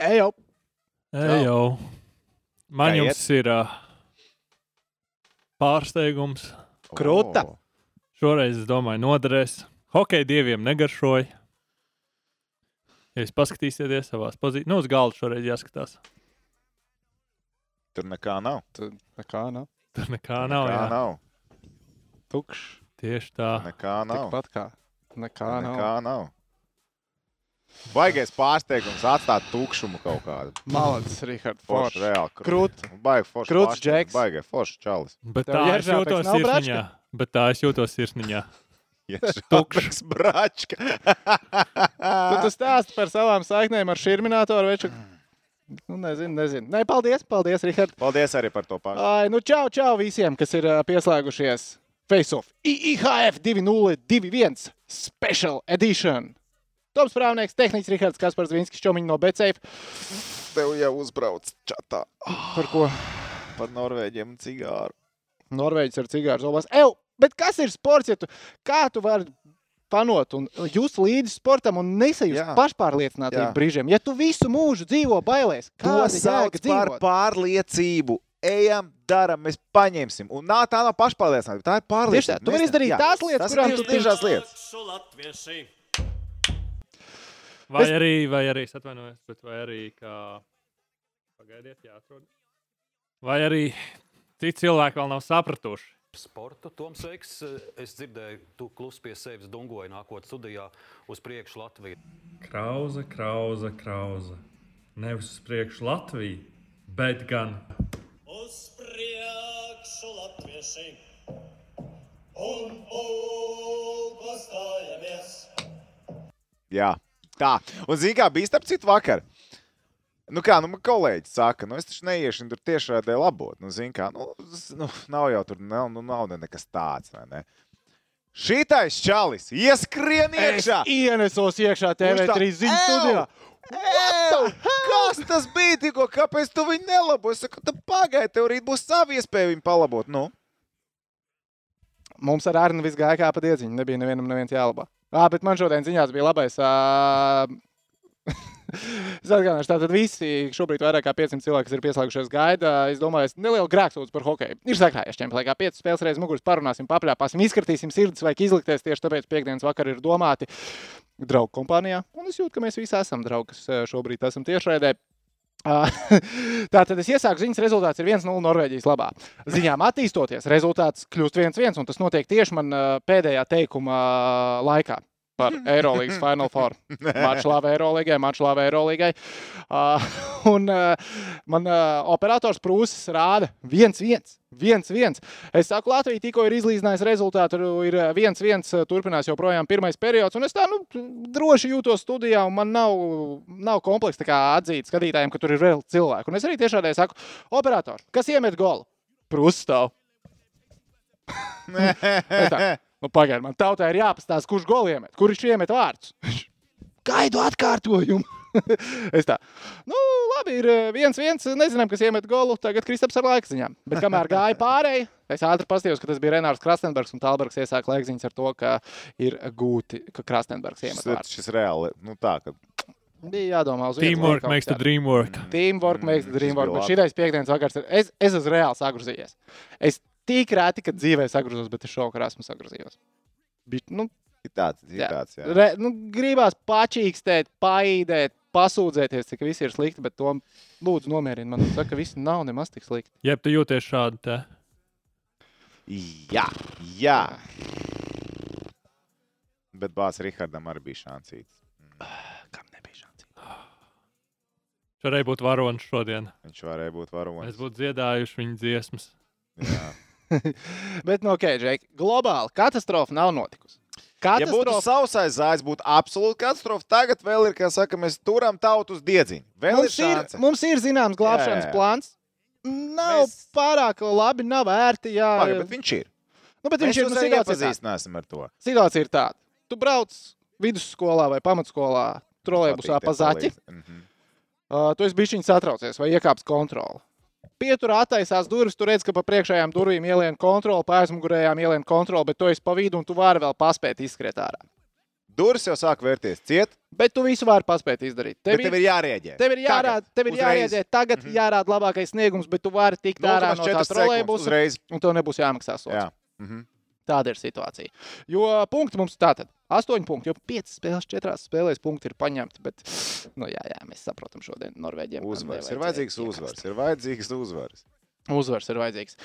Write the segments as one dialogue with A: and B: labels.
A: Ejo.
B: Ej jau. Man
C: Kā
B: jums ir uh, pārsteigums.
A: Krūta.
C: O,
B: Šoreiz, es domāju, noderēs. Hokeja dieviem negaršoja. Ja jūs paskatīsieties savā pozīcijā, nu, uz galda šoreiz jāskatās.
C: Tur nekā nav.
A: Tur nekā
C: nu.
A: nav.
B: Tur nekā nav.
C: nekā
B: Jā.
C: nav.
A: Tukšs.
B: Tieši tā.
C: Nekā nav.
A: Tāpat kā. Nekā
C: Tur
A: nav.
C: Nekā nav. Baigais pārsteigums atstāt tukšumu kaut kādu.
A: Malacis, Rihards.
C: Forši
A: Forši.
C: reāli.
A: Krūt.
C: Baigais forši.
A: Krūts
C: pārsteigums,
A: džeks.
C: Baigais forši čalis.
B: Bet
A: Tev
B: tā es
A: Jeržāpeks
B: jūtos
A: nav
B: sirsniņā. Bet tā es jūtos sirsniņā.
C: Tukšs bračka.
A: Tu tas stāst par savām saiknēm ar šurminātoru veču. Nu, nezinu, nezinu. Nē, paldies, paldies, Rihards.
C: Paldies arī par to pārsteigumu.
A: Ai, nu, čau, čau visiem, kas ir ā, pieslēgušies FaceOff IHF 2021 Special Edition. Toms Prāvnieks, tehnicis Rihards Kaspars Zvinskis, Čomiņš no Betseif.
C: Tev jau uzbrauc čatā
A: Par ko
C: par norvēģiem un cigāru.
A: Norvēģis ar cigāru zobās. Ew, bet kas ir sports, ja tu, kā tu vari panot un just līdzi sportam un nesajust
C: Jā.
A: pašpārliecinātību
C: Jā.
A: brīžiem? Ja tu visu mūžu dzīvo bailēs,
C: To
A: kāda
C: sauc
A: jēga
C: par
A: dzīvot?
C: pārliecību. Ejam, daram, mēs paņemsim. Un nā, tā nav pašpārliecinātība. Tā ir
A: Tieši tā,
C: pārliecība.
A: tu vari izdarīt tās lietas,
C: tas
A: kurām
C: ir
A: tu
C: divas dažādas lietas.
B: Vai
A: Es-
B: arī, vai arī, es atvainojos, bet vai arī, kā. Pagaidiet, jāatrod. Vai arī citi cilvēki vēl nav sapratuši.
D: Sportu Toms Veiks, es dzirdēju, tu klusi pie sevis dungoji nākot studijā uz priekšu Latviju.
B: Krauza, krauza, krauza. Nevis uz priekšu Latviju, bet gan
E: Uz priekšu latvieši un augstu stājamies.
C: Jā, tā. Un zini, kā bija starp citu vakar? Nu, kā nu, man kolēģis saka, nu, es taču neiešu viņu tur tiešā veidā labot. Nu, zini, kā, nu, z- nu, nav jau tur, nav, nu, nav ne nekas tāds. vai Ne? Šitais čalis ieskrien
A: Es
C: iekšā!
A: ienesos iekšā TV3 ziņu
C: Ew!
A: studijā.
C: Ew! Kas tas bija? Tikko, kāpēc tu viņu nelabo? Es saku, tu pagaidi, tev rīt būs sava iespēja viņu palabot. Nu,
A: Mums ar Arnu viss gāja kā pa diedziņu. Nebija nevienam neviens jālabā. Ah, bet man šodien ziņās bija labais. ā, Es atgādināšu, tātad visi šobrīd vairāk kā 500 cilvēki, kas ir pieslēgušies gaida. Es domāju, es nelielu grēksūdzu par hokeju. Ir sakrājies šiem laikā. Piecas spēles reizes muguras parunāsim, papļāpāsim, izkartīsim sirdis, vajag izlikties. Tieši tāpēc piekdienas vakar ir domāti draugu kompānijā. Un es jūtu, ka mēs visi esam draugi, kas ā, šobrīd esam tiešraidē. Tātad es iesāku ziņas, rezultāts ir 1-0 Norvēģijas labā. Ziņām attīstoties, rezultāts kļūst 1-1, un tas notiek tieši man ā, pēdējā teikuma ā, laikā. Par Eirolandes Final Four. Mačs lava Eirolandai, mačs lava Eirolandai. Uh, un uh, man uh, operators Prūsis rāda 1-1. 1-1. Es saku, Latvija tikko ir izlīdzinājusi rezultātu. Ir eh, 1-1, turpinās joprojām pirmais periods. Un es tā nu, droši jūtos studijā, un man nav, nav komplekss tā kā atzīt skatītājiem, ka tur ir vēl cilvēki. Un es arī tiešādēļ saku, operator, kas iemet golu? Prūsis stāv. Es tā, Nu, Pagaidiet, man tautā ir jāpastāsta, kurš goli iemet, kurš iemet vārdus. Gaidu atkārtojumu. es tā. Nu, labi, ir eh, viens, viens. Nezinām, kas iemet golu. Tagad Kristaps ar laikziņām. Bet kamēr gāja pārējai, es ātri paskatījos, ka tas bija Renārs Krastenbergs un Talbergs iesāka laikziņas ar to, ka ir gūti, ka Krastenbergs iemet
C: šis, ir-
A: vārdus.
C: šis reāli, nu tā, ka
A: Bija jādomā uz vienu
B: teamwork
A: laiku
B: makes the
A: apkārt.
B: dream work.
A: Teamwork makes the
C: šis
A: dream work.
C: Mm, bija
A: Bet
C: labi.
A: šitais piekdienas vakars ir. Es, es esmu reāli sagrozījies. Es tik rēti, ka dzīvē sagrozos, bet es šovakar esmu sagrozījis. Bija, nu,
C: ir tāds, ir
A: Jā.
C: tāds, jā.
A: Re, nu, gribās pačīkstēt, paīdēt, pasūdzēties, cik viss ir slikti, bet tom lūdzu nomierini. Man saka, ka viss nav nemaz tik slikti.
B: Ja tu jūties šādi, te.
C: Jā, jā. Bet Bāzs Rihardam arī bija šāds.
A: Kam nebija šāds?
B: Šoreiz būtu varonis šodien.
C: Viņš varēja būt
B: Mēs
C: varonis.
B: būtu dziedājuši viņa dziesmas.
C: Jā.
A: Bet, nu, ok, Džek, globāli katastrofa nav notikusi.
C: Ja būtu
A: Katastrofa.
C: sausais zāles, būtu absolūti katastrofa. Tagad vēl ir, kā saka, mēs turam tautu uz diedziņu.
A: Ja
C: Vēl
A: mums, ir,
C: šance.
A: mums ir zināms
C: Jā, jā,
A: glābšanas
C: jā.
A: plāns. Nav Mēs...
C: Mēs-
A: pārāk labi, nav ērti. Jā,
C: Paga, bet viņš ir.
A: nu, bet
C: Mēs
A: viņš
C: viņu
A: ir nu, situācija ir tāda.
C: iepazīstināsim ar to.
A: Situācija ir tāda. Tu brauc vidusskolā vai pamatskolā, trolēļbusā
C: Patīk
A: pa
C: te
A: zaķi.
C: palīdz. Mhm.
A: Uh, tu esi bijis viņa satraucies vai iekāps kontrolē. Pietur attaisās durvis, tu redz, ka pa priekšējām durvīm ielien kontroli, pa aizmugurējām ielien kontroli, bet tu esi pa vidu un tu vari vēl paspēt izskriet ārā.
C: Durvis jau sāk vērties ciet,
A: Bet tu visu vari paspēt izdarīt.
C: tev bet tev ir jārēģē.
A: Tev ir jārāda,
C: Tagad,
A: tev ir
C: uzreiz.
A: jārēģē. Tagad mm -hmm. jārāda labākais sniegums, bet tu vari tikt ārā no
C: 0,4
A: tās
C: sekundes
A: trolēļus,
C: uzreiz.
A: un tev nebūs jāmaksā sots.
C: Jā. Mhm.
A: Tāda ir situācija. Jo punkti mums tātad. Astoņi punkti, jo piecas spēles, četrās spēlēs punkti ir paņemti. Bet, nu, jā, jā, mēs saprotam, šodien Norvēģiem.
C: Uzvaras. Ir vajadzīgs uzvaras. Ir vajadzīgs uzvaras.
A: Uzvaras ir vajadzīgs.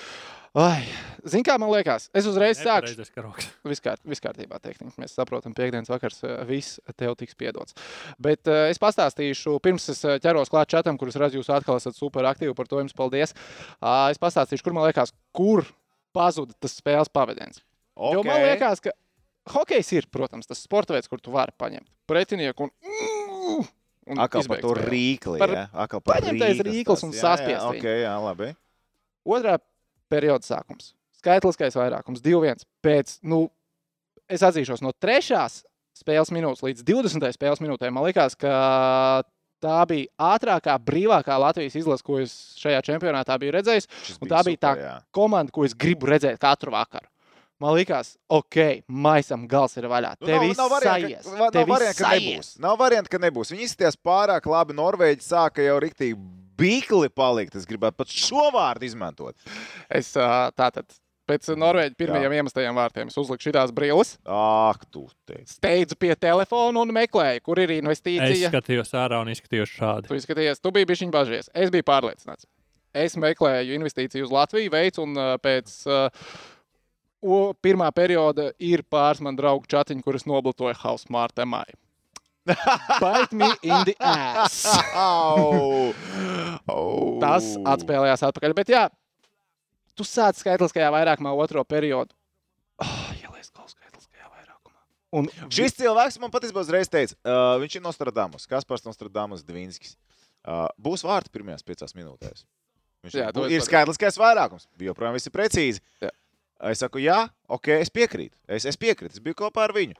A: Ai, zin kā man liekas, es uzreiz sāku.
B: Nepareizais karoks.
A: Viskārt, viskārtībā, tehniski mēs saprotam, piekdienas vakars eh, viss tev tiks piedots. Bet eh, es pastāstīšu, pirms es eh, ķeros klāt čatam, kurus redzu, jūs atkal esat superaktīvi, par to jums paldies. Ah, Es pastāstīšu, kur man liekas, kur pazuda tas spēles pavadienis. Okay. Jo man
C: Okei.
A: liekas, ka hokejs ir, protams, tas sports veids, kur tu vari paņemt pretinieku un, mm, un
C: Atkal par
A: izbeigt
C: to
A: spēli.
C: rīkli.
A: Par-
C: jā? Atkal par
A: paņemtais rīklis un
C: tas. Jā,
A: saspiest
C: Jā,
A: viņu.
C: okay, jā, labi.
A: Otrā perioda sākums. Skaitliskais vairākums - 2-1. Pēc, nu, es atzīšos, no trešās spēles minūtes līdz 20. spēles minūtē man liekas, ka tā bija ātrākā, brīvākā Latvijas izlase, ko es šajā čempionātā biju redzējis.
C: Šis
A: Un tā bija tā-
C: super, jā.
A: Komanda, ko es gribu redzēt katru vakaru. Man liekas, ok, maisam gals ir vaļā.
C: Nu,
A: Tev viss
C: nav, varianta,
A: sajies.
C: ka- va- nav
A: Tev viss
C: varianta, ka
A: sajies.
C: nebūs. Nav varianta, ka nebūs. Viņi izskatījās pārāk labi. Norvēģi sāka jau rīktīgi bīkli palikt. Es gribētu pat šo vārdu izmantot.
A: Es ā, tātad pēc Norvēģijas pirmajiem iemestajiem vārtiem es uzliku šīs brilles,
C: Ak, tu teici.
A: steidzu pie telefona un meklēju, kur ir
B: Es
A: investīcija.
B: skatījos ārā un izskatījos šādi.
A: Tu izskaties, tu biji bišķiņš bažījies. Es biju pārliecināts. Es meklēju investīciju uz Latviju, veicu, un ā, pēc ā, o- pirmā perioda ir pāris man draugu chatiņi, kurus noblatoja Hausmārta Mai. Bite me in the ass!
C: Au! Au!
A: Tas atspēlējās atpakaļ. Bet, jā, tu sāc skaitliskajā vairākumā otro periodu. Oh, ielies kaut skaitliskajā vairākumā. Un
C: Šis cilvēks man patiesībā uzreiz teica, uh, viņš ir Nostradamus, Kaspars Nostradamus, Dvīnskis. Uh, būs vārti pirmajās piecās minūtēs. Viņš
A: Jā,
C: jā,
A: to
C: ir,
A: es
C: ir skaitliskais vairākums. Joprojām viss ir precīzi.
A: Jā.
C: Es saku, jā, ok, es piekrītu. Es, es piekrītu, es biju kopā ar viņu.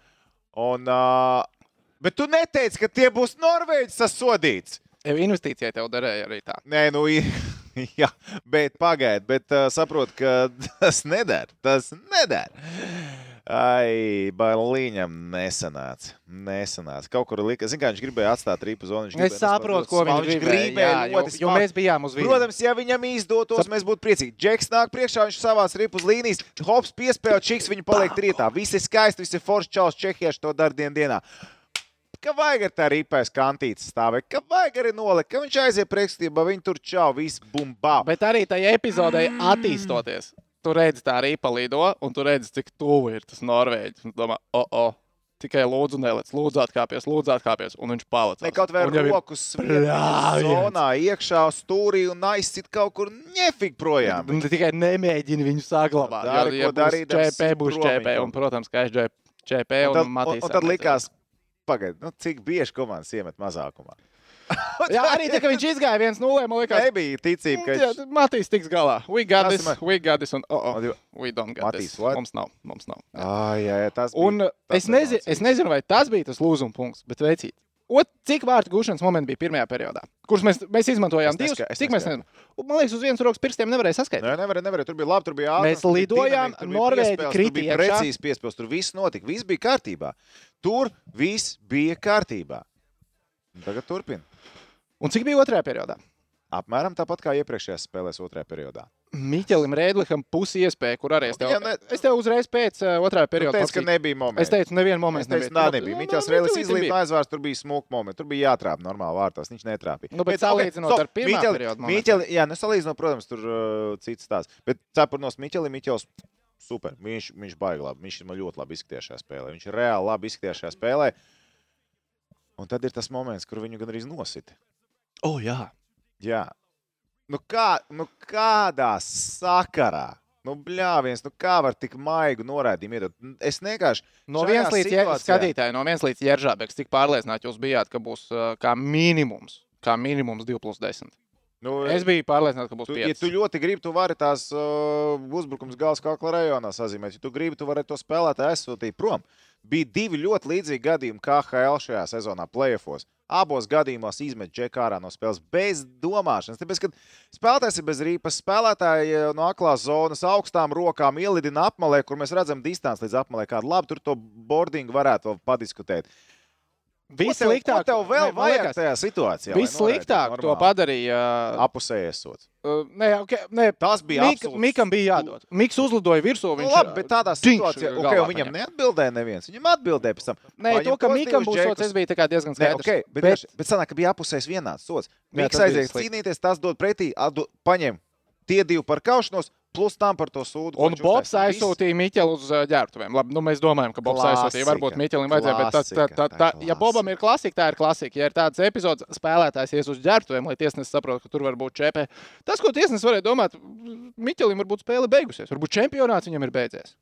C: Un, uh, bet tu neteici, ka tie būs norvēģis sasodīts.
A: Tev investīcijai tev derēja arī tā.
C: Nē, nu, i- jā, bet pagaidi, bet uh, saprot, ka tas neder. Tas neder. Ai, balīņam nesanāca. Nesanāca. Kaut kur lika, zināmā mērā viņš gribēja atstāt rīpu zonu. Viņš
A: Es
C: gribēja
A: saprotu,
C: nospēlēt
A: ko
C: ļoti
A: viņš
C: smagi,
A: gribēja. jā, jo-
C: ļoti
A: jo
C: smagi.
A: mēs bijām uz vīdes.
C: Protams, ja viņam izdotos, mēs būtu priecīgi. Džeks nāk priekšā, viņš savās ripas līnijas, hops piespēlē, čiks viņu paliek rietā. Visi skaisti, visi forši čels čehieši to dara dien dienā. Ka vajag ar tā ripais kantītes stāvēt, ka vajag arī nolikt, ka viņš aiziet priekšstībā, viņi tur čau, viss bumbā.
A: Bet arī tajā epizodē attīstoties. Tu redzi, tā arī palido, un tu redzi, cik tuvu ir tas norvēģis. Un tu domā, o, o, tikai lūdzu, neliec, lūdzu, atkāpies, lūdzu, atkāpies, un viņš palicis.
C: Ne kaut vai rokas
A: brāļiens.
C: zonā, iekšā stūrī un aizsit kaut kur nefig projām.
A: Un tu tikai nemēģini viņu saglabāt.
C: Dari, ko
A: jo, ja būs
C: darīt, ar
A: ČP būs
C: stromiņu.
A: ČP, un, protams, ka es ČP
C: Un tad,
A: un, un
C: un,
A: Matīs.
C: un tad likās, pagaidi, nu, cik bieži komandas iemet mazākumā.
A: Jā, arī tā, ka viņš izgāja viens nulē, man liekas,
C: Nebija ticība, ka
A: Jā,
C: viņš
A: Matīs tiks galā. We got
C: Tas
A: this,
C: man-
A: we got this, un oh,
C: Man
A: oh,
C: jau-
A: we don't got
C: Matīs,
A: this.
C: what?
A: Mums nav, mums nav.
C: Ah, jā, jā, tas bija.
A: Un eh, es nezinu, es nezinu, vai tas bija tas lūzuma punkts, bet veicīt. Ot, cik vārtu gūšanas momenti bija pirmajā periodā, kurus mēs, mēs izmantojām?
C: Es neska-
A: Divus,
C: es
A: cik mēs
C: neskaitu.
A: nezinām. Un, Man liekas, uz vienas rokas pirkstiem nevarēja saskaitīt.
C: Nē, nevarēja, nevarēja. Tur bija Nu, labi, tur bija ātrāk.
A: Mēs lidojām, Norvēģi krita
C: Tur bija
A: iekšā.
C: precīzi piespēles, tur viss notika, viss bija kārtībā. Tur viss bija kārtībā. Un Tagad turpina.
A: Un cik bija otrajā periodā?
C: Apmēram tāpat kā iepriekšējās spēlēs otrajā periodā.
A: Miķelim Rēdlikam pusi iespēja, kur arī es tev,
C: Viņam ne-
A: es tev uzreiz pēc uh, otrā
C: Tur
A: perioda
C: teica, ka
A: pasīju.
C: nebija moments.
A: Es nu, teicu, nevienu
C: Es
A: momentu
C: teicu, nā, nebija. Miķels Rēlis izlīdz aizvārds, tur bija smūka moments. Tur bija jātrāp normāli vārtos, viņš netrāpīja.
A: Nu, bet
C: ok,
A: salīdzinot
C: stop,
A: ar pirmā
C: Miķeli-
A: perioda momentu.
C: Miķeli, jā, nesalīdzinot, protams, tur uh, cits stāsts. Bet cepurnos Miķeli, Miķels, super. Viņš, viņš baigi labi, viņš man ļoti labi izskatījās šajā spēlē. Viņš reāli labi izskatījās šajā spēlē. Un tad ir tas moments, kur viņu gandrīz nosita.
A: O, jā.
C: Jā. Nu, kā, nu kādā sakarā? Nu, bļāviens, nu kā var tik maigu norādījumu iedot? Es vienkārši.
A: No
C: šajā
A: vienas līdz je-
C: situācijā-
A: skatītāji, no vienas līdz eh, Jeržābeks, cik pārliecināti jūs bijāt, ka būs uh, kā minimums, kā minimums 2 plus 10.
C: Nu,
A: Es biju pārliecināts, ka būs
C: Tu, ja tu
A: 5.
C: ļoti gribi, tu vari tās uh, uzbrukums gala skakla rajonā sazīmēt. Ja tu gribi, tu vari to spēlētāju aizsūtīt prom. Bija divi ļoti līdzīgi gadījumi KHL šajā sezonā, playoffs. Abos gadījumos izmet džeku ārā no spēles bez domāšanas. Tāpēc, kad spēlētājs ir bez rīpas, spēlētāji uh, no aklās zonas augstām rokām ielidina apmalē, kur mēs redzam distanci līdz apmalē, kāda labi tur to boardingu varētu vēl padiskutēt.
A: Viss
C: Ko tev- ko
A: sliktāk,
C: tev vēl
A: ne, man
C: vajag
A: liekas,
C: tajā situācijā. lai
A: viss
C: noraidītu
A: sliktāk to
C: normāli?
A: padarīja.
C: Apusē esot.
A: Uh, nē, okay, nē,
C: Tas bija
A: Mik,
C: absolūts
A: Mikam bija jādod. Miks uzlidoja virsū.
C: Nu,
A: Viņš
C: labi, bet tādā
A: tiņš
C: situācijā,
A: galvā
C: ok, un viņam
A: paņem.
C: neatbildēja neviens. Viņam atbildēja pēc tam.
A: Nē,
C: Vai
A: to,
C: viņam
A: ka
C: tos
A: Mikam
C: divus
A: būs
C: džekus-
A: sots, tas bija tā kā diezgan
C: Nē,
A: skaidrs.
C: okay, bet, bet, bet sanāk, ka bija apusējis vienāds sots.
A: Jā,
C: Miks
A: tas bija
C: aiziet
A: slikti.
C: cīnīties, tas dod pretī, atdo, paņem tie divi par kaušanos, plus tam par to sūdu. ko
A: Un
C: viņš
A: Bobs
C: uztaisīja. Viss.
A: aizsūtīja Miķeli uz ā, ģērbtuvēm. Labi, nu mēs domājam, ka Bobs
C: Klasika,
A: aizsūtīja. Varbūt Miķelim vajadzēja, bet tā, tā,
C: klasika,
A: tā, tā,
C: tā
A: ja Bobam ir klasika, tā ir klasika. Ja ir tāds episods, spēlētājs ies uz ģērbtuvēm, lai tiesnesis saprotu, ka tur var būt čepē. Tas, ko tiesnesis varēja domāt, Miķelim varbūt spēle beigusies. Varbūt čempionāts viņam ir beidzies.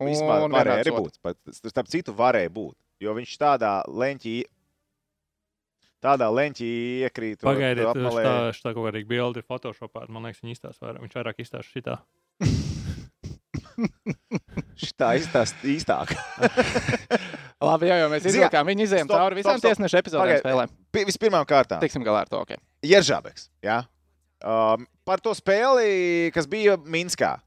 C: Vispār
A: Un
C: varēja
A: vienāds
C: arī
A: sots.
C: būt. Pat, starp citu, varēja būt. Jo viņš tādā leņķī, tādā leņķī iekrīt. un
B: Pagaidiet, tas
C: apmalē.
B: tā, šitā kaut kāda bilde ir Photoshopā. Man liekas, viņa izstāsta vairāk. Viņš vairāk izstāsta šitā.
C: Šitā iztās- īstāk.
A: Labi, jau, jau mēs
C: Zini,
A: izvilkām. Viņi izējām
C: stop,
A: cauri
C: stop,
A: visām
C: stop.
A: tiesneša epizodēm
C: Pagaid.
A: spēlēm.
C: Vispirmām kārtām.
A: Tiksim galā ar to. Okay.
C: Jeržabeks. Ja? Um, par to spēli, kas bija Minskā.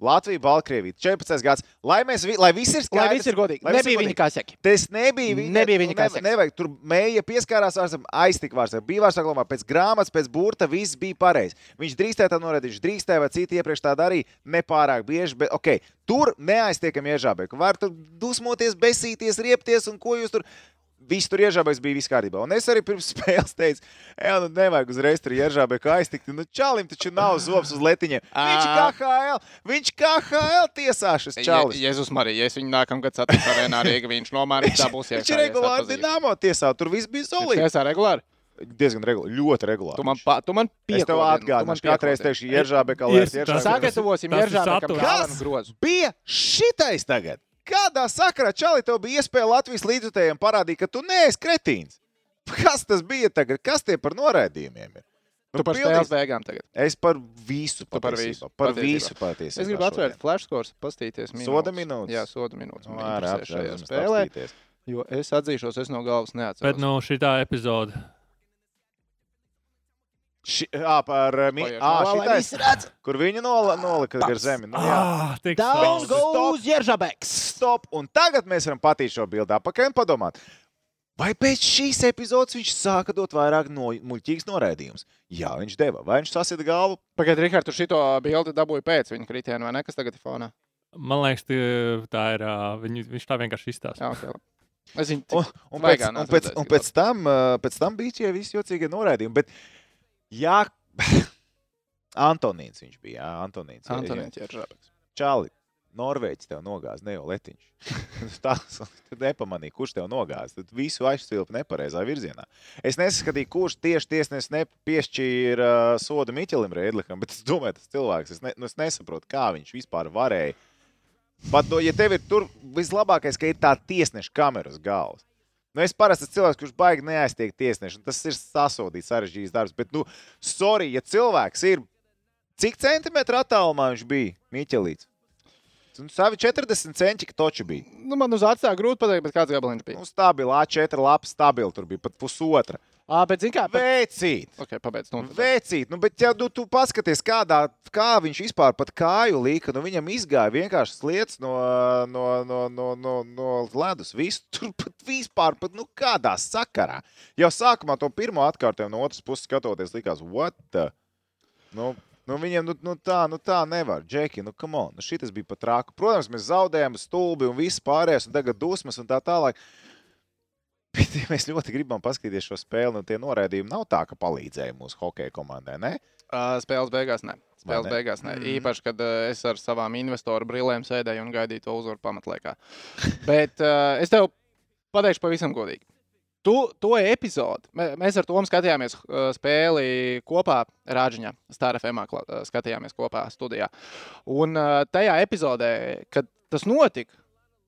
C: Latvija, Baltkrievija, 14 gads. Lai, mēs, vi- lai viss ir skaidrs,
A: Lai viss ir godīgi.
C: lai viss ir
A: Nebija viņa
C: godīgi.
A: kaseki.
C: Tas nebija viņa.
A: Nebija viņa kā seks.
C: nevajag. Tur mēja pieskārās vārstam, aiztika vārstam, bija vārstam glomā. Pēc grāmatas, pēc burta viss bija pareizi. Viņš drīkstēja tā norādīt, viņš drīkstēja vai citi iepriekš tā darīja. Nepārāk bieži, bet ok. Tur neaiztiekam iežābēku. Var tur dusmoties, besīties, riepties un ko jūs tur. Viss tur iežābēs bija viss kārtībā. Un es arī pirms spēles teicu, ej, nu nevajag uzreiz tur iežābēku aiztikt. Nu, čalim taču nav zobs uz letiņiem. Viņš
A: Ā.
C: KHL, viņš KHL tiesāšas čalis.
A: Je, Jēzus Marija, ja es viņu nākamgad satikšu arēnā Rīgā, viņš nomānīs, tā būs
C: Viņš ir regulāri dīnāmo tiesā, tur viss bija solīts.
A: Es esmu regulāri.
C: Diezgan regulāri, ļoti regulāri.
A: Tu man, pa, nu, tu man
C: es
A: piekāpies.
C: tev atgādināšu, ka katrai reizē ir ieržābeka, lai
B: Yes,
C: es
B: tas-
C: ieržābeka.
A: Sagatavosim
B: Tas ir
A: ieržābekam
B: satura.
A: galvenu
C: Kas?
A: grozu.
C: Bija šitais tagad! Kādā sakarā Čali tev bija iespēja Latvijas līdzjutējiem parādīt, ka tu neesi kretīns? Kas tas bija tagad? Kas tie par noraidījumiem ir?
A: Tu par
C: pilnīgi-
A: spēles beigām tagad.
C: Es par visu
A: Tu par
C: patiesībā.
A: visu.
C: Par
A: Patiesībā.
C: visu patiesībā.
A: Es gribu atvērt flash scores, paskatīties.
C: Soda minūtes? Nu,
A: Jā, soda minūtes. Man
C: Vārā
A: interesē šajā spēlē, jo es atzīšos, es no galvas
B: Bet
A: neatceros.
B: nu, šitā epizode.
C: Jā, par eh,
A: Paiet galvā, lai
C: mīlestību.
A: visi redz.
C: Kur viņi nola- nolika gar zemi? Nu, jā.
B: Ah, tik
A: Down
B: sausi.
A: goes ieržābeks!
C: Stop! Un tagad mēs varam patīt šo bildi apakaļ un padomāt. Vai pēc šīs epizodes viņš sāka dot vairāk no, muļķīgas noraidījumus? Jā, viņš deva. Vai viņš sasita galvu?
A: Pagaidiet, Rikārd, tu šito bildi dabūji pēc viņa kritiena, vai ne? Kas tagad ir fonā?
B: Man liekas, tie- tā ir. ā, Viņi, viņš tā vienkārši izstāsta.
A: Jā, ok. labi. Es viņu
C: Un,
A: tik...
C: un, pēc,
A: Svaigā
C: un,
A: nāc
C: pēc,
A: redzēsi,
C: un
A: ka
C: pēc, tam, uh, pēc tam bija tie visi jocīgie noraidījumi. Bet, jā, Antonīns viņš bija. Jā, Antonīns. Jā,
A: Antonīns ieržābeks.
C: Čāli, Norvēģis tev nogāz, ne jau letiņš. Tas nepamanīja, kurš tev nogāz. Tad visu aizsvilpa nepareizā virzienā. Es nesaskatīju, kurš tieši tiesnesis nepiešķīra uh, sodu Miķelim Rēdlikam, bet es domāju, tas cilvēks, es, ne, nu, es nesaprotu, kā viņš vispār varēja. Pat to, ja tev ir tur vislabākais, ka ir tā tiesneša kameras galvas. Nu, es parasti esmu cilvēks, kurš baigi neaiztiek tiesnešu. un Tas ir sasodīts, sarežģīts darbs. Bet, nu, sorry, ja cilvēks ir Cik centimetru attālumā viņš bija? Mīķelīts. Nu, savi 40 centi toči bija.
A: Nu, man uz atstāja grūti pateikt, bet kāds gabaliņš bija.
C: Nu, stabili, A4 lapa, stabili tur bija pat pusotra.
A: Ā, bet zini kā? Bet...
C: Vēcīt!
A: Ok, pabeidz. Nu, tad-
C: Vēcīt, nu, bet ja nu, tu paskaties, kādā, kā viņš vispār pat kāju līka, nu viņam izgāja vienkārši sliedas no, no, no, no, no, no ledus. Visu, tur pat vispār, pat, nu kādā sakarā. Jau sākumā to pirmo atkārtojumu no otras puses skatoties, likās, what? The? Nu, Nu, viņiem nu, nu tā, nu tā nevar. Džeki, nu, come on, nu, šis bija pat trāku. Protams, mēs zaudējām stulbi un viss pārējais, un tagad dusmas un tā tālāk. Bet ja mēs ļoti gribam paskatīties šo spēli, un tie noraidījumi nav tā, ka palīdzēja mūsu hokeja komandai. Ne?
A: Ā, Uh, Spēles beigās nē. Spēles
C: Vai ne?
A: beigās nē.
B: Mhm.
A: Īpaši, kad ā, es ar savām investoru brillēm sēdēju un gaidīju to uzvaru pamatlaikā. bet ā, es tev pateikšu pavisam godīgi. Tu, to epizodi mē- mēs ar Tomu skatījāmies ā, spēli kopā Rāģiņā, Stārafemā uh, skatījāmies kopā studijā. Un ā, tajā epizodē, kad tas notika,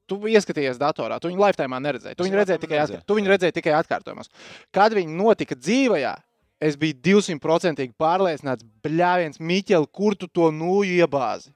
A: tu ieskaties datorā, tu viņu lifetime neredzēji. Tu
C: Es
A: viņu redzēji
C: lifetime
A: tikai,
C: neredzēju,
A: atkār... tu viņu
C: jā.
A: redzēji tikai atkārtojumos. Kad viņi notika dzīvajā, Es biju 200% pārliecināts, bļāviens, Miķel, kur tu to nūju iebāzi?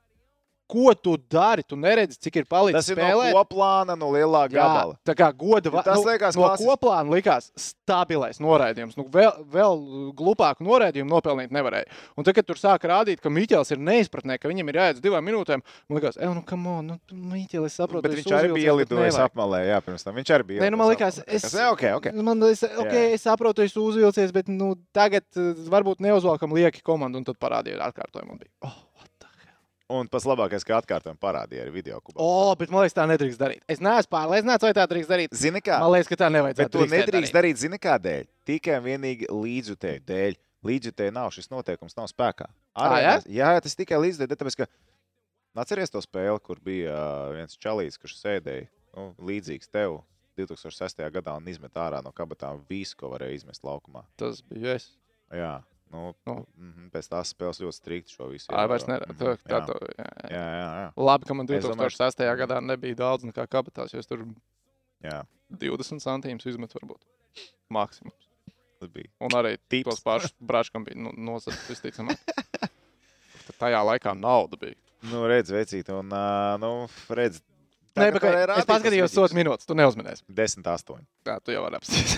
A: Ko tu dari? Tu neredzi, cik ir
C: Tas
A: palicis
C: ir
A: spēlē.
C: no koplāna, no lielā gabala.
A: tā kā goda nu,
C: Ja tas liekas
A: no
C: klasis-
A: koplāna likās stabilais noraidījums. Nu, vēl, vēl glupāku noraidījumu nopelnīt nevarēja. Un tad, kad tur sāk rādīt, ka Miķels ir neizpratnē, ka viņam ir jāiet uz divām minūtēm, man liekas, ej, nu, kam on, nu, Miķels, es saprotu,
C: Bet viņš arī bija ielidojis apmalē, jā, pirms tam. Viņš arī bija.
A: Nē, nu, man liekas, es,
C: Es... Jā, ok, ok.
A: Man, es, okay, es saprotu, es uzvilcies, bet nu, tagad eh, varbūt neuzvelkam lieki komandu un tad parādīju ar atkārtojumu. un bija, Oh, what the hell?
C: Un pats labākais, ka atkārtojam parādīja arī video kubā.
A: oh, bet man liekas, tā nedrīkst darīt. Es neesmu pārliecināts, vai tā drīkst darīt.
C: Zini, kā?
A: Man liekas, ka tā nevajadzētu.
C: Bet to nedrīkst darīt, zini, kādēļ? Tikai un vienīgi līdzjutēju dēļ. Līdzjutēji nav, šis noteikums nav spēkā.
A: jā?
C: Arēnās- jā, jā, tas tikai līdzjutēji, tāpēc, ka Nu, atceries to spēli, kur bija ā, viens čalīts, kurš sēdēja nu, līdzīgs tev 2006. gadā un izmet ārā no kabatām visu, ko varēja izmest laukumā.
A: Tas bija es.
C: Jā, nu,
A: Nu.
C: mhm, pēc tās spēles ļoti strikti šo visu.
A: Ai, vairs
C: ievēro.
A: nerad.
C: Mhm,
A: Tā, tā,
C: jā.
A: tā, jā, jā.
C: Jā, jā, jā.
A: Labi, ka man
C: Es domāju,
A: 2006. gadā nebija daudz nekā kabatās, jo es tur
C: jā.
A: 20 centimus izmetu varbūt. Maksimums.
C: Tas bija
A: Un arī
C: Tips.
A: tos pašus brāčkam bija nu, nozagts visticamāk. Tad tajā laikā nauda bija.
C: Nu, redz, veicīt, un, ā, nu, redz.
A: Nē,
C: tagad
A: bet
C: varēja
A: es
C: rādīt tas
A: paskatījos
C: video.
A: 100 minūtes. Tu neuzminēsi.
C: 10, 8.
A: Jā, tu jau vari apstāties.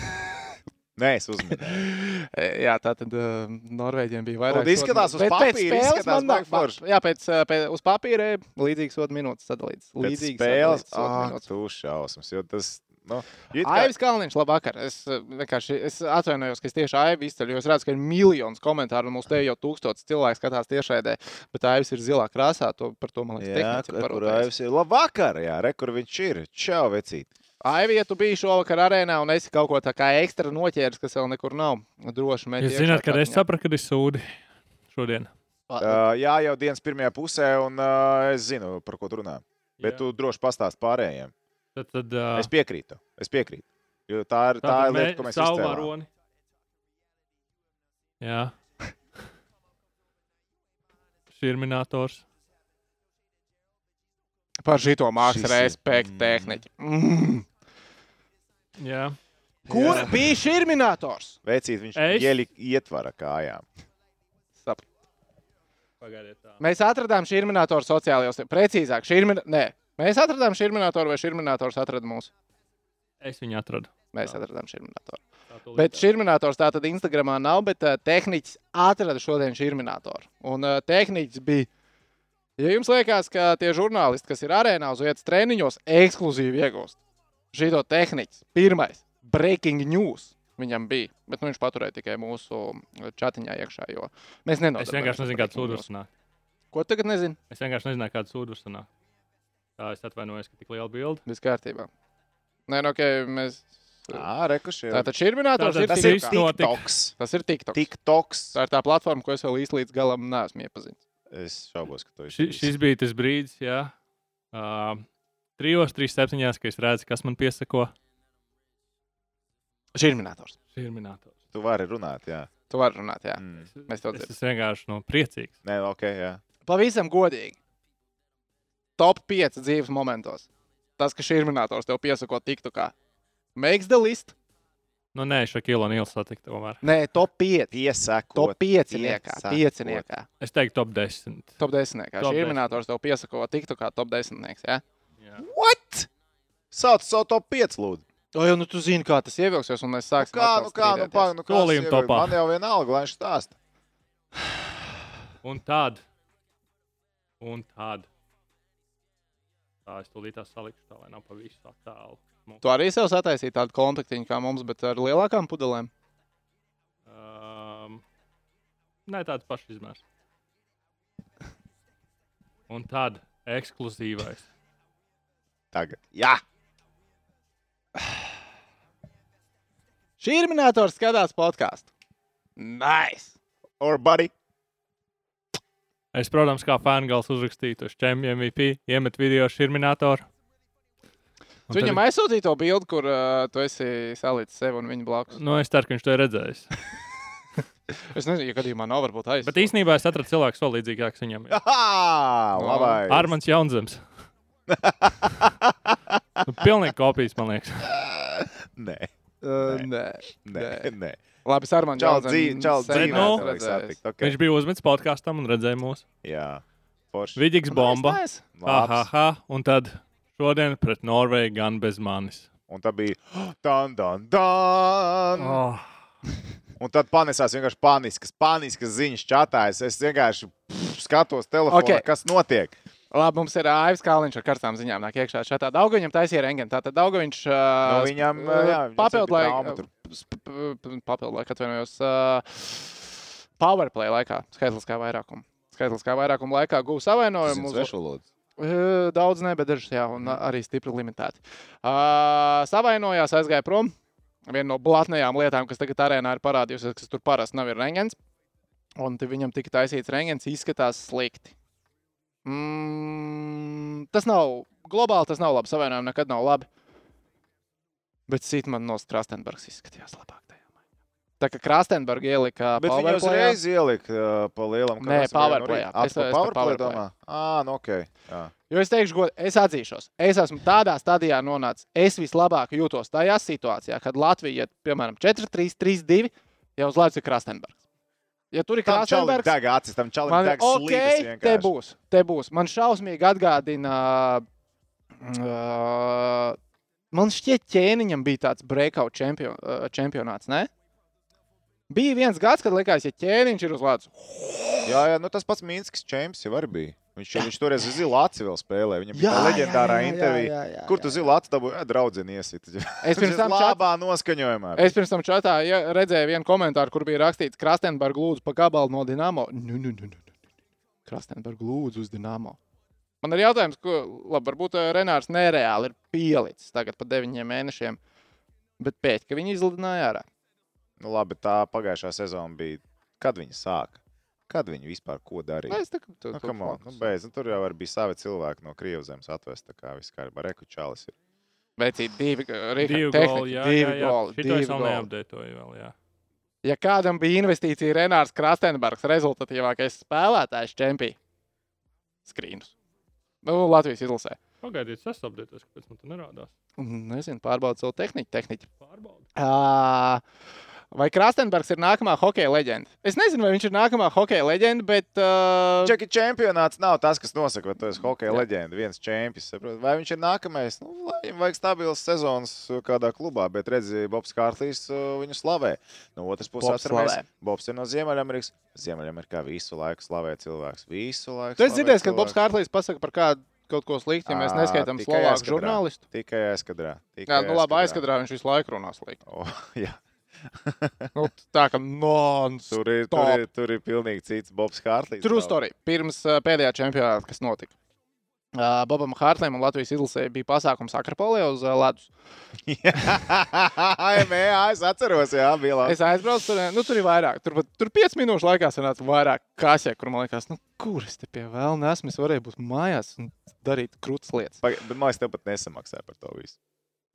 C: Nē, es uzmanīju.
A: jā, tā tad uh, Norvēģiem bija vairāk.
C: Un izskatās uz
A: sodu minūtes. Bet pēc
C: papīra,
A: spēles
C: izskatās
A: man
C: baigi
A: nav-
C: forši.
A: Jā, pēc, eh, pēc, uz papīra eh, līdzīgs sodu minūtes sadalīts.
C: Līdzīgas
A: Līdzīgs
C: spēles.
A: sadalīts sodu
C: Ah,
A: minūtes.
C: tu šausmas, jo tas. Nu, it kā-
A: Aivis Kalniņš, labvakar. Es eh, vienkārši es atvainojos, ka es tieši Aivu izceļu. jo Es redzu, ka ir miljonus komentāru, un mums te jau tūkstotis cilvēku skatās tiešraidē. Bet Aivis ir zilā krāsā. To, par to man liekas,
C: Jā,
A: tehniski
C: kur kur Aivs ir? Labvakar, jā, re, kur viņš ir. Čau, vecīt.
A: Aivi, ja tu biji šovakar arēnā un esi kaut ko tā kā ekstra noķēris, kas vēl nekur nav, droši vien.
B: Jūs zināt, kad es sapratu, kad ir sūdi šodien.
A: eh,
C: Uh, jā, jau dienas pirmajā pusē, un uh, es zinu, par ko tu runā. Bet
B: Jā.
C: tu droši pastāst pārējiem.
B: Tad, tad, uh,
C: Es piekrītu. Es piekrītu. Jo tā ir, tā ir lieta, ko mēs izcēlām.
B: Varoni. Jā. Širminators.
A: par šito mākslas
C: Šis ir-
A: respektu
C: Mm.
A: tehniku. Mm.
B: Jā.
A: Kur bija šis minētājs?
C: Vecīt, viņš
B: Es-
C: ielika ietvara kājām.
B: Pagaidiet tā.
A: Mēs atradām šī minētāju sociālajos. tīklos. Precīzāk, šī minētāja. Mēs atradām šī minētāju, vai šī minētājs atrada mūs?
B: Es viņu atradu.
A: Mēs
B: Jā.
A: atradām šī minētāju.
B: Tā tu
A: Bet
B: lietā.
A: šī minētājs tā tad Instagramā nav, bet uh, tehniķis atrada šodien šī minētāju. Un uh, tehniķis bija. Ja jums liekas, ka tie žurnālisti, kas ir arēnā uz vietas treniņos, ekskluzīvi iegūst šo tehniku, pirmais breaking news viņam bija. Bet nu, viņš paturēja tikai mūsu eh, chatiņā iekšā, jo mēs nezinām,
B: Es vienkārši nezinu, kāds sūdzības nāk.
A: Ko tu tagad nezinu?
B: Es vienkārši nezināju, kāda sūdzības nāk. Tā es atvainojos, ka tik liela bilde.
A: Viss kārtībā. Nē, nu, ok, mēs.
C: Jā, rekuši.
A: Tātad šī ir minēta.
B: Tātad
A: Tas
C: tas
B: ir
A: ir
C: ir
B: viss notika.
C: TikToks.
A: Tas ir TikToks. Tik.
C: TikToks.
A: Tā ir tā platforma, ko es vēl īsti līdz galam neesmu iepazinis.
C: Es šaubos, ka tu
B: Ši, šis bija tas brīdis, jā. Uh, trijos, trīs septiņās, kad es redzu, kas man piesako.
A: Šī ir minēta.
B: Širminators.
C: Tu vari runāt, jā.
A: Tu vari runāt, jā.
C: Mm.
A: Mēs to
B: Es
A: dzirdam.
B: esmu vienkārši no priecīgs.
C: Nē, ok, jā.
A: Pavisam godīgi. Top 5 dzīves momentos. Tas, ka šī ir minēta, tev piesako TikTokā. Makes the list.
B: Nu, nē, Šakilo Nils satiktu tomēr.
A: Nē, top 5.
C: Piesakot.
A: Top 5. Pieciniekā.
B: Es teiktu top 10.
A: Top 10.
B: Top
A: Šī ir minēta, tev piesako TikTokā top 10. Jā.
B: Jā.
C: What? Sauc savu top 5, lūdzu.
A: O, jau nu, tu zini, kā tas ievilksies, un mēs sāksim.
C: Kā,
A: atkal
C: nu kā, nu
A: strīdēties.
C: kā, nu kā.
B: Solījuma
C: sieviete,
B: topā.
C: Man jau vienalga, lai viņš stāsta.
B: Un tad. Un tad. Tā es tūlīt tā salikšu, tā lai nav pa visu tā tālu. Nu,
A: Tu arī sev sataisīji tādu komplektiņu kā mums, bet ar lielākām pudelēm.
B: Um, nē, tāds pašs izmērs. Un tad ekskluzīvais.
C: Tagad. Jā.
A: Šī ir minētājs skatās podkāstu. Nice!
C: Or buddy.
B: Es, protams, kā fangals uzrakstītu uz čempionu MVP, iemet video šurminātoru.
A: Tu viņam aizsūtīji to bildi, kur uh, tu esi salicis sevi un viņa blakus.
B: Nu, es ceru, ka viņš to ir redzējis.
A: Es nezinu, ja gadījumā nav varbūt aizsūtīts.
B: Bet īstenībā es atradu cilvēku, kas ir līdzīgāks viņam. jā.
C: Aha, labais.
B: Armāns Jaunzems. nu, pilnīgi kopijas, man liekas.
C: Nē,
A: Uh, nē,
C: nē, nē.
A: Labi, Sārmaņš.
C: Čau, dzīve, čau, dzīve.
B: nu,
C: tev vajag satikt.
B: Okay.
C: Okay.
B: Viņš bija uzmetis podkāstam un redzēja mūsu.
C: Jā, forši.
B: Vidīgs bomba.
C: Labs.
B: Aha, un tad šodien pret Norvēģiju gan bez manis.
C: Un tā bija dan, dan, dan. Oh.
B: Oh.
C: Un tad panesās vienkārši paniskas, paniskas ziņas čatājas. Es vienkārši pff, skatos telefonā, okay.
A: Okay.
C: kas notiek.
A: Labi, mums ir Aivs Kalniņš ar karstām ziņām. Nāk iekšā šādā Daugaņam taisīja rengeni. Tātad Daugaņš
C: Nu,
A: uh,
C: viņam, uh, jā, viņam
A: papildu
C: bija trauma
A: laikā.
C: tur.
A: Papildu laikā atvainojos. Uh, Powerplay laikā, skaitliskā vairākuma. Skaitliskā vairākuma laikā gūs savainojumu. uz- Eh, Daudz ne, bet dažas, jā, un mm. arī stipri limitēti. Uh, savainojās, aizgāja prom. Viena no blatnējām lietām, kas tagad arēnā ir parādījusies, kas tur parasti nav, ir rengens. Un te viņam tika taisīts rengens, izskatās slikti. Mm, tas nav globāli, tas nav labi. Savainojumi nekad nav labi. Bet Sītman no Strastenbergs izskatījās labāk. tajā mačā. Tā kā Krastenberga ielika
C: Bet viņi
A: powerplayā.
C: uzreiz ielika uh, pa lielam
A: Nē, powerplayā. Es-
C: Es
A: es
C: to
A: par
C: powerplay
A: powerplay.
C: domā. Ā, nu ok. Jā.
A: Jo es teikšu, godīgi, es atzīšos, es esmu tādā stadijā nonācis. Es vislabāk jūtos tajā situācijā, kad Latvija iet, piemēram, 4, 3, 3, 2, jau uz Latvijas ir Krastenbergs. Ja tur ir
C: Tam čalim
A: Krastenbergs,
C: deg acis, tam čalim
A: man
C: deg
A: ir
C: slīdes
A: ok,
C: vienkārši.
A: te būs, te būs. Man šausmīgi atgādina. Uh, man šķiet, ķēniņam bija tāds breakout čempion, uh, čempionāts. Ne? Bija viens gads, kad likās, ja ķēniņš ir uz Latvijas.
C: Jā, jā, nu tas pats Mīnskis Čēms jau arī bija. Viņš, viņš toreiz zilā acī vēl spēlēja. Viņam bija
A: Jā,
C: tā
A: jā,
C: leģendārā
A: jā, jā,
C: intervija.
A: jā, jā,
C: Kur tu zilā acī dabūji? eh, Draudzeni iesit.
A: Es pirms tam čatā
C: labā noskaņojumā.
A: Es pirms tam čatā ja, redzēju vienu komentāru, kur bija rakstīts, ka Krastenberga lūdzu pa gabalu no Nu, Dienāmo. Krastenberga lūdzu uz Dienāmo. Man ir jautājums, ko labi, varbūt eh, Renārs nereāli ir pielicis tagad par deviņiem mēnešiem, bet pēc tam, kad viņi izlidināja ārā.
C: Nu, labi, tā pagājušā sezona bija. Kad viņi sāka? Kad viņi vispār ko darīja?
A: Es tā kā tu,
C: Nu,
A: tu,
C: come on, nu, beidz, nu, tur jau arī bija savi cilvēki no Krievijas atvest. Tā kā viss kārtībā, rekučālis ir.
A: Vecīt, divi,
B: Divi
A: divi
B: goli,
A: tehniķi,
B: jā, jā,
A: divi
B: jā.
A: goli.
B: Šito
A: divi
B: es vēl
A: goli.
B: neapdētoju vēl, jā.
A: Ja kādam bija investīcija Renārs Krastenbergs, rezultatīvākais spēlētājs čempionā, skrīnus. Nu, Latvijas izlasē.
B: Pagaidiet, es apdētos, kāpēc man te nerādās.
A: Nezinu, pārbaudīt savu tehniku. tehniķi.
B: Pārbaudi.
A: Ā, Vai Krastenbergs ir nākamā hokeja leģenda? Es nezinu, vai viņš ir nākamā hokeja leģenda, bet. Uh,
C: Čeki čempionāts nav tas, kas nosaka, vai tu esi hokeja
A: Jā.
C: leģenda, viens čempions. saproti? Vai viņš ir nākamais? Nu, lai viņam vajag stabils sezonas uh, kādā klubā, bet redziet, Bobs Kārlis uh, viņu slavē. No otras puses,
A: Bobs
C: atceramies,
A: slavē.
C: Bobs ir no Ziemeļamerikas. Ziemeļamerikā visu laiku slavē cilvēks. Visu laiku.
A: tu esi
C: slavē
A: dzirdējis, ka
C: cilvēks.
A: Bobs Kārlis pasakā par kādu kaut ko sliktu, ja mēs
C: Ā,
A: neskaitām
C: tikai
A: slovāku
C: aizkadrā.
A: žurnālistu.
C: Tikai aizkadrā. Tikai
A: Jā, nu labi, aizkadrā viņš visu laiku runā slikti.
C: O, jā.
A: Nu, tā kā nons.
C: Tur ir, tur, ir, tur ir pilnīgi cits Bobs Kārlis.
A: True story. Pirms uh, pēdējā čempionāta, kas notika. Uh, Bobam Hārtam un Latvijas izlasē bija pasākums Akropolē uz uh, ledus.
C: jā, mē, es atceros, jā, bija labi.
A: Es aizbraucu, tur, nu, tur ir vairāk. Tur, pat- tur 5 minūšu laikā sanāca vairāk kasē, kur man liekas, nu, kur es te pie vēl nesmu. Es varēju būt mājās un darīt krūtis lietas.
C: Paga- Bet, man liekas, tev pat nesamaksāja par to visu.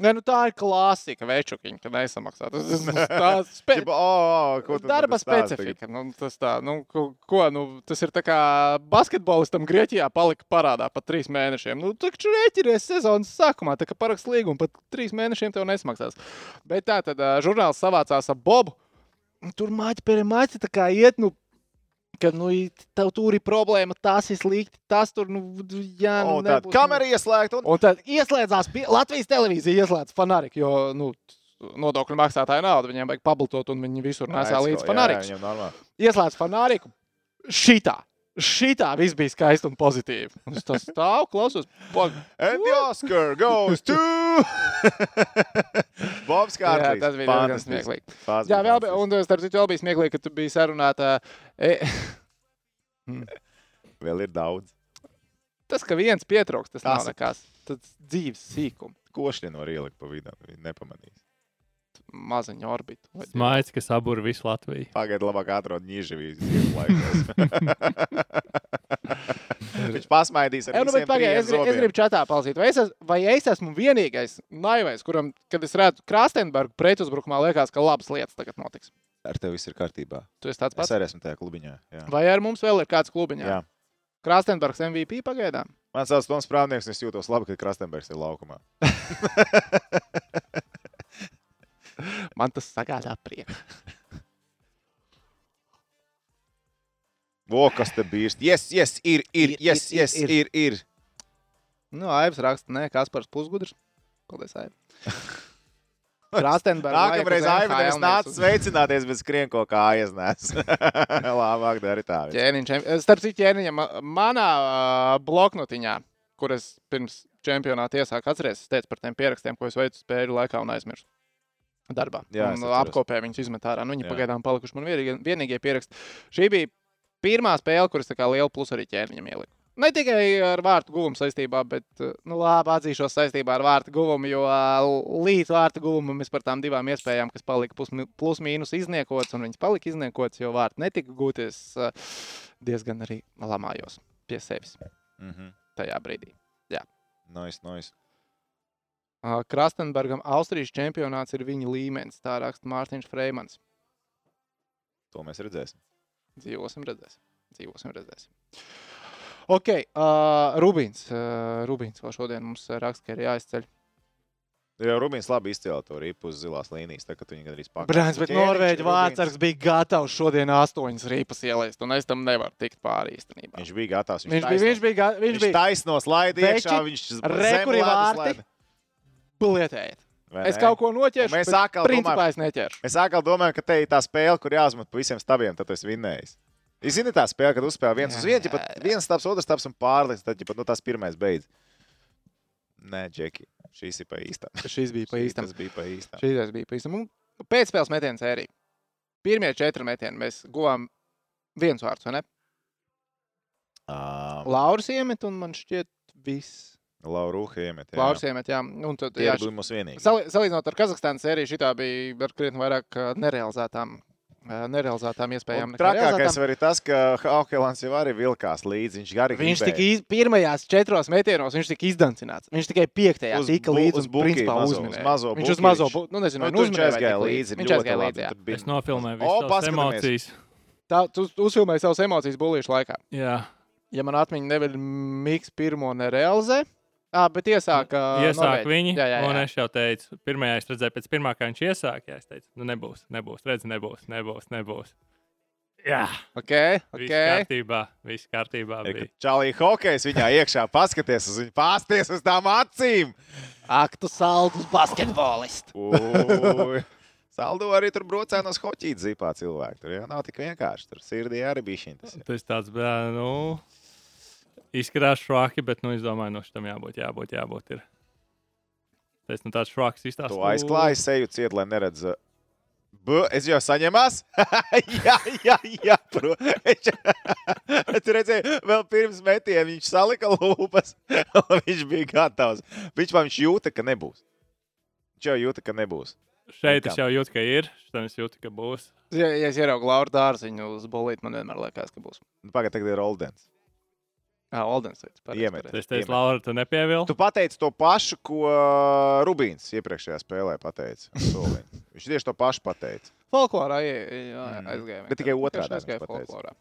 A: Nē, nu, tā ir klasika, večukiņa, ka nesamaksā. Tas tas- tas spe...
C: Ķipa, o, o, ko tu
A: Darba
C: man stāsti
A: specifika. Nu, tas, tā, nu, ko, ko, nu, tas ir tā kā basketbolistam Grieķijā palika parādā pat trīs mēnešiem. Nu, taču rēķinies sezonas sākumā, tā kā paraksts līgumu pat trīs mēnešiem tev nesmaksās. Bet tā tad ā, žurnāls savācās ar Bobu. Un Tur māte pēc māte tā kā iet, nu, ka, nu, i- tev tur ir problēma, tas ir slikti, tas tur, nu, jā,
C: O,
A: nu,
C: tad
A: nebūs, nu.
C: kamera ieslēgta un
A: Un tad ieslēdzās pie, Latvijas televīzija, ieslēdz fanāriku, jo nu, nodokļu maksātāja naudu viņiem vajag pabaltot, un viņi visur nesā
C: Aizko-
A: līdzi
C: Nu, jā,
A: fanāriku.
C: jā, viņam normāli.
A: Ieslēdz fanāriku. Šitā, šitā viss bija skaisti un pozitīvi. Un es tā stāvu, klausos. pag-
C: And the Oscar goes to Bobs Kārlis.
A: Jā, tas bija diezgan smieklīgi. Jā, vēl bija, un eh, starp citu, vēl bija smieklīgi, ka tu biji sarunāta. E,
C: Vēl ir daudz.
A: tas, ka viens pietrūks, tas nav
C: Tas-
A: nekas. Tas dzīves sīkums,
C: Košļi no ielikt pa vidu. viņi Nepamanīs.
A: maziņu orbitu. Vai-
B: Smaids, kas abur visu Latviju.
C: Pagaidiet, labāk atrod Ņīžavīs. Viņš pasmaidīs ar
A: Jā, nu, bet
C: visiem trim
A: pagaidi, es, gribu- es
C: zobiem.
A: gribu čatā palasīt, vai es, es- vai es esmu vienīgais naivais, kuram, kad es redzu Krastenbergu pretuzbrukumā, liekas, ka labas lietas tagad notiks.
C: Ar tevi viss ir kārtībā.
A: Tu esi tāds
C: Es
A: pats.
C: arī esmu tajā klubiņā. Jā.
A: Vai ar mums vēl ir kāds klubiņš?
C: Jā.
A: Krastenbergs MVP pagaidām.
C: Man sauc Toms Prāvnieks, un es jūtos labi, ka Krastenbergs ir laukumā.
A: Man tas sagādā prieku.
C: Vokas te bijis. Yes, yes, ir, ir,
A: Ir,
C: yes,
A: ir,
C: yes,
A: ir,
C: ir, ir.
A: Nu, Aivs raksta, nē, Kaspars pusgudrs. Paldies, Aiv. Krāstenbergs.
C: Nākamreiz Aivars nāca sveicināties bez skrienko kājas nes. Labāk dari tā. viss.
A: Ķēniņš, čemp- eh, starp citu, ķēniņam, ma- manā uh, bloknotiņā, kuras pirms čempionāta iesāku atcerēties, es teicu par tiem pierakstiem, ko es veicu spēļu laikā un aizmirsu. Darbā.
C: Jā, es
A: un
C: atceros.
A: apkopēju viņus izmet ārā. Nu, viņi
C: Jā.
A: pagaidām palikuši man vienīgie, vienīgie pieraksti. Šī bija pirmā spēle, kuras tā kā liela plusa arī ķēniņam ielika. Ne tikai ar vārtu guvumu saistībā, bet, uh, nu, labi, atzīšos saistībā ar vārtu guvumu, jo uh, līdz vārtu guvumam es par tām divām iespējām, kas palika plus- plus-mínus izniekots, un viņas palika izniekots, jo vārti netika gūties, uh, diezgan arī lamājos pie sevis
C: Mhm.
A: tajā brīdī.
C: Nice, nice.
A: Uh, Krastenbergam Austrijas čempionāts ir viņa līmenis, tā raksta Mārtiņš Freimans.
C: To mēs redzēsim.
A: Dzīvosim, redzēsim. Dzīvosim, redzēsim. Ok, uh, Rubīns. Uh, Rubīns vēl šodien mums uh, raksta, ka ir jāizceļ.
C: Jo Rubins labi izcēla to ripu uz zilās līnijas, tā, kad viņi gandrīz pakāpās.
A: Brāns, bet Norvēģis Vārtsargs bija gatavs šodien astoņas rīpas ielaist, un es tam nevaru tikt pāri īstenībā.
C: Viņš bija gatavs.
A: Viņš bija, viņš bija, ga-
C: Viņš
A: viņš bija
C: taisno slaidi iekšā,
A: Veči,
C: viņš
A: rekuri vārti. blietējis. Es kaut ko noķēru.
C: Un mēs
A: bet
C: atkal
A: principā
C: domājam-
A: es neķēru.
C: Es sākām domāt, ka te ir tā spēle, kur jāuzmet pa visiem stabiem, tad tu esi vinnējis. Jūs zināt, tā spēle, kad uzspēlē viens
A: Jā,
C: uz vienu, ja
A: jā,
C: pat
A: jā.
C: viens stabs, otrs stabs un pārliks, tad jau pat nu, tās pirmais beidz. Nē, Džeki, šīs ir pa īstām.
A: Šis bija pa
C: Šī-
A: īstam.
C: Tas bija pa īstām.
A: Šīs bija pavisam. Pēcspēles metiens arī. Pirmie četri metieni mēs guvām viens vārds, vai ne?
C: Um,
A: Lauris iemet, un man šķiet, viss.
C: Laurūha iemet.
A: Lauris iemet, jā. Un tad, jā,
C: Jā, bija mums vienīgi.
A: Sali- Salīdzinot ar Kazahstānas sēriju, šī bija ar krietni vairāk ā, nerealizētām, ā, nerealizētām iespējām.
C: Un
A: nekā
C: Trakākais
A: realizētām.
C: var arī tas, ka Haukelans jau arī vilkās līdzi. Viņš arī
A: Viņš
C: gribēja.
A: tika iz... pirmajās četros metienos, viņš tika izdancināts. Viņš tikai piektajā
C: Uz
A: tika
C: bu-
A: līdz
C: uz
A: un
C: buki
A: principā
C: mazo, uz
A: uzminēja.
C: mazo
A: Viņš uz
C: buki
A: mazo,
C: viņš-
A: bu... nu nezinu,
C: Nu,
A: vai
C: tu
A: nu,
C: viņš
A: uzminēja vai
C: aizgāja
A: tik
C: līdzi.
A: Viņš
C: ļoti
A: aizgāja
C: labi.
A: līdzi, jā.
C: Tur bija-
B: Es nofilmēju
C: O,
B: visas tās
C: paskatāmies.
B: emocijas.
A: Tā, tu uz- uzfilmēji savas emocijas bulīšu laikā.
B: Jā,
A: Ja man atmiņa neveļ, Miks pirmo nerealizē. Ah, bet iesāka.
B: iesāk
A: Norvēģi.
B: viņi.
A: Jā, jā,
B: Un
A: jā.
B: es jau teicu, pirmā es redzēju, pēc pirmā, kā viņš iesāk, jā, es teicu, nu nebūs, nebūs, redz, nebūs, nebūs, nebūs. Jā,
A: Okay,
B: viss
A: okay.
B: kārtībā, viss kārtībā
C: Ir, ka
B: bija.
C: Čalī Hokejs viņā iekšā paskaties uz viņu, pārsties uz tām acīm.
A: Ak, tu saldus basketbolists.
C: Ui. Saldu arī tur brocēnos hoķīt zīpā cilvēku. Tur jau nav tik vienkārši. Tur sirdī arī bija šī tas.
B: Tas tāds, bā, nu, izskatās švāki, bet, nu, es domāju, no šitam jābūt, jābūt, jābūt. Ir. Tas, nu, tāds švāks izstāsts.
C: Tu aizklāji seju ciet, lai neredz. uh, B, es jau saņemās. jā, jā, jā, pro. Viņš, tu redzēji, vēl pirms metieniem viņš salika lūpas. un viņš bija gatavs. Viņš man viņš jūta, ka nebūs. Viņš jau jūta, ka nebūs.
B: Nu, Šeit es jau jūtu, ka ir, šitam es jūtu, ka būs.
A: Ja, ja es ieraugu Laura dārziņu uz bolīti, man vienmēr liekas, ka būs.
C: Nu, Pagaidiet, tagad ir Oldens.
A: Jā, Oldens veids.
C: Iemet.
B: Es teicu,
C: Piemēram.
B: Laura, tu nepievilci.
C: Tu pateici to pašu, ko eh, Rubīns iepriekšējā spēlē pateica. un soliņ. Viņš tieši to pašu pateica.
A: Folklorā ie- jā,
C: Mm.
A: aizgāja.
C: Bet tikai
A: vienkārši.
C: otrādi
A: Vienkārši aizgāja
C: mēs pateicu.
A: folklorā.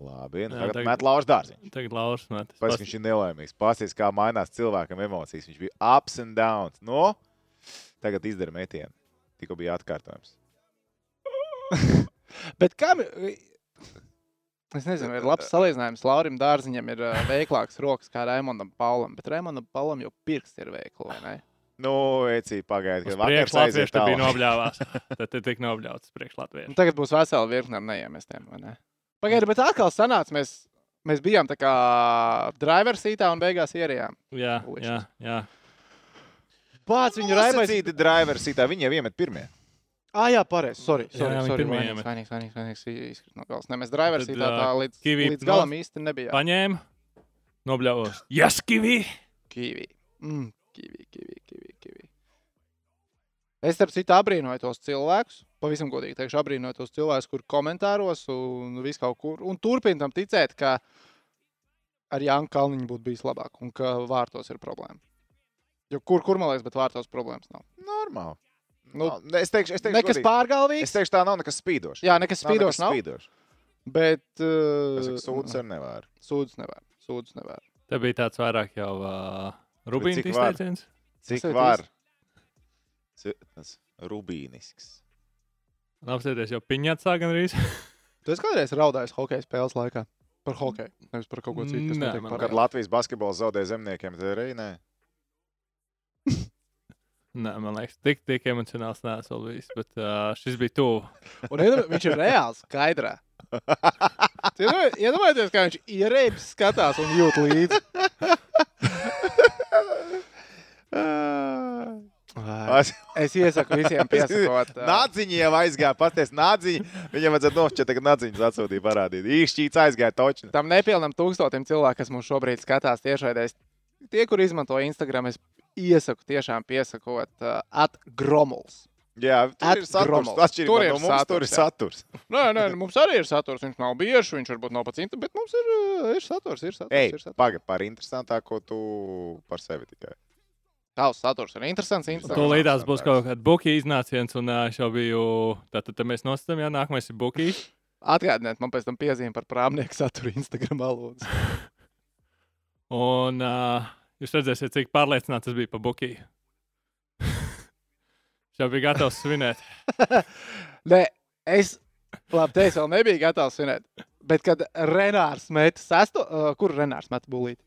C: Labi, nu
B: Jā,
C: tagad
B: tagad-
C: met Lauris Dārziņš.
B: Tagad nu, Lauris metīs.
C: Pēc tam viņš ir nelaimīgs. Pasties, kā mainās cilvēkam emocijas. Viņš bija ups and downs. No, tagad izdara metienu. Tikko bija atkārtojums.
A: Bet kam? Es nezinu, vai labs salīdzinājums Laurim Dārziņam ir ā, veiklāks rokas kā Raimondam Paulam, bet Raimondam Paulam jau pirksti ir veikli, vai ne?
C: Nu, Eci, pagaidi, kad vakars
B: Priekšā
C: aiziet
B: Latvijas tur bija
C: tālāk.
B: nobļāvās. Tad te tik nobļauts priekšā Latvijas.
A: Un tagad būs vesela virkne ar neiemestiem. vai ne? Pagaidiet, bet atkal sanāca, mēs, mēs bijām tā kā driver sītā un beigās ierījām.
B: Jā,
A: Puišas.
B: jā, jā.
A: Pats
C: Viņu
A: viņu
C: raibās.
A: raibais.
C: Drivers sitā, viņi jau iemet pirmie.
A: Ah, jā, pareizi. Sorry,
B: Jā,
A: sorry,
B: viņi
A: sorry.
B: pirmie
A: Vainīgs,
B: iemet.
A: vainīgs, vainīgs, vainīgs. Izkrīt no galvas. nu, Ne, mēs driver
B: Tad,
A: sītā tā
B: ā,
A: līdz,
B: kivī
A: līdz
B: nost-
A: galam īsti nebijām.
B: Paņēma, nobļāvās. Jā, skivī!
A: Kivī. Mm, kivī, kivī, kivī, kivī. Es starp citu abrīnoju tos cilvēkus, pavisam godīgi teikšu, abrīnoju tos cilvēkus, kur komentāros un vis kaut kur. Un turpinam tam ticēt, ka ar Jānu Kalniņu būtu bijis labāk un ka vārtos ir problēma. Jo kur, kur man liekas, bet vārtos problēmas nav.
C: Normāli.
A: Nu,
C: Nu, es teikšu, es teikšu,
A: Nekas
C: godīgi.
A: pārgalvīgs.
C: es teikšu, tā nav nekas spīdošs.
A: Jā, nekas
C: Nav nekas
A: spīdošs nav.
C: Spīdošs.
A: Bet.
C: Es
A: Uh,
C: saku, sūdzes ar nevar.
A: sūdzes nevar. Sūdzes nevar.
B: Te bija tāds vairāk jau uh, Rubīns
C: cik var?
B: izteiciens.
C: Cik
A: tev
C: var? Ci- Tas rubīnisks.
B: Apsēties jau piņķā gandrīz.
A: Tu esi kādreiz raudājis hokeja spēles laikā par hokeju, nevis par kaut ko citu, kas
B: Nē,
A: notiek
B: man
C: Kad
A: parkā.
C: Latvijas basketbols zaudēja zemniekiem, tad arī nē.
B: Nē, man liekas, tik, tik emocionāls neesmu vēl bijis, bet uh, šis bija tuvu.
A: Un iedomā- viņš ir reāls, skaidrā. Tu iedomā- Iedomājieties, kā viņš ierēpjas, skatās un jūt līdzi. Ai, Es iesaku visiem piesakot. ā,
C: Nāciņš jau aizgāja, paties nāciņš. Viņam vajadzēja nošķirt, tagad nāciņš atsūtīja parādīt. Īšķīts aizgāja točni.
A: Tam nepilnam tūkstotim cilvēku, kas mums šobrīd skatās tiešraidēs, tie, kur izmanto Instagram, es iesaku tiešām piesakot uh, atgromuls.
C: Jā,
A: At
C: tur ir saturs.
A: Gromols.
C: Atšķirībā
A: Tur ir
C: no mums, tur ir saturs.
A: Nē, nē, nu, mums arī ir saturs. Viņš nav bieži, viņš varbūt nav pats, inter- bet mums ir, ā, ir saturs. Ir saturs,
C: Ej,
A: ir saturs.
C: pagaidi, par interesantāko tu par sevi tikai.
A: Tavs saturs ir interesants. interesants.
C: Tu
B: Tūlīt tās būs kaut kāda buļbuļsaktas iznāciens, un uh, es jau biju. Tātad tā mēs nosacām, jā, nākamais ir buļbuļs.
A: Atgādiniet, man pēc tam piezīme par prāmnieku saturu Instagram lūdzu.
B: Un uh, jūs redzēsiet, cik pārliecināts es biju par buļbuļsaktu. Es jau biju gatavs svinēt.
A: Nē, es, labi, te es vēl nebiju gatavs svinēt. Bet kad Renārs met sesto, uh, kur Renārs met būlīt?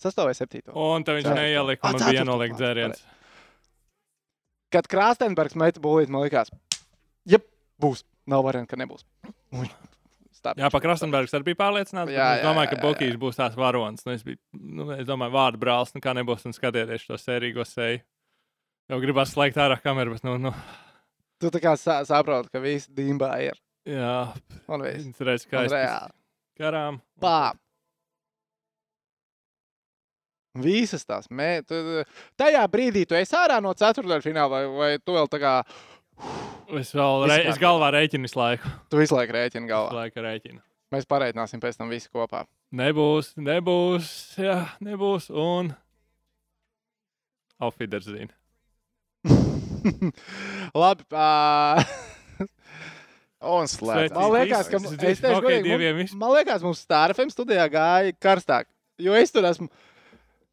A: Sesto vai septīto?
B: Un tad viņš
A: Ceturto.
B: neielika,
A: Ah,
B: un man bija
A: ceturto
B: jānoliek
A: klāt,
B: dzēriens.
A: Kad Krāstenbergs met būlīt, man likās, ja būs, nav variants, ka nebūs. Un viņš stāp-
B: Jā, par Krasnodarbs arī bija pārliecināts. bet
A: Jā,
B: Es
A: jā,
B: domāju,
A: jā,
B: ka
A: jā,
B: Bukīs būs tās varonis. Nu, es, biju, nu, es domāju, vārdu brālis nekā nebūs. Un skatieties to sērīgo seju. Jau gribās slēgt ārā kameru, bet, nu, nu
A: Tu tā kā sā, saproti, ka viss dīmbā ir.
B: jā,
A: Un viss.
B: es redzu,
A: Un
B: kā es
A: reāli.
B: karām.
A: Pām! Visas tās mētas. Tajā brīdī tu esi ārā no ceturdaļfināla, vai, vai tu vēl tā kā.
B: Es vēl re, es
A: Vispār.
B: galvā rēķinu visu laiku.
A: Tu visu laiku rēķini
B: Visu
A: galvā.
B: laiku rēķinu.
A: Mēs pareitināsim pēc tam visi kopā.
B: Nebūs, nebūs, jā, nebūs. Un. Aufiders zina.
A: Labi. ā,
C: Un slēdz.
A: man liekas, ka
B: Tas
A: mu-
B: ir
A: es teikšu,
B: hokeja
A: godīgi,
B: dieviem
A: mums-
B: viss.
A: man liekas, mums Starfem studijā gāja karstāk. Jo es tur esmu.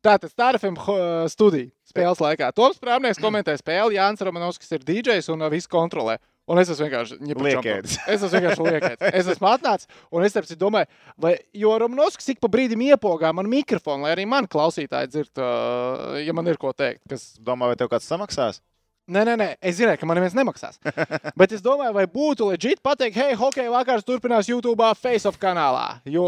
A: Tātad Starfem ho- studija spēles laikā. Toms Prāmnieks komentē spēli, Jānis Romanovskis ir DJs un ā, visu kontrolē. Un es esmu vienkārši ņipa čampa.
C: Liekēdis.
A: Es esmu vienkārši liekais. Es esmu atnācis, un es saprotu, domāju, vai Romanovskis ik pa brīdim iepogā man mikrofonu, lai arī man klausītāji dzird, uh, ja man ir ko teikt. Kas...
C: Domā, vai tev kāds samaksās?
A: Nē, nē, nē, es zināju, ka man neviens nemaksās. Bet es domāju, vai būtu leģitāri pateikt, hei, hokeja vakars turpinās YouTube, Facebook kanālā. Jo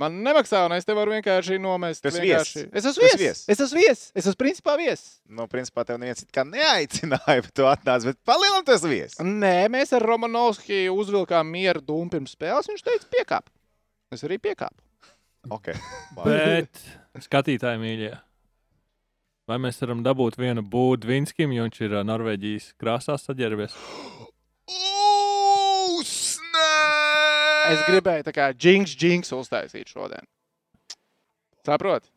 A: man nemaksā, un es te varu vienkārši nomest.
C: Tu esi
A: vienkārši...
C: viesis.
A: Es
C: Tu
A: esmu
C: esi
A: viesis.
C: viesis.
A: Es esmu viesis. Es esmu principā viesis.
C: Nu, principā tev neviens it kā neaicināja, bet tu atnāc, bet palielināt tas viesis.
A: Nē, mēs ar Romanovskiju uzvilkām mieru dūmu pirms spēles. Viņš teica, piekāp. Es arī piekāpu.
C: Okay. labi.
B: Bet, skatītāji, mīļie, vai mēs varam dabūt vienu būdu Vinskim, jo viņš ir ā, Norvēģijas krāsās saģērbies?
C: Ū, snap!
A: Es gribēju tā kā džinks, džinks uztaisīt šodien. Saprotiet?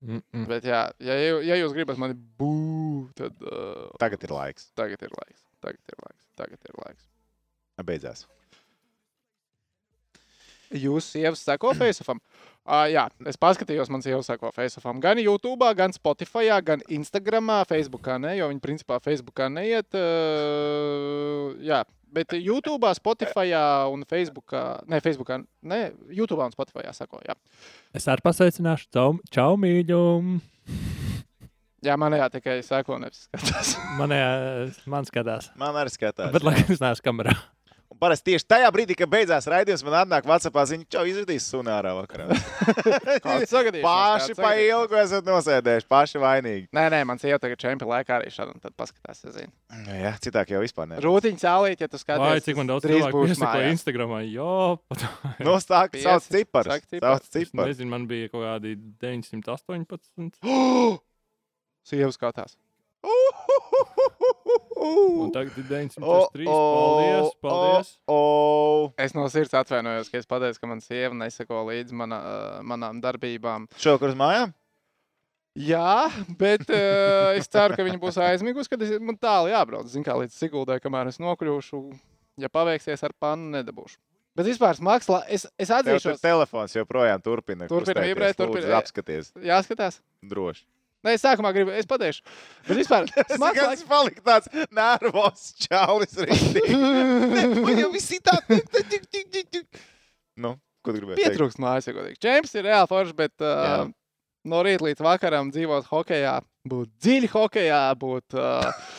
B: Mm -mm.
A: Bet, jā, ja, jū- ja jūs gribat mani būvēt, tad uh,
C: Tagad ir laiks.
A: tagad ir laiks. Tagad ir laiks. Tagad ir laiks.
C: Beidzās.
A: Jūs sievas seko Faceofam? Uh, jā, es paskatījos, man sieva seko Faceofam. Gan YouTube, gan Spotify, gan Instagram, Facebookā ne, jo viņi principā Facebookā neiet. Uh, jā, bet YouTube, Spotify un Facebookā, ne, Facebookā, ne, YouTube un Spotify seko. Jā.
B: Es arī pasveicināšu Cau- Čau mīļumu.
A: jā, man jā, tikai seko, nevis skatās.
B: Man, ā, man skatās.
C: Man arī skatās.
B: Bet, lai gan es neesmu kamerā,
C: Un Parasti tieši tajā brīdī, kad beidzās raidījums, man atnāk Vācijā ziņa, ka izvadīs sunārā vakarā. Paši pa ilgu esat nosēdējuši, paši vainīgi.
A: Nē, nē, man sieva tagad čempionu laikā arī šādi un tad paskatās. es zinu.
C: Nu Jā, citāk jau vispār ne.
A: Rūtiņa cēlīt, ja tu skaties.
B: vai cik man daudz
A: drīz
B: cilvēku
A: būšu
B: iesakoja
A: mājās.
B: Instagramā, jo pat-
C: Nu, sāk,
A: Pieci,
C: sauc ciparus.
A: sāk ciparus.
C: Sauc
B: es
C: ciparus.
B: nezinu, man bija kaut kādi 918.
A: Sieva skatās.
B: Un tagad ir 903.
C: O, o,
B: Paldies! paldies.
C: O, o.
A: Es no sirds atvainojos, ka es pateicu, ka man sieva nesako līdzi mana, eh, manām darbībām.
C: Šovakar uz mājām?
A: Jā, bet uh, es ceru, ka viņa būs aizmigusi, kad es, man tālu jābrauc. Zinu, kā līdz Siguldai, kamēr es nokļūšu. Ja paveiksies ar pannu, nedabūšu. Bet vispār smags, la- es, es
C: Tev tur
A: atzīšos.
C: telefons joprojām turpina.
A: Turpina
C: kustēties.
A: vibrēt,
C: Lūdzu,
A: turpina.
C: Apskaties
A: Jāskatās.
C: droši.
A: Nē, es sākumā gribu, es pateikšu. Bet vispār, smags
C: Tas
A: laiks.
C: palika tāds nervos čalis. rītīgi. Ne, Man jau viss ir tāds. Nu, ko tu gribēji? teikt?
A: Pietrūkst mājas, ja godīgi. Čemps ir reāli foršs, bet uh,
C: Jā.
A: no rīta līdz vakaram dzīvot hokeja, būt dziļi hokeja, būt uh,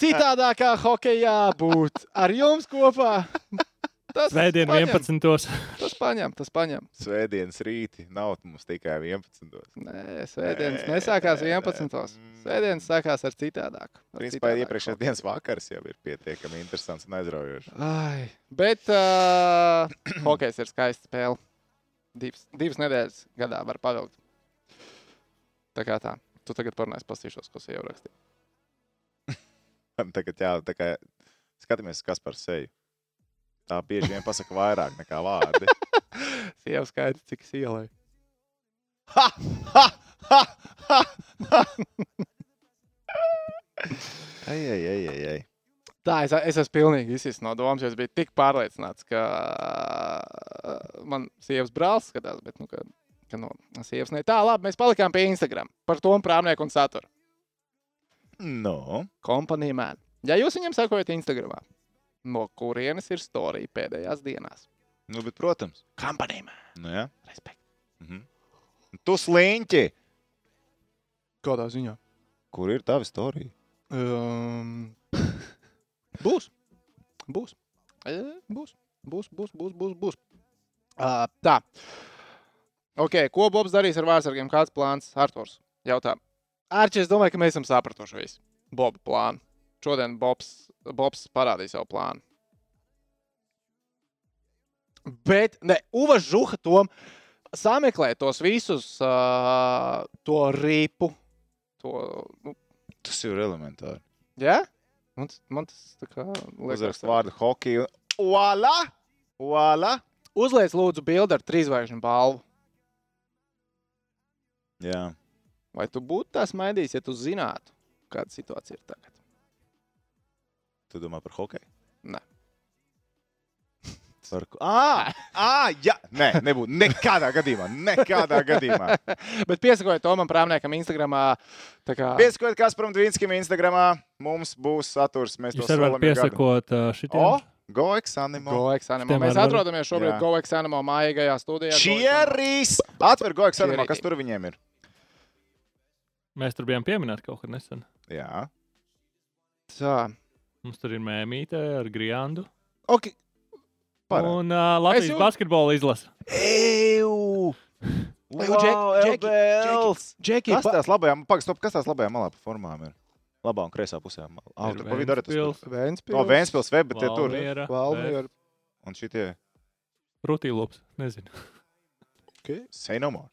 A: citādākā hokeja, būt ar jums kopā. Tas
B: Svētdien
A: paņem,
B: 11.
A: Tas paņem, tas paņem.
C: Svētdienas rīti nav mums tikai 11.
A: Nē, svētdienas
C: Nē,
A: nesākās
C: nē, nē.
A: 11. Svētdienas sākās ar citādāku. ar
C: Principā
A: citādāku
C: iepriekšējās
A: hokeju.
C: dienas vakars jau ir pietiekami interesants un aizraujošs.
A: Ai, bet uh, hokejs ir skaista spēle. Divas, divas nedēļas gadā var pavilkt. Tā kā tā. Tu tagad parunāsi, pasīšos, ko sieviete rakstīja.
C: Man Tagad jā, tā kā skatāmies, kas par seju. Tā bieži vien pasaka vairāk nekā vārdi.
A: Sieva skaita, cik sielai.
C: Ha, ha, ha, ha, ha. Ai, ai, ai, ai, ai.
A: Tā, es, es esmu pilnīgi izsis no domas, jo es biju tik pārliecināts, ka ā, man sievas brālis skatās, bet, nu, ka, ka no sievas ne. Tā, labi, mēs palikām pie Instagram par to prāmnieku un saturu.
C: Nu,
A: Kompānija Man. Ja jūs viņam sekojat Instagram, no kurienes ir storija pēdējās dienās?
C: nu bet, protams.
A: Kompānija Man.
C: Nu, jā.
A: Respekt.
C: Mhm. Tu sliņķi!
A: Kādā ziņā?
C: Kur ir tava storija?
A: Um, būs. Būs. E, Būs. Būs, būs, būs, būs. būs. Uh, tā. Okay, ko Bobs darīs ar vārsargiem? Kāds plāns? Arthurs jautā. Arčī, es domāju, ka mēs esam sapratuši visu Boba plānu. Šodien Bobs, Bobs parādīja savu plānu. Bet, ne, Uva Žuha tom sameklē tos visus, uh, to ripu, to nu,
C: Tas jau ir elementāri.
A: Jā, man, tas- man tas tā kā
C: Uzrakst
A: tā.
C: vārdu hokeju. Uala! Uala!
A: Uzliec, lūdzu, bildi ar trīsvaigžņu balvu.
C: Jā.
A: Vai tu būtu tā smaidījis, ja tu zinātu, kāda situācija ir tagad?
C: Tu domā par hokeju?
A: Nē.
C: Par ko? Ā, ā, jā, nē, nebūtu. Nekādā gadījumā, nekādā gadījumā.
A: Bet piesakojiet to man prāmniekam Instagram. Kā...
C: Piesakot Kasparam Dvīnskijam Instagramā, mums būs saturs. Mēs to
B: Jūs arī
C: solām
B: varat piesakot ā,
C: O,
B: šitiem.
C: Goeks Animo.
A: Goeks Animo.
B: Šitiem
A: Mēs
B: var-
A: atrodamies šobrīd
C: Jā.
A: Goeks Animo mājīgajā studijā. Goeks Animo.
C: Čierīs! Atver Goeks Animo,
A: Čierī.
C: kas tur viņiem ir.
B: Mēs tur bijām pieminēti kaut kad nesen.
C: Jā.
A: Tā.
B: Mums tur ir mēmīte ar Griandu.
A: Ok,
C: Parādi.
B: Un uh, Latvijas
A: jūt-
B: jūt... basketbola izlase.
C: Eju!
A: Vai jau Džeki- Džeki-
C: LBLs!
A: Džeki,
C: Kas
A: pa...
C: tās labajām, pagaidi, stop, kas tās labajām malā pa formām ir? Labā un kreisā pusē. malā. Au,
B: Ir
C: tur pa vidu arī tas.
B: Ventspils.
C: tur.
A: Vēnspils.
C: No Vēnspils, vēl, bet tie tur.
B: Valmiera,
A: Valmiera.
C: Un šitie.
B: Rutīlops. Nezinu.
C: Say no more.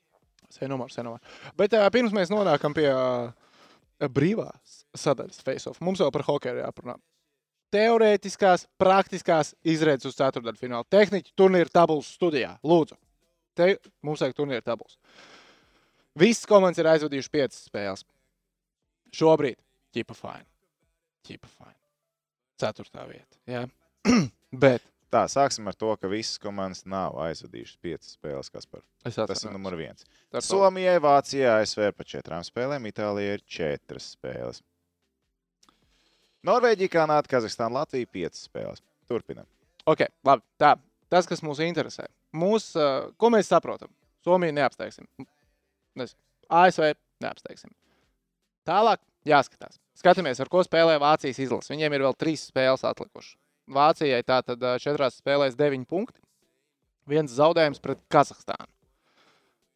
A: Senomār, senomār. Bet uh, pirms mēs nonākam pie uh, brīvās sadaļas face-off, mums vēl par hokeju jāparunā. Teorētiskās, praktiskās izredzes uz ceturtdaļu finālu. Tehniķi turnīra tabulas studijā. Lūdzu, te mums vajag turnīra tabulas. Visas komandas ir aizvadījušas piecas spēles. Šobrīd ķipa fine. Ķipa fine. Ceturtā vieta. Jā. Bet
C: Tā, sāksim ar to, ka visas komandas nav aizvadījušas piecas spēles, kas par
A: es
C: tas ir numur viens.
A: viens.
C: Somijai, Vācijai, ASV par četrām spēlēm, Itālijai ir četras spēles. Norvēģija, Kanāda, Kazahstāna, Latvija - piecas spēles. Turpinam.
A: Okay, labi, tā, tas, kas mūs interesē, mūs, uh, ko mēs saprotam, Somiju neapsteigsim. Nezinu, ASV neapsteigsim. Tālāk jāskatās. Skatāmies, ar ko spēlē Vācijas izlase. Viņiem ir vēl trīs spēles atlikušas. Vācijai tātad uh, četrās spēlēs deviņi punkti. Viens zaudējums pret Kazahstānu.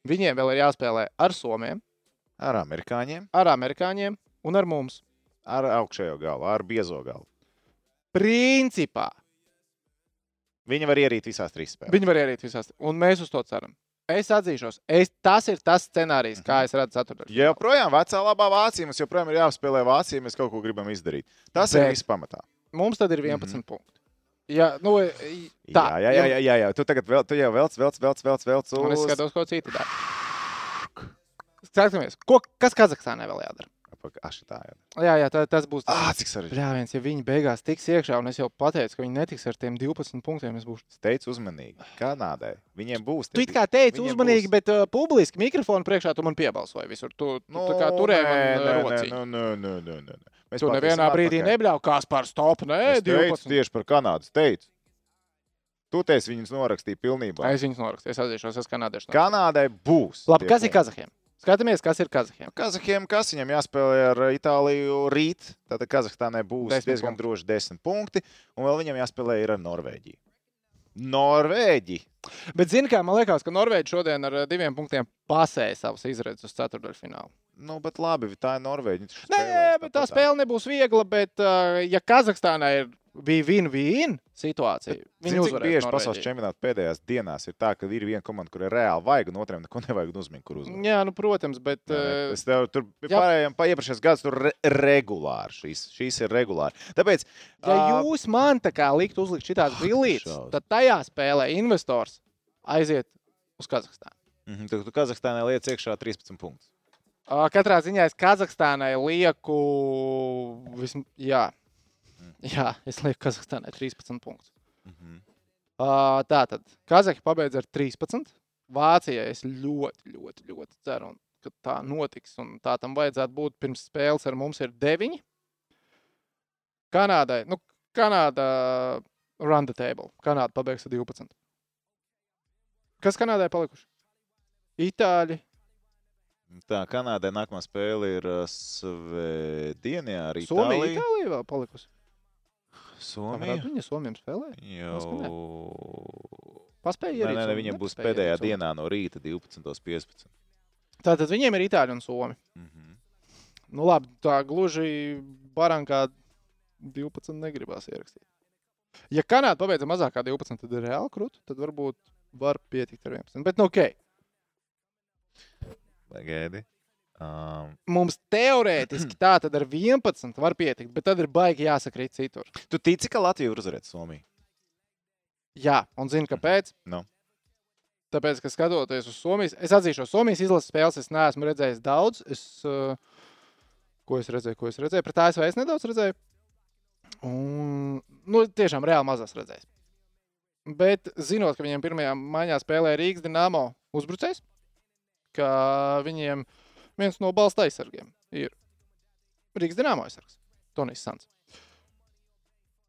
A: Viņiem vēl ir jāspēlē ar Somiem,
C: Ar amerikāņiem,
A: ar amerikāņiem un ar mums.
C: ar augšējo galu, ar biezo galu.
A: Principā
C: Viņi var ierīt visās trīs spēlēs.
A: Viņi var ierīt visās, un mēs uz to ceram. Es atzīšos, es, tas ir tas scenārijs, kā es redzu, ceturtajā.
C: Ja joprojām vecā labā Vācija, mums joprojām ir jāapspēlē Vācija, mēs kaut ko gribam izdarīt. Tas Bet.
A: Bet-
C: ir viss pamatā.
A: Mums tad ir 11 mm -hmm. punkti. Jā, nu, i- tā
C: Tā, jā, jā, jā, jā, jā. Tu tagad vēl, tu jau velc, velc, velc, velc, velc.
A: Un es
C: Uz...
A: skatos, ko citu dara. Skatāmies, ko, kas Kazahstānā vēl jādara.
C: pagaidi. Ah, šitā jau.
A: Jā, jā tā, tas būs.
C: Ah,
A: Tas.
C: cik sarežģīti.
A: Bļāviens, ja viņi beigās tiks iekšā, un es jau pateicu, ka viņi netiks ar tiem 12 punktiem, es būšu.
C: Es teicu, uzmanīgi. Kanādai viņiem būs. tie
A: Tu it kā teici
C: Viņiem būs-
A: uzmanīgi, būs. bet uh, publiski mikrofonu priekšā tu man piebalsoji visur. Tu, tu nu, tā kā turēji man rociņu.
C: nē, nu, nē, nē, nē, nē, nē. Mēs
A: Tu nevienā brīdī nebļāvi, kā spār stop, nē,
C: Es teicu
A: 12.
C: tieši par Kanādu. Es Teicu. Tu teici, viņus norakstīja pilnībā.
A: Aiz viņas norakstīt, es atzīšos, es kanādiešu. norakstu.
C: Kanādai būs. tie
A: Labi, kas ir
C: punkti.
A: Kazahiem? Skatāmies, kas ir Kazahiem.
C: Kazahiem kas viņam jāspēlē ar Itāliju rīt. Tad Kazahstānai būs
A: Desmit
C: diezgan
A: punkti.
C: droši 10 punkti. Un vēl viņam jāspēlē ir ar Norvēģiju. Norvēģi!
A: Bet, zini, kā man liekas, ka Norvēģija šodien ar uh, diviem punktiem pasēja savas izredzes uz ceturdaļfinālu.
C: Nu, bet labi, tā ir Norvēģija. taču
A: Nē,
C: spēlēs
A: bet tā
C: tāpatā.
A: spēle nebūs viegla, bet, uh, ja Kazahstānā ir bija win-win situācija, viņi
C: Zini, cik
A: uzvarēs.
C: bieži pasaules
A: Norvēģiju.
C: čempionāta pēdējās dienās ir tā, ka ir viena komanda, kur ir reāli vajag, un otriem neko nevajag un uzmini, kur uzvarēt.
A: Jā, nu, protams, bet.
C: Nē, nē,
A: uh,
C: Es tev tur
A: jā.
C: pārējām iepriekšējos gados tur re regulāri šīs, šīs ir regulāri. Tāpēc,
A: Ja
C: ā,
A: jūs man tā kā likt uzlikt šitās brīvības,
C: šausmas.
A: tad tajā spēlē investors aiziet uz Kazahstānu.
C: mhm, tu, tu Kazahstānai liec iekšā 13 punktus.
A: Ā, Katrā ziņā es Kazahstānai lieku. Vism... Jā. Jā, es lieku Kazahstānai 13 punktus.
C: Mhm.
A: Ā, Tā tad Kazahi pabeidz ar 13. Vācijai es ļoti, ļoti, ļoti ceru, un ka tā notiks. un Tā tam vajadzētu būt pirms spēles ar mums ir 9. Kanādai, nu, Kanāda run the table. Kanāda pabeigs ar 12. Kas Kanādai palikuši? Itāļi.
C: Tā Kanādai nākamā spēle ir ā, Svētdienā arī
A: Somija, Itālija vēl palikusi. Tā
C: Somija.
A: varētu Viņa Somijam spēlē.
C: Jau...
A: Paspēja
C: Nē, nē,
A: arī.
C: nē,
A: Somija,
C: viņam būs
A: nepaspēja
C: pēdējā
A: ierīt Somiju.
C: dienā no rīta 12.15.
A: Tātad viņiem ir Itāļi un Somi.
C: Mhm.
A: Nu, labi, tā gluži barankā 12 negribās ierakstīt. Ja Kanāda pabeidza mazāk kā 12, tad ir reāli krūti, tad varbūt var pietikt ar 11. Bet, nu, ok,
C: Pagaidi. Um,
A: mums teorētiski tā tad ar 11 var pietikt, bet tad ir baigi jāsakrīt citur.
C: tu tici, ka Latvija var uzvarēt Somiju?
A: Jā, un zinu, kāpēc.
C: Nu.
A: Tāpēc, ka skatoties uz Somijas, es atzīšos, Somijas izlases spēles es neesmu redzējis daudz. Es, uh, ko es redzēju, ko es redzēju, pret ASV es nedaudz redzēju. Un, nu, tiešām reāli mazas redzējis. Bet, zinot, ka viņiem pirmajā maiņā spēlē Rīgas Dienāmo uzbrucējs, ka viņiem viens no balsta aizsargiem ir Rīgas Dienāmo aizsargs, Tonijs Sants.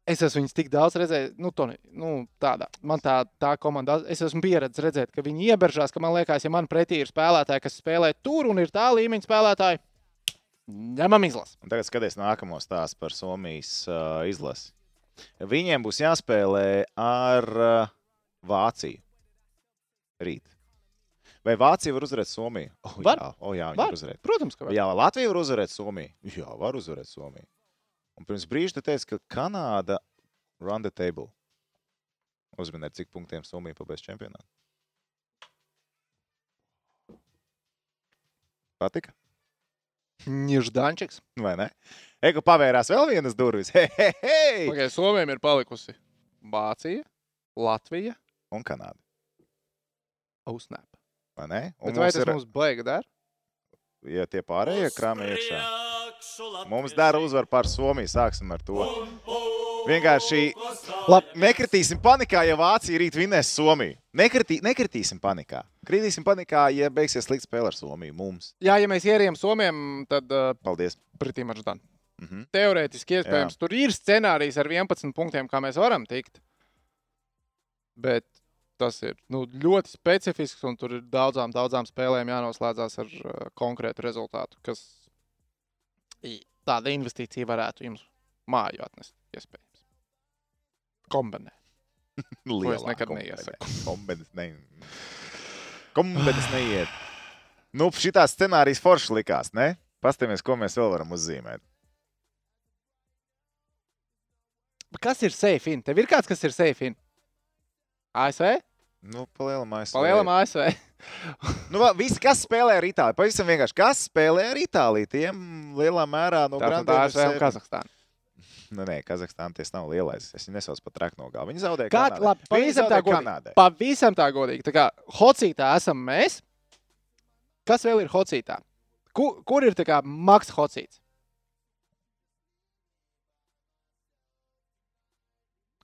A: Es esmu viņus tik daudz redzējis, nu, Toni, nu tādā. Man tā, tā komanda, es esmu pieredzējis redzēt, ka viņi ieberžās, ka man liekas, ja man pretī ir spēlētāji, kas spēlē tur un ir tā līmeņa spēlētāji, ņemam izlasi.
C: Un tagad skaties nākamo stāstu par Somijas uh, izlasi. Viņiem būs jāspēlē ar uh, Vāciju rīt. Vai Vācija var uzvarēt Somiju? Oh,
A: Var.
C: Jā, oh, jā viņi
A: Var.
C: var uzvarēt.
A: Protams, ka var.
C: Jā, Latvija var uzvarēt Somiju. Jā, var uzvarēt Somiju. Un pirms brīža tu teici, ka Kanāda run the table. Uzminēt, cik punktiem Somija pabeigs čempionātu. Patika?
A: Niždančiks.
C: Vai ne? Eko pavērās vēl vienas durvis. Hei, hei, hei!
A: Pagaidā, Somijam ir palikusi Vācija, Latvija,
C: Un Kanāda.
A: Ausnēpa.
C: Vai ne? Un
A: Bet vai
C: mums
A: tas
C: ir,
A: mums baigi dar?
C: ja tie pārējie krāmē iekšā.
E: priekšu
C: Mums dara uzvaru pār Somiju. Sāksim ar to. Vienkārši
A: Lab,
C: Nekritīsim panikā, ja Vācija rīt vinnēs Somiju. Nekritī, nekritīsim panikā. Kritīsim panikā, ja beigsies slikta spēle ar Somiju. Mums.
A: jā, ja mēs ierijam Somijam, tad uh,
C: Paldies.
A: pretī Maždan.
C: Mhm.
A: Teorētiski iespējams, tur ir scenārijs ar 11 punktiem, kā mēs varam tikt. Bet tas ir nu, ļoti specifisks, un tur ir daudzām, daudzām spēlēm jānoslēdzas ar uh, konkrētu rezultātu, kas i- tāda investīcija varētu jums māju atnest. Iespējams. Kombinēt.
C: Lielā
A: es nekad
C: kombinē.
A: neiesaku.
C: Kombenes ne... Kombenes neiet. Nu, šitā scenārijas forši likās, ne? Pastāmies, ko mēs vēl varam uzzīmēt.
A: Kas ir safe in? Tev ir kāds, kas ir safe in? ASV?
C: Nu, palielam ASV.
A: Palielam ASV.
C: Nu, va- visi, kas spēlē ar Itāliju, pavisam vienkārši, kas spēlē ar Itāliju, tiem lielā mērā no
A: Tātad
C: grandiem ir
A: ASV un
C: sevi.
A: Kazahstāna.
C: Nu, nē, Kazahstānā tas nav lielais. Es viņu nesaucu pat trāk no gala. Viņi zaudēja
A: Kā,
C: Kanādai.
A: labi,
C: Viņi
A: pavisam tā
C: zaudēja
A: godīgi.
C: Kanādai.
A: Pavisam tā godīgi. Tā kā hocītā esam mēs. Kas vēl ir hocītā? Kur, kur ir tā kā Maks Hocīts?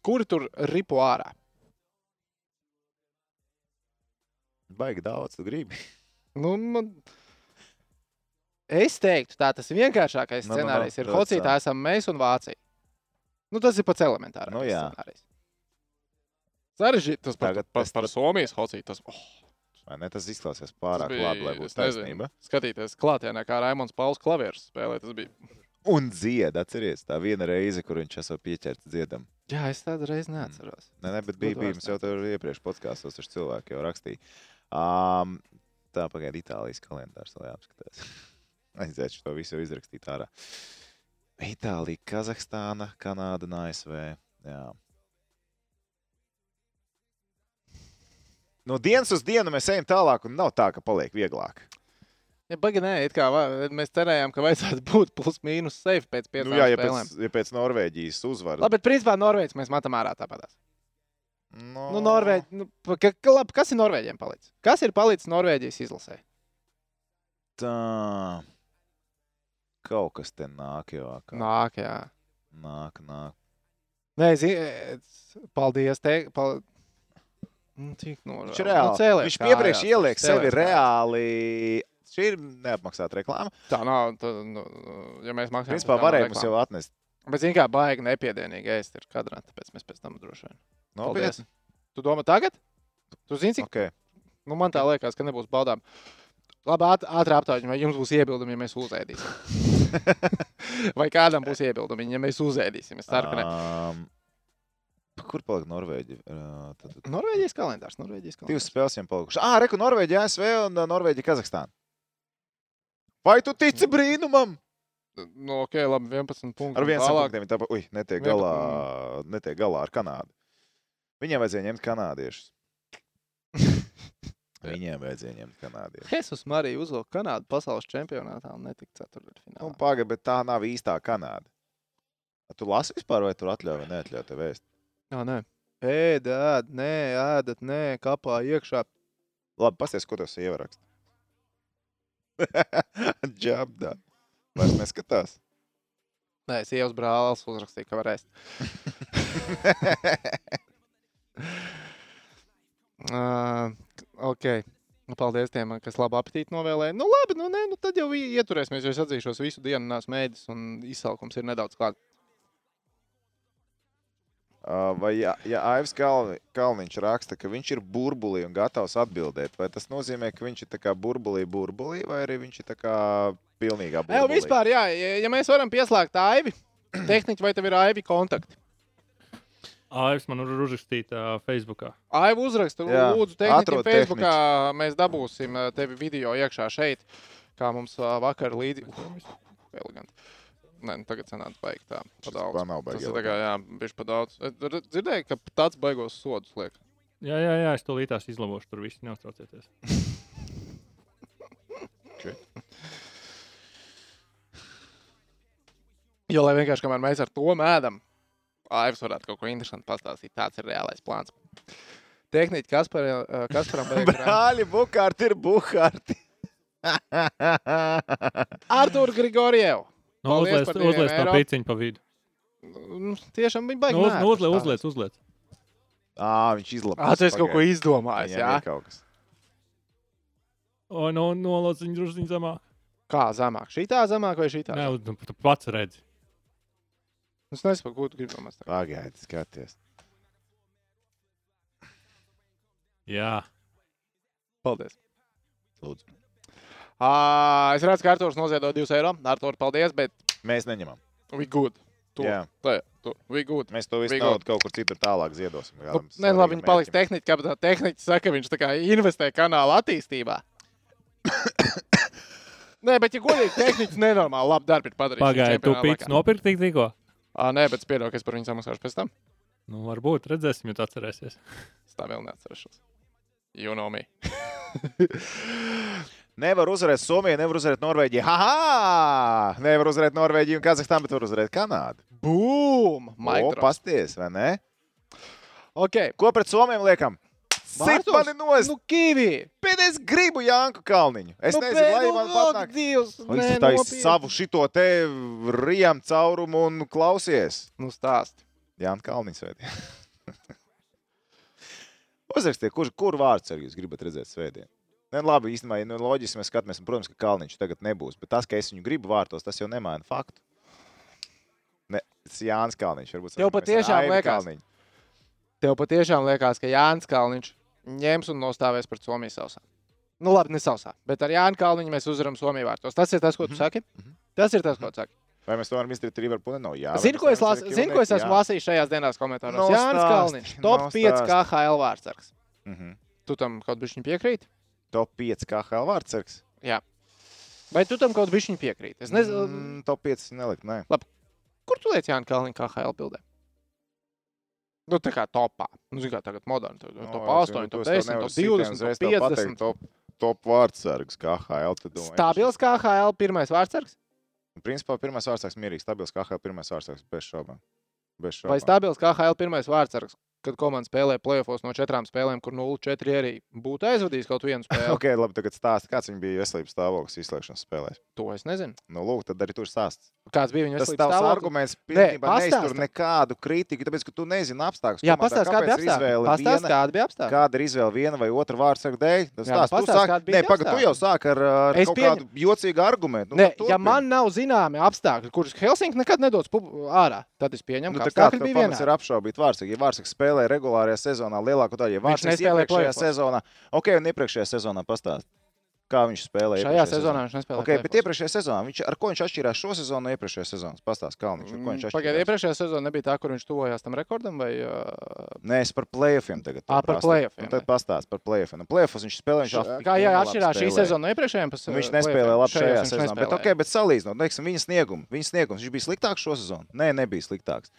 A: Kur tur ripo ārā?
C: Baigi daudz, tu gribi.
A: Nu, man... Es teiktu, tā tas vienkāršākais
C: Nu, nu, nu,
A: scenārijs ir
C: dod
A: Hocītā esam mēs un Vācija. Nu, tas ir pats elementārs
C: Nu, jā.
A: scenārijs. Sarežģīti tas par,
C: Tagad
A: par,
C: es-
A: par Somijas Hocītu. Tas, oh,
C: Vai ne? Tas izklausās pārāk
A: bija-
C: labi, lai būtu
A: es nezinu.
C: taisnība.
A: skatīties klātienē, kā Raimons Pauls klavieres spēlē. Tas bija.
C: Un dzied, atceries, tā viena reize, kur viņš esmu pieķerts dziedam.
A: Jā, es tādu reizi neatceros.
C: Nē, nē, bet
A: Ko
C: bija
A: tu
C: bijis
A: vairs
C: jau tur iepriekš podkāstos, kurš cilvēki jau rakstīja. Um, tā pagaidi, Itālijas kalendārs vēl jāapskatās. Aiziešu to visu izrakstīt ārā. Itālija, Kazahstāna, Kanāda un ASV. Jā. No dienas uz dienu mēs ejam tālāk, un nav tā, ka paliek vieglāk.
A: Mm. Ja, Baigi, nē, it kā va- mēs cerējām, ka vajadzētu būt plus-mínus safe pēc piecām
C: Nu, jā, ja
A: spēlēm.
C: pēc, ja pēc Norvēģijas uzvaras.
A: Labi, bet principā Norvēģis mēs matam ārā tāpatās.
C: No... Oh.
A: Nu, Norvēģi, nu, pa- ka, ka, labi, kas ir Norvēģiem palicis? Kas ir palicis Norvēģijas izlasē?
C: Tā. Kaut kas te nāk, jau kā.
A: Nāk, jā.
C: Nāk, nāk.
A: Nē, zini, paldies. Te, pal... Nu, Tik norvēģi.
C: Viņš, reāli,
A: Nu, cēlies
C: viņš
A: kājās,
C: iepriekš ieliek
A: cēlies
C: sevi
A: kājās.
C: reāli. Šī ir neapmaksāta reklāma.
A: Tā nav, tā, nu, ja mēs maksājam.
C: Principā
A: tad tā nav
C: varēja mums
A: reklāma.
C: jau atnest.
A: Bet, zini, kā baigi nepiedienīgi ēst ir kadrā, tāpēc mēs pēc tam droši vien.
C: Nopietni.
A: Tu domā tagad? Tu zini, cik
C: Okay.
A: Nu, man tā liekas, ka nebūs baudām. Labi, āt- ātri aptaujā, vai jums būs iebildumi, ja mēs uzēdīsim. vai kādam būs iebildumi, ja mēs uzēdīsim? Es ceru, ka ne.
C: Um, kur palika Norvēģija? Uh, tad- tad
A: Norvēģijas kalendārs. Norvēģijas kalendārs.
C: Divas spēles viņam palikušas. Ah, Reku, Norvēģija, ASV un ā, Norvēģija, Kazahstāna. Vai tu tici brīnumam?
A: Nu, ok, labi, 11 punktus.
C: Ar vienu
A: tālāk.
C: saktu, tāpēc, ui, netiek
A: Vienpadsmit.
C: galā, netiek galā ar Kanādu. Viņiem vajadzēja ņemt kanādiešus. Viņiem vajadzēja ņemt kanādiešus.
A: Jesus Marija uzvilka Kanādu pasaules čempionātā un netika
C: Nu,
A: ceturtfinālā.
C: Pagaidām, bet tā nav īstā Kanāda. A, Tu lasi vispār, vai tur atļauj vai neatļauj tev vēst?
A: Jā, nē. Ēd, ēd, nē, ēdat, nē, kapā iekšā.
C: Labi, pasties, ko tas ievarakst. Džabdā. Vairs neskatās.
A: Nē, es ielas brālis uzrakstīju, ka varēs. Uh, ok. Nu, Paldies tiem, kas labu apetīti novēlēja. Nu, labi, nu, nē, nu tad jau vi- ieturēsimies. jo Es atzīšos, visu dienu nāc mēdis un izsaukums ir nedaudz klāts.
C: Ā, Vai ja, ja Aivs Kalni, Kalniņš raksta, ka viņš ir burbulī un gatavs atbildēt, vai tas nozīmē, ka viņš ir tā kā burbulī, burbulī, vai arī viņš ir tā kā pilnīgā
A: Nē, un
C: burbulī?
A: vispār, jā, ja- ja mēs varam pieslēgt aivi, tehniķi, vai tev ir aivi kontakti?
B: Aivs man ir uzrakstīts uh, Facebookā.
A: Aivu uzrakstu,
C: Jā,
A: lūdzu, tehniķi
C: atrod
A: Facebookā. Mēs dabūsim ā, tevi video iekšā šeit, kā mums ā, vakar līdzi. Uh, Eleganti. Nē, nu, tagad sanāca baigi tā. Pa
C: Šis
A: daudz.
C: tā nav baigi
A: Tas ir tā kā, jā, bišķi pa daudz. Eh, Es dr- Dzirdēju, ka tāds baigos sodus liek.
B: Jā, jā, jā, es to līdās izlabošu. Tur viss neuztraucieties.
A: Jo, lai vienkārši kamēr mēs ar to mēdam, Aivs varētu kaut ko interesantu pastāstīt. Tāds ir reālais plāns. Tehniķi eh, Kasparam vajag grāmatu.
C: Brāļi, bukārti ir bukārti.
A: Artur Grigorievu.
B: Nu,
A: Paldies
B: uzliec,
A: par diviem
B: uzliec tā
A: eiro.
B: pīciņa pa vidu.
A: Nu, Tiešām bija baigi.
B: Nu, uz,
A: mētas
B: nu, uzliec,
A: tās.
B: uzliec, uzliec.
C: Ā, viņš izlabās.
A: Ā, tu esi kaut ko izdomājis,
C: Viņam
A: jā?
C: ir kaut kas.
B: O, nu, nolauz viņu drusku zemāk.
A: Kā zamāk? Šī tā zamāk vai šī tā?
B: Nē, uz- nu, tu pats redzi.
A: Es nesaprotu, ko tu gribi no manis.
C: Pagaidi, skaties.
B: Jā,
A: Paldies.
C: Lūdzu.
A: Ā, es redzu, ka Arturs noziedo 2 eiro. Artur, paldies, bet
C: Mēs neņemam.
A: we good. Tu,
C: Jā.
A: tā, tu, we good.
C: Mēs to visu
A: Viegli.
C: naudu kaut kur citur tālāk ziedosim.
A: Nu,
C: kādam
A: Nē, labi,
C: svarīgam
A: viņi paliks
C: mērķim.
A: tehniķi, kāpēc tā tehniķi saka, viņš tā kā investē kanāla attīstībā. Nē, bet, ja godīgi, tehniķis nenormāli labu darbu ir padarījis.
B: pagaidi, tu
A: čempionāta
B: pīcis
A: laikā.
B: nopirkt tik tikko.
A: Ā, Nē, bet es pieļauju, ka es par viņu samaksāšu pēc tam.
B: Nu, varbūt redzēsim, ja tu atcerēsies.
A: Es tā vēl neatcerēšos. You know me.
C: Nevar uzvarēt Somiju, nevar uzvarēt Norvēģiju. Ha! Nevar uzvarēt Norvēģiju un Kazahstānu, bet var uzvarēt Kanādu.
A: Boom!
C: O,
A: Maiks!
C: pasties, vai ne?
A: Ok,
C: Ko pret Somiem liekam? Sit mani nost!
A: Nu, Kīvī!
C: Bet es gribu Jānku Kalniņu. Es
A: nu,
C: nu, nezinu,
A: bet,
C: vai
A: nu,
C: man
A: ak,
C: patīk.
A: Dievs,
C: Viņš
A: nē,
C: tur taisīja
A: nopietni.
C: savu šito te rījumu caurumu un klausies.
A: Nu, stāst.
C: Jā, un Kalniņš svētdien. Uzrakstiet, kurš kur vārds arī jūs gribat redzēt svētdien. Nē, labi, īstenībā, ja nu, loģiski mēs skatāmies, un, protams, ka Kalniņš tagad nebūs. Bet tas, ka es viņu gribu vārtos, tas jau nemaina faktu. Ne, tas Jānis Kalniņš varbūt
A: Tev
C: sanākam, es
A: patiešām
C: Aini
A: liekas.
C: Kalniņu.
A: Tev patiešām liekas, ka Jānis Kalniņš ņems un nostāvēs pret Somiju sausā. Nu, labi, nesausā. Bet ar Jānu Kalniņu mēs uzvaram Somiju vārtos. Tas ir tas, ko tu
C: Mhm,
A: saki. Tas ir tas, ko tu saki.
C: Vai mēs to varam izdarīt arī ar Punenu? Jā, vai
A: Zini,
C: mēs
A: ko es,
C: varam
A: las,
C: izdarīt
A: zini, ko es
C: Kilnieku?
A: esmu lasījis šajās dienās komentāros?
C: Nostāsti,
A: Jānis Kalniņš, top 5
C: nostāsti.
A: KHL vārdsargs.
C: Jā. Mhm.
A: Tu tam kaut bišķiņ piekrīt?
C: Top 5 KL vārdsargs.
A: Jā. Vai tu tam kaut bišķiņ piekrīt? Es nezinu,
C: Mm, top 5 nelikt, nē.
A: kur tu liec Jānis Kalniņš KHL bildē? Nu, tā kā topā. Nu, zini, kā tagad moderns.
C: Nu,
A: Top
C: es
A: 8,
C: zinu, to
A: top
C: es tev
A: 10,
C: nevaru
A: top
C: sitienu
A: 20,
C: uzreiz
A: top
C: tev pateikt.
A: 50.
C: Top, top vārdsargs KL. tad domāju,
A: Stabils KHL pirmais vārdsargs?
C: ka- Principā pirmais vārdsargs mierīgs, stabils KL pirmais vārdsargs bez šaubām. Bez šaubām.
A: Vai stabils KHL pirmais vārdsargs, kad komanda spēlē plēsofos no četrām spēlēm, kur 0-4 arī būtu aizvadījis kaut vienu spēli? okay.
C: Ok, labi, tagad stāsti, kāds viņam bija veselības stāvoklis izslēgšanas spēlēs.
A: To es nezinu.
C: Nu, lūk, tad arī tur stāsts.
A: Kāds bija viņa
C: Tas
A: veselības
C: tavs
A: stāvoklis?
C: arguments
A: Nē,
C: pilnībā neiztur
A: pastāsti.
C: nekādu kritiku, tāpēc, ka tu nezini apstākļus.
A: Jā,
C: komandā,
A: pastāst, kāda
C: kāpēc
A: bija
C: ir
A: apstākļa.
C: izvēle viena-
A: Pastāst, kāda bija apstākļa.
C: Kāda ir izvēle viena vai otra vārdsarga dēļ? Tas
A: Jā,
C: stāsts
A: nu
C: tu
A: pastāsti,
C: sāk...
A: kādi bija
C: Nē, pagaidi, tu
A: apstākļi.
C: jau sāk ar, ar
A: Es
C: kaut
A: pieņem-
C: kādu jocīgu argumentu.
A: Nē,
C: tad
A: ja
C: turpini.
A: man nav zināmi apstākļi, kurus Helsinki nekad nedos pub- ārā, tad es pieņemu,
C: Nu,
A: ka
C: tā kā
A: apstākļi
C: tev
A: bija
C: pamats ir
A: vienādi.
C: apšaubīt Vārsaku. Ja Vārsaku spēlē regulārajā sezonā lielāko daļu, ja Vārsaku
A: nespēlē
C: iepriekšējā
A: playoffs.
C: sezonā, ok, un iepriekšējā sezonā pastāst, kā viņš spēlēja.
A: Šajā sezonā viņš nespēlēja.
C: Ok, bet
A: playoffs.
C: iepriekšējā sezonā, viņš, ar ko viņš atšķirās šo sezonu no iepriekšējā sezonas? Pastāst, Kalniņš, ar ko viņš
A: Mm,
C: atšķirās.
A: Pagaidiet, iepriekšējā sezonā nebija tā, kur viņš tuvojās tam rekordam, vai uh,
C: Nē, es par playoffiem tagad.
A: Ā, Ah, par playoffiem,
C: Nu, tad pastāst par playoffiem. Nu, playoffs viņš spēlēja, viņš
A: kā jā,
C: labi
A: atšķirās šī
C: spēlēja.
A: sezona no iepriekšējām? pas-
C: Nu, Viņš
A: eh,
C: nespēlēja
A: playoffiem.
C: labi šajā
A: Šajās viņš
C: sezonā. Bet,
A: nespēlēja.
C: okay, bet salīdzinot, nu, teiksim, viņa sniegumu. Viņa sniegums viņš bija sliktāks šo sezonu. Nē, nebija sliktāks.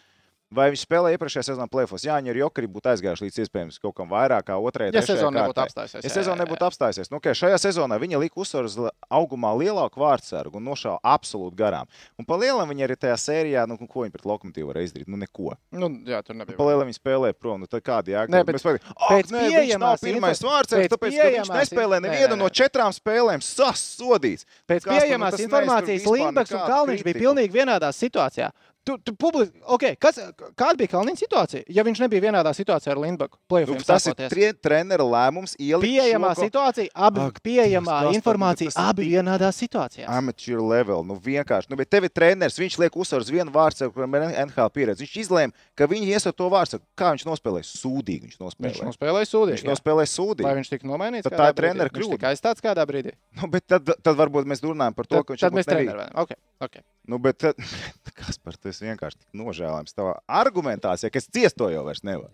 C: Vai viņš spēlēja iepriekšējā sezonā plēfos? Jā, viņa ir jokri būtu aizgājuši līdz iespējams kaut kam vairāk, kā otrajā.
A: Ja
C: trešajā
A: sezona nebūtu
C: kārtai.
A: apstājusies,
C: Ja
A: jā, jā,
C: sezona
A: jā.
C: nebūtu apstājusies, nu, okay, šajā sezonā viņa lika uzsvaru uz l- augumā lielāku vārdsargu un nošāva absolūti garām. Un pa lielam viņa arī tajā sērijā, nu, ko viņa pret lokomotīvu varēja izdarīt? Nu, neko.
A: Nu, jā, tur nebija.
C: Palēlē viņa spēlē prom. Nu, tad kāda jēga?
A: Nē, bet
C: mēs pagaidām, "Ah,
A: pēc
C: nē, viņš nav
A: pieejamās
C: pirmais
A: info-
C: vārds, tāpēc,
A: pēc
C: ka viņš
A: pieejamās
C: nespēlē
A: info- nē,
C: nevienu
A: nē,
C: no
A: nē.
C: četrām spēlēm. Sasodīts!
A: Pēc
C: Kas, nu,
A: pieejamās
C: tas
A: informācijas
C: neiztur vispār
A: Limbaģis un
C: nekādu
A: Kalniņš bija
C: kritiku.
A: pilnīgi vienādā situācijā. Tu, tu publis... okay, kas, kāda bija Kalniņa situācija? Ja viņš nebija vienādā situācijā ar Limbaģu,
C: Nu,
A: plēsoņiem,
C: tas ir tre, treneru lēmums. ielikt
A: pieejamā
C: šo ko-
A: situācija, abi
C: Ak,
A: Ak, pieejamā
C: Dievs, Kaspar, nu,
A: Dievs, informācija,
C: tas ir
A: abi vienādā situācijā.
C: Amateur level, nu vienkārši. Nu, bet tev ir treneris, viņš liek uzsvaru uz vienu vārdu, kuram ir NHL pieredze. Viņš izlēma, ka viņi ies ar to vārdu. Kā viņš nospēlēja? Sūdīgi viņš
A: Viņš
C: nospēlēja.
A: nospēlēja
C: Viņš
A: sūdzību.
C: nospēlēja
A: Nosp... Vai
C: sūdīgi.
A: viņš tika nomainīts?
C: Tad
A: kādā
C: tā ir
A: brīdī?
C: trenera
A: Viņš
C: kļūda.
A: tika aizstāts kādā brīdī.
C: Nu, bet tad, tad varbūt mēs runājam par to,
A: Tad,
C: ka viņš
A: tad
C: varbūt
A: mēs
C: nebija-
A: trenējām. Okay, okay.
C: Nu, bet, kas par to es vienkārši tik nožēlojams? Tā argumentācija, ka es ciestu to jau vairs nevaru.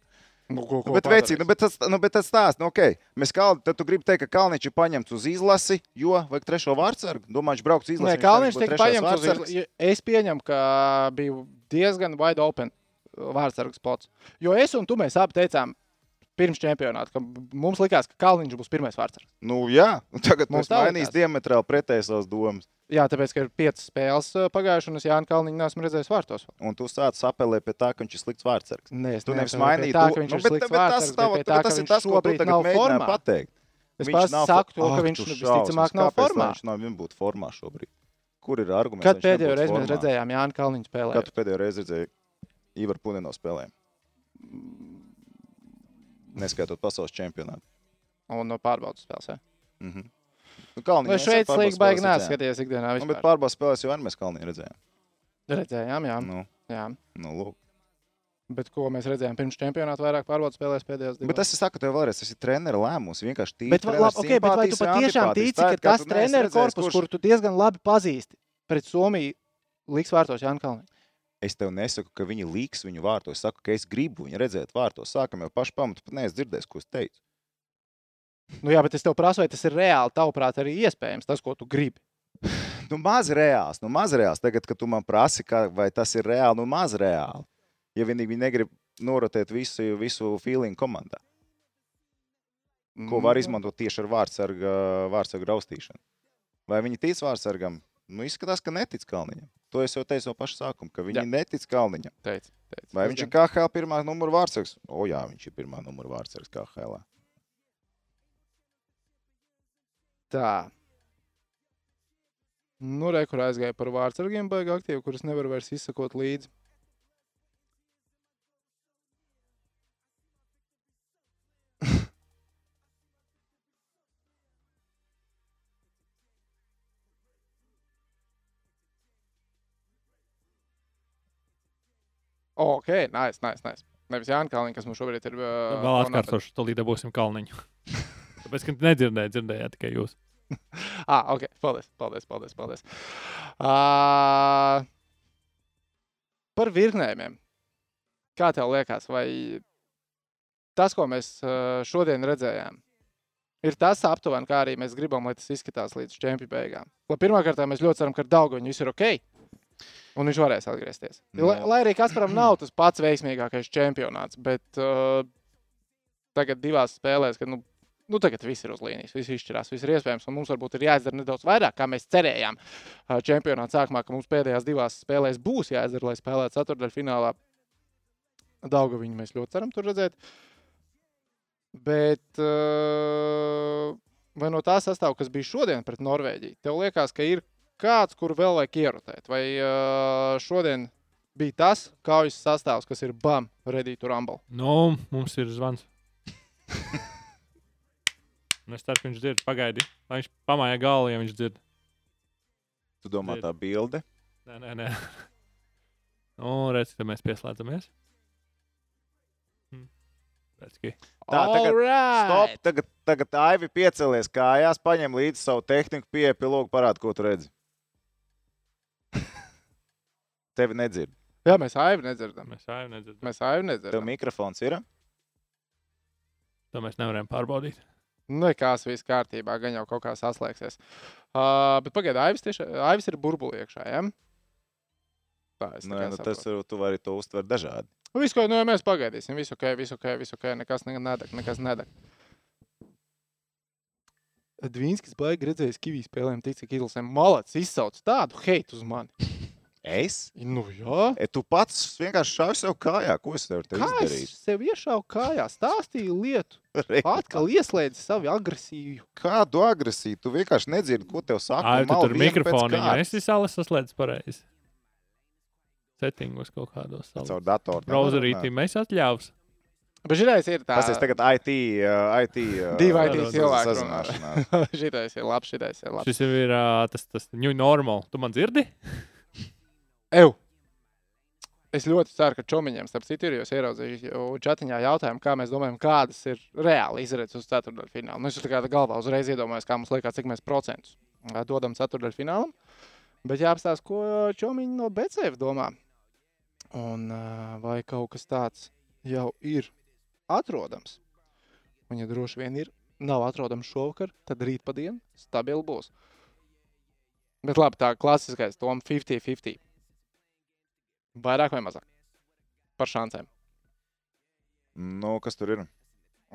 A: Nu, ko,
C: Nu, bet, vecīt, nu, bet, tas, nu, bet tas stāsts, nu, ok, mēs kalni, tad tu gribi teikt, ka Kalniņš ir paņemts uz izlasi, jo vajag trešo vārdsargu. Domāju, viņš brauks uz
A: Nē,
C: izlasi.
A: Kalniņš tika paņemts uz izlases. Es pieņemu, ka bija diezgan wide open uh, vārdsargs pots. Jo es un tu mēs abi teicām pirms čempionāta, ka mums likās, ka Kalniņš būs pirmais vārdsargs.
C: Nu, jā, un tagad
A: Mums
C: mums
A: tā
C: mainīs
A: likās.
C: diametrāli pretēji savas domas.
A: Jā, tāpēc, ka ir piecas spēles uh, pagājušas, un es Jānu Kalniņu neesmu redzējis vārtos.
C: Un tu sāc apelēt pie tā, ka viņš ir slikts vārdsargs.
A: Nē, es
C: Tu nevis
A: neapelēju pie
C: mainīji
A: tā,
C: to-
A: ka viņš
C: nu,
A: ir
C: bet-
A: slikts
C: bet tas
A: vārdsargs,
C: tav-
A: bet pie
C: bet
A: tā, ka
C: tas ir
A: viņš
C: tas, ko tu
A: šobrīd
C: tagad
A: nav
C: mēģināji
A: formā.
C: pateikt.
A: Es
C: Viņš
A: pats
C: nav
A: saku
C: fo-
A: to, ka
C: Ak,
A: viņš
C: tu
A: nu,
C: šausmas,
A: visticamāk nav
C: kāpēc, lai
A: formā.
C: Viņš nav vien būt formā šobrīd. Kur ir arguments?
A: Kad
C: lai viņš
A: pēdējo
C: nebūtu
A: reizi mēs
C: formā?
A: redzējām Jānu Kalniņu
C: Kad
A: spēlēt?
C: tu pēdējo reizi redzēji Ivaru Punēnu spēlē? Mm. Neskaitot pasaules čempionātu.
A: Un no pārbaudas spēles. jā.
C: Mhm. Nu, Kalniņu
A: Vai
C: mēs arī
A: Šveicis
C: pārbaudas
A: līga baigi
C: spēlēs redzējām.
A: neskaties ikdienā?
C: Nu, bet
A: vispār?
C: pārbaudas spēlēs jau arī mēs Kalniņu redzējām.
A: Redzējām, jā.
C: Nu,
A: jā.
C: nu, lūk.
A: Bet ko mēs redzējām pirms čempionāta, vairāk pārbaudas spēlēs pēdējos
C: bet
A: divos.
C: es saku tev vēlreiz, tas ir treneris lēmums. Vienkārši tīri.
A: Bet, va-
C: treneru
A: labi, okay, bet vai tu
C: simpātijas vai
A: patiešām
C: antipātijas.
A: tici,
C: Tā
A: ka
C: ir,
A: tas
C: tu neesi
A: treneru
C: redzējis,
A: korpus, kuru tu diezgan labi pazīsti, pret Somiju liks vārtos Jānis Kalniņš?
C: Es tev nesaku, ka viņi līks viņu vārtos. Es saku, ka es gribu viņu redzēt vārtos. Sākam jau pašu pamatu, pat neesmu dzirdējis, ko es teicu.
A: Nu, jā, bet es tev prasu, vai tas ir reāli, tavuprāt, arī iespējams, tas, ko tu gribi.
C: Nu, maz reāls, nu, maz reāls. Tagad, kad tu man prasi, kā, vai tas ir reāli, nu, maz reāli. Ja vienīgi viņi negrib norotēt visu, visu feeling komandā, ko
A: Mm.
C: var izmantot tieši ar vārdsarga, vārdsarga raustīšanu. Vai viņi tic vārdsargam? Nu, izskatās, ka netic Kalniņam. To es jau teicu no paša sākuma, ka viņi
A: Jā.
C: Jā. netic Kalniņam.
A: Teic, teic,
C: Vai viņš ir KHL pirmā numura vārdsargs? O, jā, viņš ir pirmā numura vārdsargs KHL.
A: Tā. Nu, re, kur aizgāja par vārdsargiem, baigā aktīvi, kurus nevar vairs izsakot līdzi. Ok, nice, nice, nice. Nevis Jānis Kalniņš, kas mums šobrīd ir. Uh,
B: Vēl atkārtošu, to līdzi dabūsim kalniņu. Tāpēc, ka nedzirdēju, dzirdējāt tikai jūs.
A: Ah, ok, paldies, paldies, paldies. paldies. Uh, par virknējumiem. Kā tev liekas, vai tas, ko mēs ā, šodien redzējām, ir tas aptuveni, kā arī mēs gribam, lai tas izskatās līdz čempionu beigām? Lai Pirmkārt, mēs ļoti ceram, ka ar Dāngu viss ir ok. Un viņš varēs atgriezties. No. Lai,
C: Nu.
A: lai arī Kasparam nav tas pats veiksmīgākais čempionāts, bet uh, tagad divās spēlēs, kad nu, nu, tagad viss ir uz līnijas, viss izšķirās, viss ir iespējams. un Mums varbūt ir jāizdara nedaudz vairāk, kā mēs cerējām. ā, Čempionāta sākumā, ka mums pēdējās divās spēlēs būs jāizdara, lai spēlētu ceturdaļfinālā. Daudzā viņa mēs ļoti ceram tur redzēt. Bet ā, vai no tā sastāvdaļa, kas bija šodien pret Norvēģiju, tev liekas, ka ir kāds, kur vēl vajag ierotēt? Vai ā, šodien bija tas kaujas sastāvs, kas ir BAM, Redītu Rumble?
B: Nu, mums ir zvans. Nu, Es ceru, ka viņš dzird. Pagaidi, lai viņš pamāja galvu, ja viņš dzird.
C: Tu domā,
B: Ir.
C: tā bilde?
B: Nē, nē, nē. Nu, redz, tad mēs pieslēdzamies. Hm. Redz, ka
C: Tā, tagad Stop!
A: Alright!
C: Tagad, tagad Aivi piecelies kājās, paņem līdzi savu tehniku, pieeja lūk, parāda, ko tu redzi. Tevi nedzird.
A: Jā, mēs aivi nedzirdam.
B: mēs ārā nedzirdam.
A: Mēs aivi
C: Tev
A: nedzirdam.
C: mikrofons ir.
B: To mēs nevaram pārbaudīt.
A: Nu, Nekās viss kārtībā, gan jau kaut kā saslēgsies. Uh, bet pagaidiet, Aivis, tieši, Aivis ir burbulī iekšā. Ja? Tā ir
C: Nē, nu, tas
A: monēta.
C: ir. Tu vari to uztvert dažādi.
A: Visu, ko nu, ja mēs pagaidīsim, visu ok, visu ok, visu ok, nekas ne- nedeg, nekas nedeg. Dvīnskis baigi redzējis kivīs spēlēm, tik cik Idlisam malacis izsauc tādu heitu uz mani.
C: Es?
A: Nu jā,
C: E, tu pats vienkārši šāvi sev kājā. Ko es tev te
A: kā
C: izdarīju?
A: es sev iešāvu kājā, stāstīju lietu,
C: Re,
A: atkal ieslēdzu savu agresīvu.
C: Kādu agresiju? Tu vienkārši nedzirdi, ko tev saka.
B: Ai,
C: un
B: tu
C: mal
B: tur
C: vienu pēc
B: mikrofonu jau
C: kārtas.
B: esi salas saslēdzis pareizi. Settingos kaut kādos salas.
C: Caur datoru.
B: Browserītī mēs atļāvs.
A: Bet šitais ir
C: Tas ir
A: tāds.
C: tagad IT. Uh, IT uh,
A: Divi
B: IT
C: saz-
A: cilvēki runā.
C: sazināšanās.
A: Šitais ir labs, šitais ir labs.
B: Šis jau ir ā, tas, tas new normal. Tu man dzirdi?
A: Ew. Es ļoti ceru, ka Čomiņam, starp citu, ir jūs ieraudzījuši čatiņā jautājumu, kā mēs domājam, kādas ir reāli izredzes uz ceturdaļfinālu. Nu, es tā kā tā galvā uzreiz iedomājos, kā mums liekas, cik mēs procentus ā, dodam ceturdaļfinālam. Bet jāapstāsta, ko Čomiņš no Becēvas domā. Un ā, vai kaut kas tāds jau ir atrodams? Un, ja droši vien ir, nav atrodams šovakar, tad rīt pa dienu stabil būs. Bet labi, tā klasiskais, tom 50-50. Vairāk vai mazāk par šancēm.
C: Nu, kas tur ir?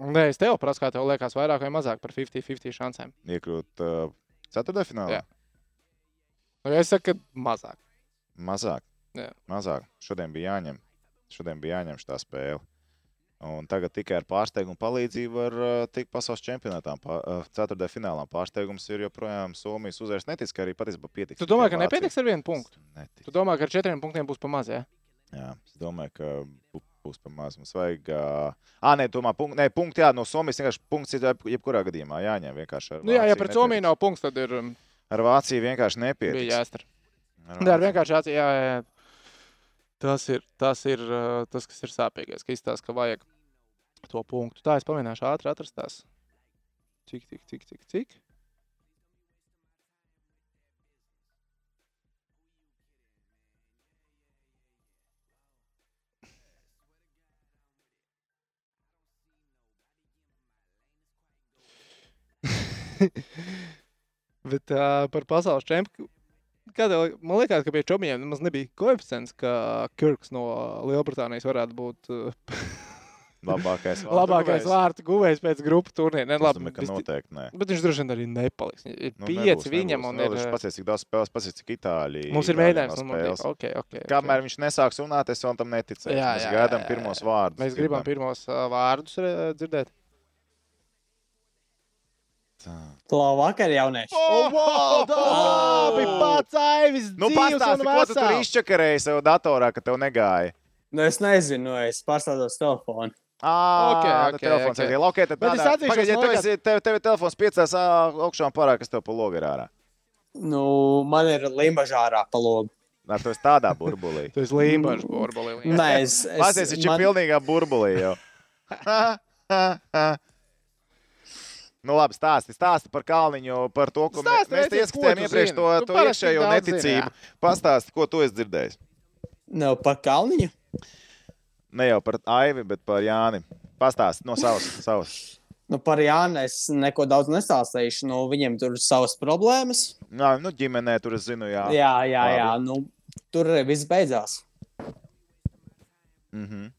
A: Nē, es tev prasu, kā tev liekas, vairāk vai mazāk par 50-50 šancēm.
C: Iekļūt uh, ceturtajā finālā?
A: Jā. Nu, ja es saku, ka mazāk.
C: Mazāk.
A: Jā.
C: Mazāk. Šodien bija jāņem. Šodien bija jāņem šī spēle. Un tagad tikai ar pārsteigumu palīdzību var uh, tikt pasaules čempionātām, pā- uh, ceturtajā finālā. Pārsteigums ir joprojām Somijas uzvaras. Netic, ka arī patiesībā pietiks.
A: Tu
C: tikai
A: domā, ka
C: Vācijai.
A: nepietiks ar vienu punktu?
C: Neticu.
A: Tu domā, ka ar četriem punktiem būs pa maz, jā?
C: Jā, es domāju, ka bū- būs par maz. Mums vajag. ā, Ā, nē, tomēr punkti, nē, punkti jā, no Somijas vienkārši punkts ir jeb- jebkurā gadījumā jāņem. vienkārši ar
A: Nu, jā, ja
C: Vāciju
A: pret
C: nepietiks.
A: Somiju nav punkts, tad ir um,
C: Ar Vāciju vienkārši nepietiks.
A: bija jāstra.
C: Ar
A: Nē, ar
C: Vāciju.
A: vienkārši jāsaka, jā, jā, jā. Tas ir, tas ir uh, tas, kas ir sāpīgais, ka izstāsta, ka vajag to punktu. Tā es pamēģināšu ātri atrast tās. Cik, cik, cik, cik, cik. Bet uh, par pasaules čempionu Kādā, man liekas, ka pie čomiem nemaz nebija koeficients, ka Kirks no Lielbritānijas varētu būt uh,
C: Labākais. vārdu
A: labākais
C: guvējs.
A: vārtu guvējs pēc grupas turnīra. Ne,
C: Es
A: labi,
C: domāju, ka
A: vis-
C: noteikti nē.
A: Bet viņš droši vien arī nepaliks. Viņ- Ir
C: Nu,
A: nu, pieci nebūs, viņam, nebūs, un
C: nebūs.
A: nebūs, ir,
C: Pats, cik daudz spēlēs, pats, cik itāļi.
A: uh, mums ir
C: Itāļiem
A: mēģinājums.
C: nav
A: un mums ir-
C: spēles.
A: Okay, okay,
C: Kamēr viņš nesāks runāt, es vēl tam neticēju.
A: Jā,
C: Mēs
A: jā,
C: gaidām
A: jā, jā,
C: pirmos
A: jā.
C: vārdus.
A: Mēs gribam pirmos uh, vārdus uh, dzirdēt.
F: To vakar, jaunieši.
A: Oh, Labi, pats Aivis!
C: Nu, pastāsti, ko tu tur izčakarēji sev datorā, ka tev negāja.
F: Nu, es nezinu, es pārstādos telefonu.
C: Ah,
A: Okei,
C: okay,
A: okei,
C: okay, telefons
A: okei.
C: okay. ir okay, tad
A: Bet es
C: tādā-
A: atzīšos,
C: Pagaid, ja
A: man
C: tev,
A: liekas-
C: esi, tev, tev ir telefons piecās ā, augšā un pārāk, kas tev pa logu ir ārā.
F: Nu, man ir limbažārā paloga.
C: Nā, tu esi tādā burbulī.
A: Tu esi līmbažs, burbulī.
F: Nē, es. es
C: Mācies, viņš ir
F: man-
C: pilnīgā burbulī jau. Nu, labi, stāsti, stāsti par Kalniņu, par to, ko
A: Stāsti,
C: stāsti, mēs te
A: Edis, ko
C: ieskatījām
A: tu
C: iepriekš,
A: zini?
C: to,
A: Tu
C: to
A: parasti
C: iekšējo
A: daudz zini, jā.
C: neticību. Pastāsti, ko tu esi dzirdējis.
F: Nu, par kalniņu.
C: Ne jau par Aivi, bet par Jāni. Pastāsti no savas. savas.
F: Nu, par Jānu es neko daudz nestāstīšu. Nu, viņam tur ir savas problēmas.
C: Nā, nu, ģimenē tur es zinu, jā.
F: Jā, jā, jā. Nu, tur viss beidzās.
C: Mm -hmm.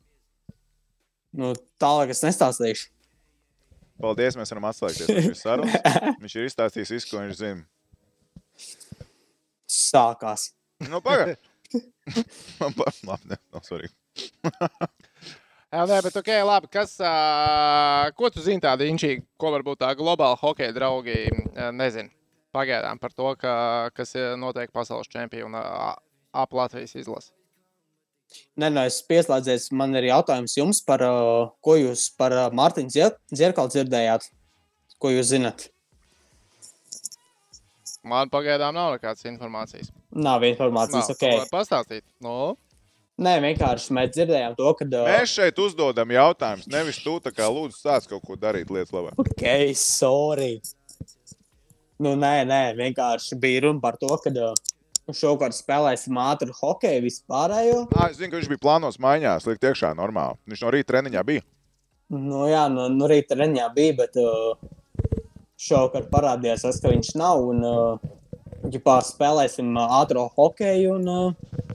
F: Nu, tālāk es nestāstīšu.
C: Paldies, mēs varam atslēgties no šīs sarunas. Viņš ir izstāstījis visu, ko viņš zina.
F: Sākās.
C: Nu, pagaidi. Man pašam labi, ne, nav svarīgi.
A: Jā, nē, bet ok, labi. Kas, uh, ko tu zini tādu inčīgu, ko varbūt tā globāla hokeja draugi uh, nezina? Pagaidām par to, ka, kas ir noteikti pasaules čempiona uh, ap Latvijas izlasi.
F: Nē, nē, es pieslēdzies. Man ir jautājums jums par uh, ko jūs par uh, Mārtiņu Dzier- Dzirkalu dzirdējāt? Ko jūs zinat?
A: Man pagaidām nav nekādas informācijas.
F: Nav informācijas,
A: Nav,
F: ok.
A: tu vari Pastāstīt. Nu,
F: Nē, vienkārši mēs dzirdējām to, ka. Uh,
C: Mēs šeit uzdodam jautājumus. Nevis tu tā kā lūdzu sāc kaut ko darīt lietas labā.
F: ok, sorry. Nu, nē, nē, vienkārši bija runa par to, ka uh, šovakar spēlēsim ātru hokeju vispārējo.
C: Ā, es zinu, ka viņš bija plānos mājās, likt iekšā normāli. Viņš no rīta treniņā bija.
F: Nu, jā, nu, nu rīta reņā bija, bet uh, šovakar parādījās, tas, ka viņš nav. Un, uh, ģipā, spēlēsim uh, ātrā hokeju. Un, uh,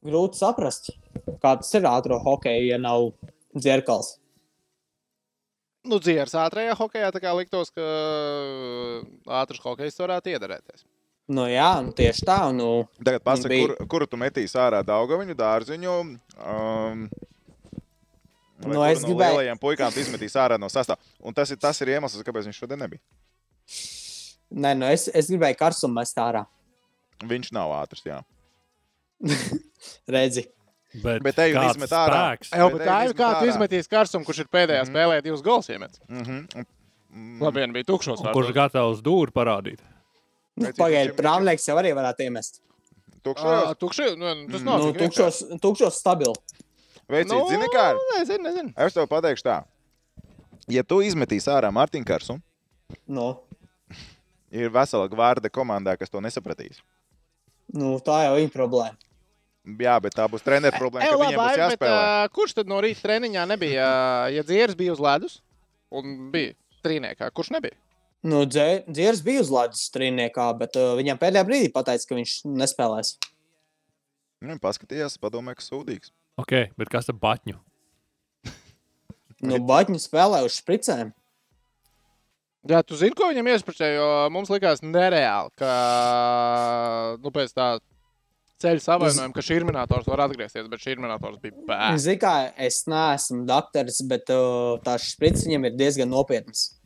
F: grūti saprast, kā tas ir ātrā hokeja, ja nav dzirkals.
A: nu dzīves ātrajā hokeja, tā kā liktos, ka ātrs hokejs varētu iederēties.
F: Nu, jā, nu, tieši tā. Nu,
C: Tagad pasaki,
F: bija.
C: kur, kur tu metīsi ārā Daugaviņu, dārziņu. Um, vai
F: Nu,
C: kuru
F: es gribēju-
C: No lielajiem puikām tu izmetīs ārā no sastāvā. Un tas ir, tas ir iemesls, kāpēc viņš šodien nebija.
F: nē, nu, es, es gribēju karstumu mest ārā.
C: Viņš nav ātrs, jā.
F: Redzi,
B: Bet,
C: Bet ej un
B: kāds
C: izmet ārā.
B: spēks?
A: Jā,
C: Bet
A: bet
C: Eivis
A: tā ir kā tu
C: ārā.
A: izmetīs karsumu, kurš ir pēdējā mm. spēlē divus gols iemetis.
C: Mm
F: Mhm.
C: -hmm.
A: Mm. Labi, vien bija tukšos.
B: Kurš gatavs dūri parādīt?
F: nu,
C: Redzi,
F: pagaidi,
C: viņš-
F: prāmnieks jau arī varētu iemest.
C: Tukšajos.
A: Tukšos? Tukšajos? Nu, tas
C: Mm.
A: nav.
F: Nu,
A: tik vienkārši.
F: tukšos, tukšos stabilu.
C: Veicīt, nu... zini, kā ir.
A: Nezinu, nezinu.
C: Es tev pateikšu tā. Ja tu izmetīsi ārā Mārtiņu Kārsu,
F: Nu,
C: ir vesela gvārda komandā, kas to nesapratīs.
F: nu, tā jau ir problēma.
C: Jā, bet tā būs treniņa problēma.
A: Ej,
C: ka
A: E, labi,
C: Viņiem būs
A: Aivi, bet,
C: jāspēlē.
A: ā, kurš tad no rīta treniņā nebija? ā, Ja dzieris bija uz ledus un bija trīniekā, kurš nebija?
F: Nu, Dzirdzis bija uz Latvijas strīniekā, bet uh, viņam pēdējā brīdī pateica, ka viņš nespēlēs.
C: Nu, Viņi paskatījās, padomāja, ka sūdīgs.
B: Ok, bet kas ar batņu?
F: Nu, Baņķis spēlē uz spricēm.
A: Jā, tu zini, ko viņam iesprūdēja, jo mums likās nereāli, ka nu, pēc tā ceļa savainojuma, ka šī minētājs var atgriezties, bet šī minētājs bija bērns.
F: Ziniet, kā es neesmu doktors, bet uh, tās sprites viņam ir diezgan nopietnas.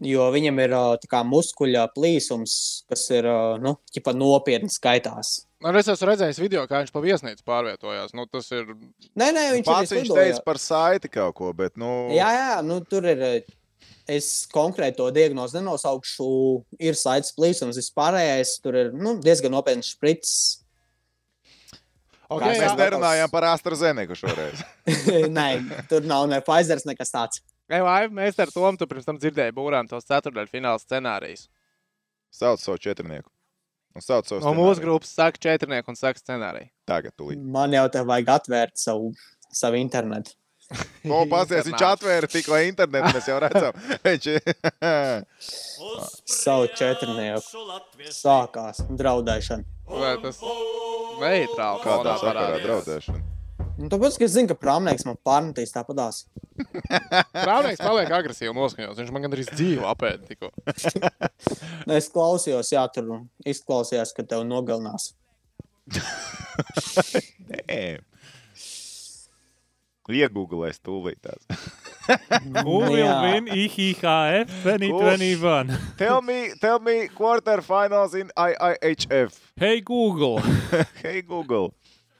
F: Jo viņam ir uh, tā kā muskuļa plīsums, kas ir uh, nu, ķipa nopietni skaitās.
A: Nu, Es esmu redzējis video, kā viņš pa viesnīcu pārvietojās. Nu, tas ir
F: Nē, nē, viņš
C: Pats
F: arī
C: viņš
F: slidoja.
C: teica par saiti kaut ko, bet, nu,
F: Jā, jā, nu, tur ir. eh, Es konkrēti to diagnozi nenosaukšu. Ir saites plīsums, vispārējais. Tur ir nu, diezgan nopietns sprits.
A: okay,
F: Kā
C: mēs
A: jā,
F: jā.
C: nerunājām par AstraZeneku šoreiz.
F: Nē, tur nav ne Pfizer, nekas tāds.
A: Ei, Vaiv, mēs ar Tomu tu pirms tam dzirdējām būrām tos ceturdaļfināla scenārijus.
C: Sauc savu četrnieku. Un sauc savu
A: No mūsu grupas saka četrnieku un saka scenāriju.
C: Tagad, tūlīt.
F: Man jau te vajag atvērt savu, savu internetu.
C: To pasies, viņš
A: Internāts.
C: atvēra tikko internetu, mēs jau redzam. Viņš
F: Savu četrnieku. Sākās draudēšana.
A: Vai tas neitrāli
C: kādā
A: kodā
C: sakarā
A: parādījās?
C: draudēšana.
F: Nu, tāpēc, ka es zinu, ka prāmnieks man pārmetīs tāpatās.
A: Prāvnieks paliek agresīvi noskaņots. Viņš man gandrīz dzīvo apēd tikko.
F: Nu, Es klausījos, jā, tur izklausījās, ka tev nogalinās.
C: Nē. Iegūglēs tūlīt tās. Nu
B: Who will
F: Jā.
B: win EHF 2021?
C: Tell me, tell me quarterfinals in IIHF.
B: Hey, Google!
C: Hey, Google.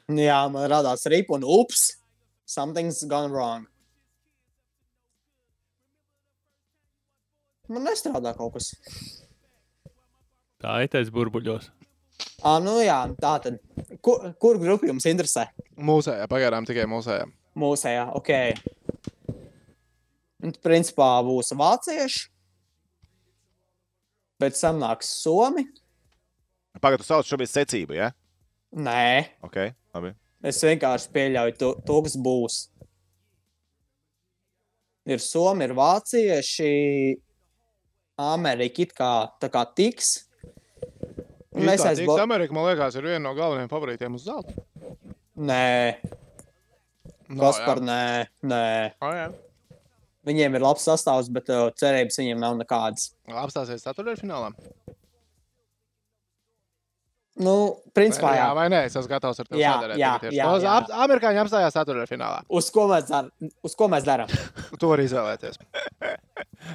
F: Jā, man radās rips un ups. Something's gone wrong. Man nestrādā kaut kas.
B: Tā ir taisa burbuļos.
F: À, nu jā, tā tad. Kur, kur grupa jums interesē?
A: Mūsējā, pagaidām tikai mūsējā.
F: Mūsējā, ok. Un, principā būs vācieši. Pēc tam nāks somi.
C: Pagaidu, sauc šobrīd secību, ja?
F: Nē,
C: Ok, labi.
F: es vienkārši pieļauju to, to kas būs. Ir somi, ir vācieši. Amerika it kā tā kā tiks. Un
A: Mēs
F: es
A: tā,
F: aiz
A: Tīks
F: Bo-
A: Amerika, man liekas, ir viena no galvenajiem favorītiem uz zelta.
F: Nē,
A: No,
F: kas par nē, nē.
A: Oh, jā.
F: Viņiem ir labs sastāvs, bet uh, cerības viņiem nav nekādas.
A: Apstāsies ceturdaļfinālā.
F: Nu, principā, jā,
A: jā, vai nē, es esmu gatavs ar tevi
F: Jā,
A: sadarēt.
F: jā,
A: tagad tieši.
F: jā,
A: Tos
F: jā.
A: ap- Amerikāņi apstājās ceturdaļfinālā.
F: Uz ko mēs, dar, uz ko mēs darām?
A: To var izvēlēties.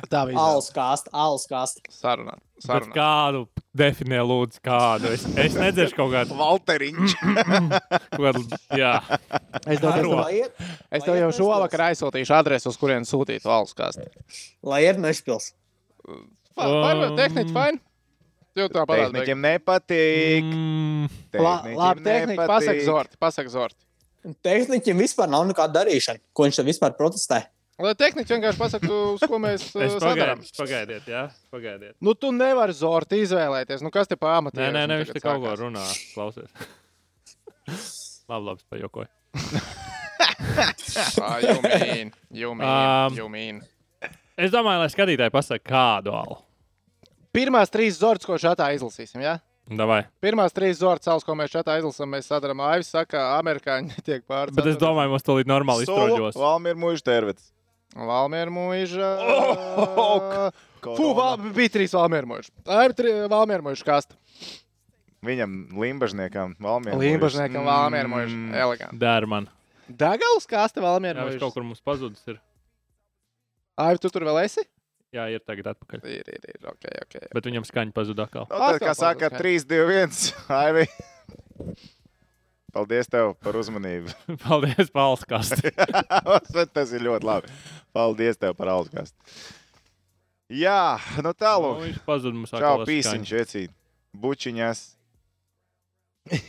A: Tā bija
F: Alus kāst, alus kāst.
A: saruna.
B: Bet
A: saruna.
B: Kādu definē, lūdzu, kādu? Es, es nedzirdu kaut kādu.
C: Valteriņš.
B: kaut kādu jā,
A: Es tev, es
B: Aro.
A: tev,
F: Lai ir,
A: es tev jau šovakar aizsūtīšu adresi, uz kurienes sūtīt valsts kāstu.
F: lai ir nešpils.
B: Um.
A: Tehniski fajn. Jūs tā parādāt.
C: Tehnikiem nepatīk.
B: mm,
A: La,
C: Tehniķiem
A: labi, tehnika.
C: nepatīk.
A: Pasak zorti, pasak zorti.
F: Tehniķim vispār nav nekāda darīšana. Ko viņš tad vispār protestē?
A: Lai tehniķi vienkārši pasaka, uz ko mēs eh,
B: es
A: sadarām.
B: pagaidiet, pagaidiet, jā, pagaidiet.
A: Nu, tu nevari zorti izvēlēties. Nu, kas te pamatīgi?
B: Nē, nē, nē viņš te kaut ko runā. Klausies. labi, labi, es pajokoju.
A: Ah, Jūmīn, jūmīn,
B: Um.
A: jūmīn.
B: Es domāju, lai skatītāji pasaka, kādu alu.
A: Pirmās trīs zorts, ko šatā izlasīsim, jā? Ja?
B: Nu, Davai.
A: Pirmās trīs zorts, savus, ko mēs šatā izlasām, mēs sadarām Aivis, saka, amerikāņi tiek pārcēlti.
B: Bet es domāju, mums tūlīt normāli izstrādājos.
C: Valmīra muža tervets.
A: Valmēra mūža.
C: Oh,
A: Fū, val, bija trīs valmēra mūža. Ai, tri, valmēra mūža kasta.
C: Viņam limbažniekam, Mm. Valmīra.
A: Limbažniekam valmēra mūža. Eleganti.
B: Dēr man.
A: Dagals kasta
B: Jā,
A: valmēra
B: viņš kaut
A: mūža.
B: kur mums pazudis. Ir.
A: Ai, tu tur vēl esi?
B: Jā, ir tagad atpakaļ.
A: Ir, ir, ir, ok, ok.
B: Bet viņam skaņa pazuda atkal.
C: Nu, tad, kā
A: Atkal
C: saka,
A: paldies,
C: 3, 2, 1. Aivi. Paldies tev par uzmanību.
B: Paldies, Pāvils Kasti.
C: Tas ir ļoti labi. Paldies tev par algastu. Jā, nu
B: Nu,
C: tālu.
B: viņš pazuda mums
C: Čau,
B: atkal. ar
C: pīsiņš, vecīt. Bučiņas.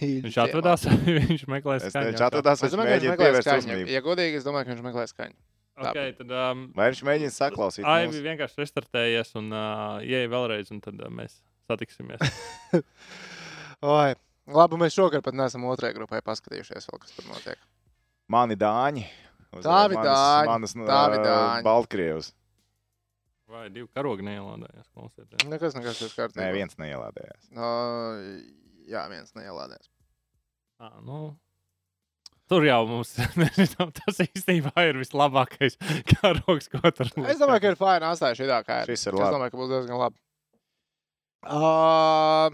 B: Viņš atvedās, viņš meklē
C: Es
B: skaņu.
C: nezinu, atradās,
A: Es
C: viņš
A: domāju, ka viņš
C: mēģina
A: meklē
C: pievērst
A: skaņu.
C: uzmanību.
A: Ja godīgi, es domāju, ka viņš meklē skaņu.
B: Okay, tad, um,
C: Vai viņš mēģina saklausīt?
B: Aivi
C: mūs?
B: vienkārši restartējies un uh, ieja vēlreiz, un tad uh, mēs satiksimies.
A: Oi. Labi, mēs šogad pat neesam otrajā grupai paskatījušies, vēl, kas tur notiek.
C: Mani dāņi. Uz-
A: Tavi
C: manas-
A: dāņi,
C: Manas
A: tavi
C: uh,
A: dāņi.
C: Baltkrievas.
B: Vai divi karogi neielādējās? Klausiet, jā.
A: Nekas, nekas, tas kārtībā.
C: Nē, viens neielādējās.
A: Oi, jā, viens neielādēs.
B: Ā, nu. Tur jau mums nezinām, tas īstenībā ir vislabākais karogs, ko tur
A: Es domāju, ka ir fajn atstāt šī tā kā ir.
C: Šis ir
A: Es
C: labi.
A: domāju, ka būs diezgan labi. Uh,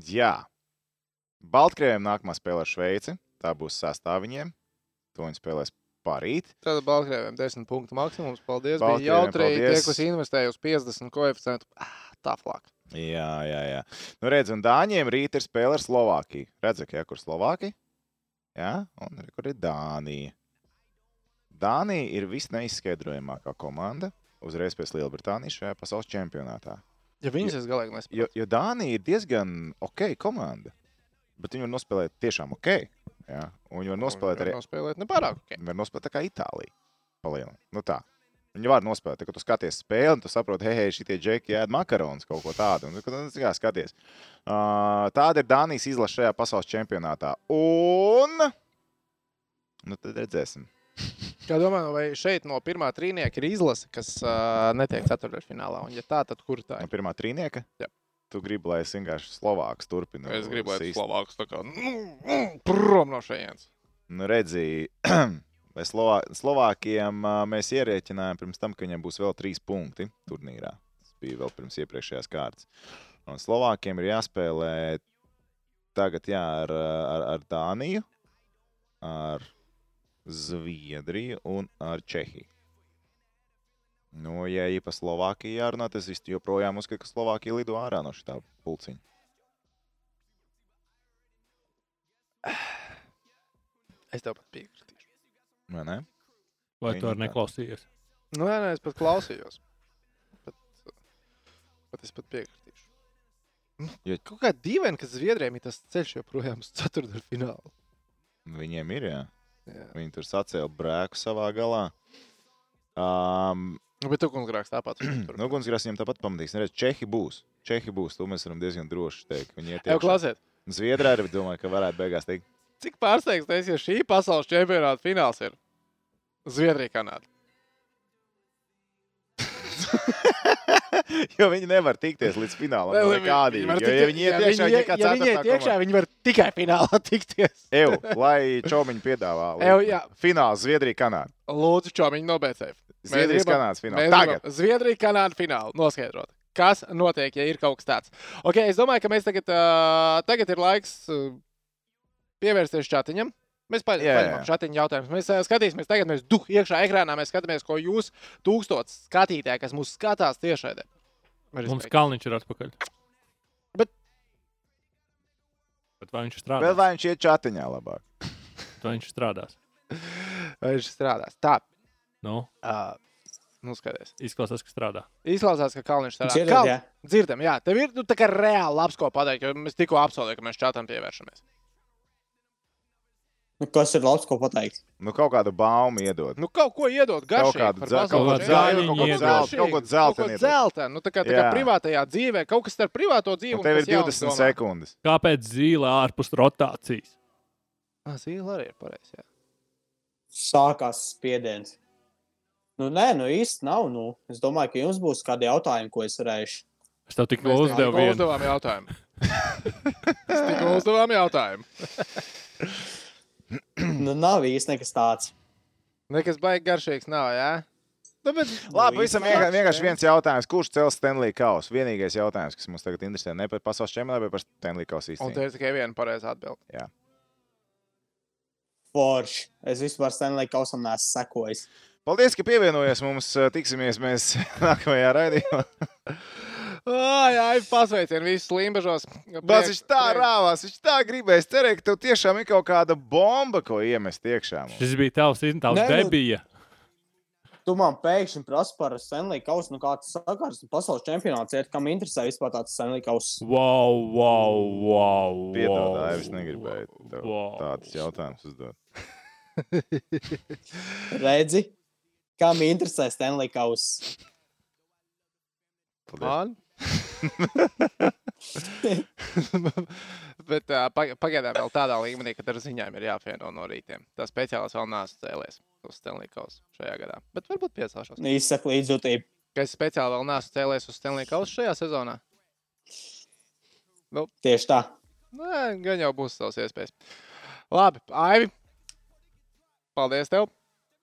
C: Jā. Baltkrieviem nākamā spēle ar Šveici. Tā būs sastāvā viņiem. To viņi spēlēs parīt.
A: Tātad Baltkrievijam 10 punktu maksimums. Paldies. Bija
C: Baltkrieviem
A: jautri. Tie,
C: paldies.
A: kas investēja uz 50 koeficientu, ah, tāflāk.
C: Jā, jā, jā. Nu, redz, un Dāņiem rīt ir spēle ar Slovākiju. Redzi, ka jā, kur Slovākija? Jā, un arī kur ir Dānija. Dānija ir visneizskaidrojamākā komanda uzreiz pēc Lielbritānijas šajā pasaules čempionātā.
A: Ja viņas es galīgi nesaprotu.
C: Jo, jo Dānija ir diezgan ok komanda, bet viņi var nospēlēt tiešām ok. Jā, un viņi var nospēlēt arī
A: Nospēlēt nepārāk. ok.
C: Viņi var nospēlēt tā kā Itālija. Palielināt. Nu tā. Viņi var nospēlēt. Tad, kad tu skaties spēli, un tu saproti, hei, hei šitie džeki ēd makaronus kaut ko tādu. Un, tad, nu, kā skaties. Uh, tāda ir Dānijas izlase šajā pasaules čempionātā. Un. Nu, tad redzēsim.
A: Kā domāju, vai šeit no pirmā trīnieka ir izlase, kas uh, netiek ceturdaļfinālā? Un, ja tā, tad kur tā
C: No
A: ir?
C: pirmā trīnieka.
A: Jā.
C: Tu gribi, lai es vienkārši Slovāks turpinu.
A: Es gribu, lai
C: sist-
A: Slovāks tā kā nu, nu, prom no šejienes.
C: Nu, redzēji, vai Slovā... Slovākiem ā, mēs ierēķinājām pirms tam, ka viņiem būs vēl trīs punkti turnīrā. Tas bija vēl pirms iepriekšējās kārtas. Un Slovākiem ir jāspēlē tagad jā, ar, ā, ar, ar Dāniju, ar Zviedriju un ar Čehiju. Nu, ja ir pa Slovākiju jārunā, tad es joprojām uzskatu, ka Slovākija lido ārā no šī pulciņa.
A: Es tev pat piekritīšu.
C: Vai ne?
B: Vai tu
C: Viņa
B: arī
C: tā.
B: neklausījies?
A: Nu, nē, nē, es pat klausījos. Bet, bet es pat piekritīšu.
C: Jo-
A: Jo... Kaut kā dīvaini, ka Zviedrijam ir tas ceļš joprojām uz ceturto finālu.
C: Viņiem ir, jā.
A: Jā.
C: Viņi tur sacēla brēku savā galā. Um,
A: Nu, bet tu kungs grāks tāpat.
C: nu, Gunsgrāns viņam tāpat pamatīs. Nereiz, Čehi būs. Čehi būs. To mēs varam diezgan droši teikt. Viņi iet
A: Tev
C: iekšā.
A: klasiet,
C: Zviedrija arī domāju, ka varētu beigās teikt,
A: cik pārsteigts tas, ja šī pasaules čempionāta fināls ir Zviedrija Kanāda.
C: jo viņi nevar tikties līdz finālam. Nē, nekādī.
A: var
C: Jo,
A: tikt-
C: ja viņi iet iekšā,
A: ie-
C: viņi kā
A: ja viņi
C: ceturtā
A: iet iekšā,
C: komanda.
A: viņi var tikai finālā tikties.
C: Eju, lai Čaumiņš piedāvā.
A: Eju, jā.
C: Fināls Zviedrija, Kanāda.
A: Lūdzu, čo viņi nobeidzēja.
C: Zviedrijas Kanādas fināls.
A: Mēs
C: Tagad.
A: gribam Zviedrija, Kanāda finālu noskaidrot. Kas notiek, ja ir kaut kas tāds? Okay, es domāju, ka mēs tagad, uh, tagad ir laiks uh, pievērsties chatiņam. Mēs pa-
C: Jā, jā,
A: paņemam
C: jā.
A: chatiņu jautājumus. Mēs uh, skatīsimies, tagad mēs duh iekšā ekrānā, mēs skatāmies, ko jūs tūkstots skatītāji, kas mūs skatās tiešraidē.
B: Mums Kalniņš ir atpakaļ.
A: Bet-
B: Bet vai viņš strādās?
C: Vēl vai viņš iet čatiņā labāk?
B: Vai viņš strādās?
A: viņš strādās. Tā,
B: Nu,
A: uh, nu skaties.
B: izklausās, ka strādā.
A: Izklausās, ka Kalniņš strādā.
F: Dzirdat,
A: Kal-
F: jā?
A: Dzirdam, jā. Tev ir nu, tā kā reāli labs ko pateikt, jo mēs tikko apsolījām, ka mēs čatam pievēršamies.
F: Nu, Kas ir labs, ko pateikt?
C: Nu, kaut kādu baumu iedod.
A: Nu, kaut ko iedot, gan
C: Kaut kādu dze-
B: kaut kādu zaļu, kaut ko
C: zelta- kaut ko zeltainu iedod.
A: zeltainu. Nu, tā kā, tā kā
C: Jā.
A: privātajā dzīvē, kaut kas starp privāto dzīvi
C: Un tev ir 20 sekundes.
B: Kāpēc zila ārpus rotācijas?
A: Zīle Ah, arī ir pareizi. jā.
F: Sākās spiediens. Nu, nē, nu īsti nav. Nu. Es domāju, ka jums būs kādi jautājumi, ko es varēšu.
B: Es tev tikko
A: Mēs
B: uzdevu
A: tikko
B: Nu, vienu.
A: uzdevām jautājumu. Mēs tikko uzdevām jautājumu.
F: Nu, nav īsti nekas tāds.
A: Nekas baigi garšīgs nav, jā? Nu, bet...
C: Labi, visam vienkārši, vienkārši
A: Stanley.
C: viens jautājums. Kurš cels Stanley Kausu? Vienīgais jautājums, kas mums tagad interesē, ne par pasaules čempionātu, bet par Stanley Kausu
A: Un te
C: īstenību.
A: ir tikai viena pareiza atbilde.
F: Forši. Es vispār Stanley Kausam neesmu sekojis.
C: Paldies, ka pievienojies mums. Tiksimies mēs nākamajā raidījumā.
A: Ai, ai, pasveicien visus limbažos.
C: Bet viņš tā rāvās, viņš tā gribēja. Es cerēju, ka tev tiešām ir kaut kāda bomba, ko iemest iekšā. mums.
B: Šis bija tavs, in- tavs
F: Nē, nu-
B: debija.
F: Tu man pēkšņi prasīji par Stanley Kausu, nu kāds sakars un pasaules čempionāts ir, kam interesē vispār tāds Stanley Kausas.
B: Wow, wow, wow.
C: Piedod,
B: wow,
C: Aivis, negribēju tev
B: wow.
C: tādus jautājumus uzdot.
F: Redzi, kam interesē Stanley Kausas.
C: Paldies.
A: Man? Bet uh, pagaidām vēl tādā līmenī, ka ar ziņām ir jāapvieno no rītiem. Tā speciālis vēl nāc cēlies uz Stanleykaus šajā gadā. Bet varbūt piesāšos.
F: Nu, Izsaka līdzjūtību.
A: Ka es speciāli vēl nāc cēlies uz Stanleykaus šajā sezonā.
F: Tieši tā.
A: Nē, Nu, gan jau būs savas iespējas. Labi, Aivi, paldies tev.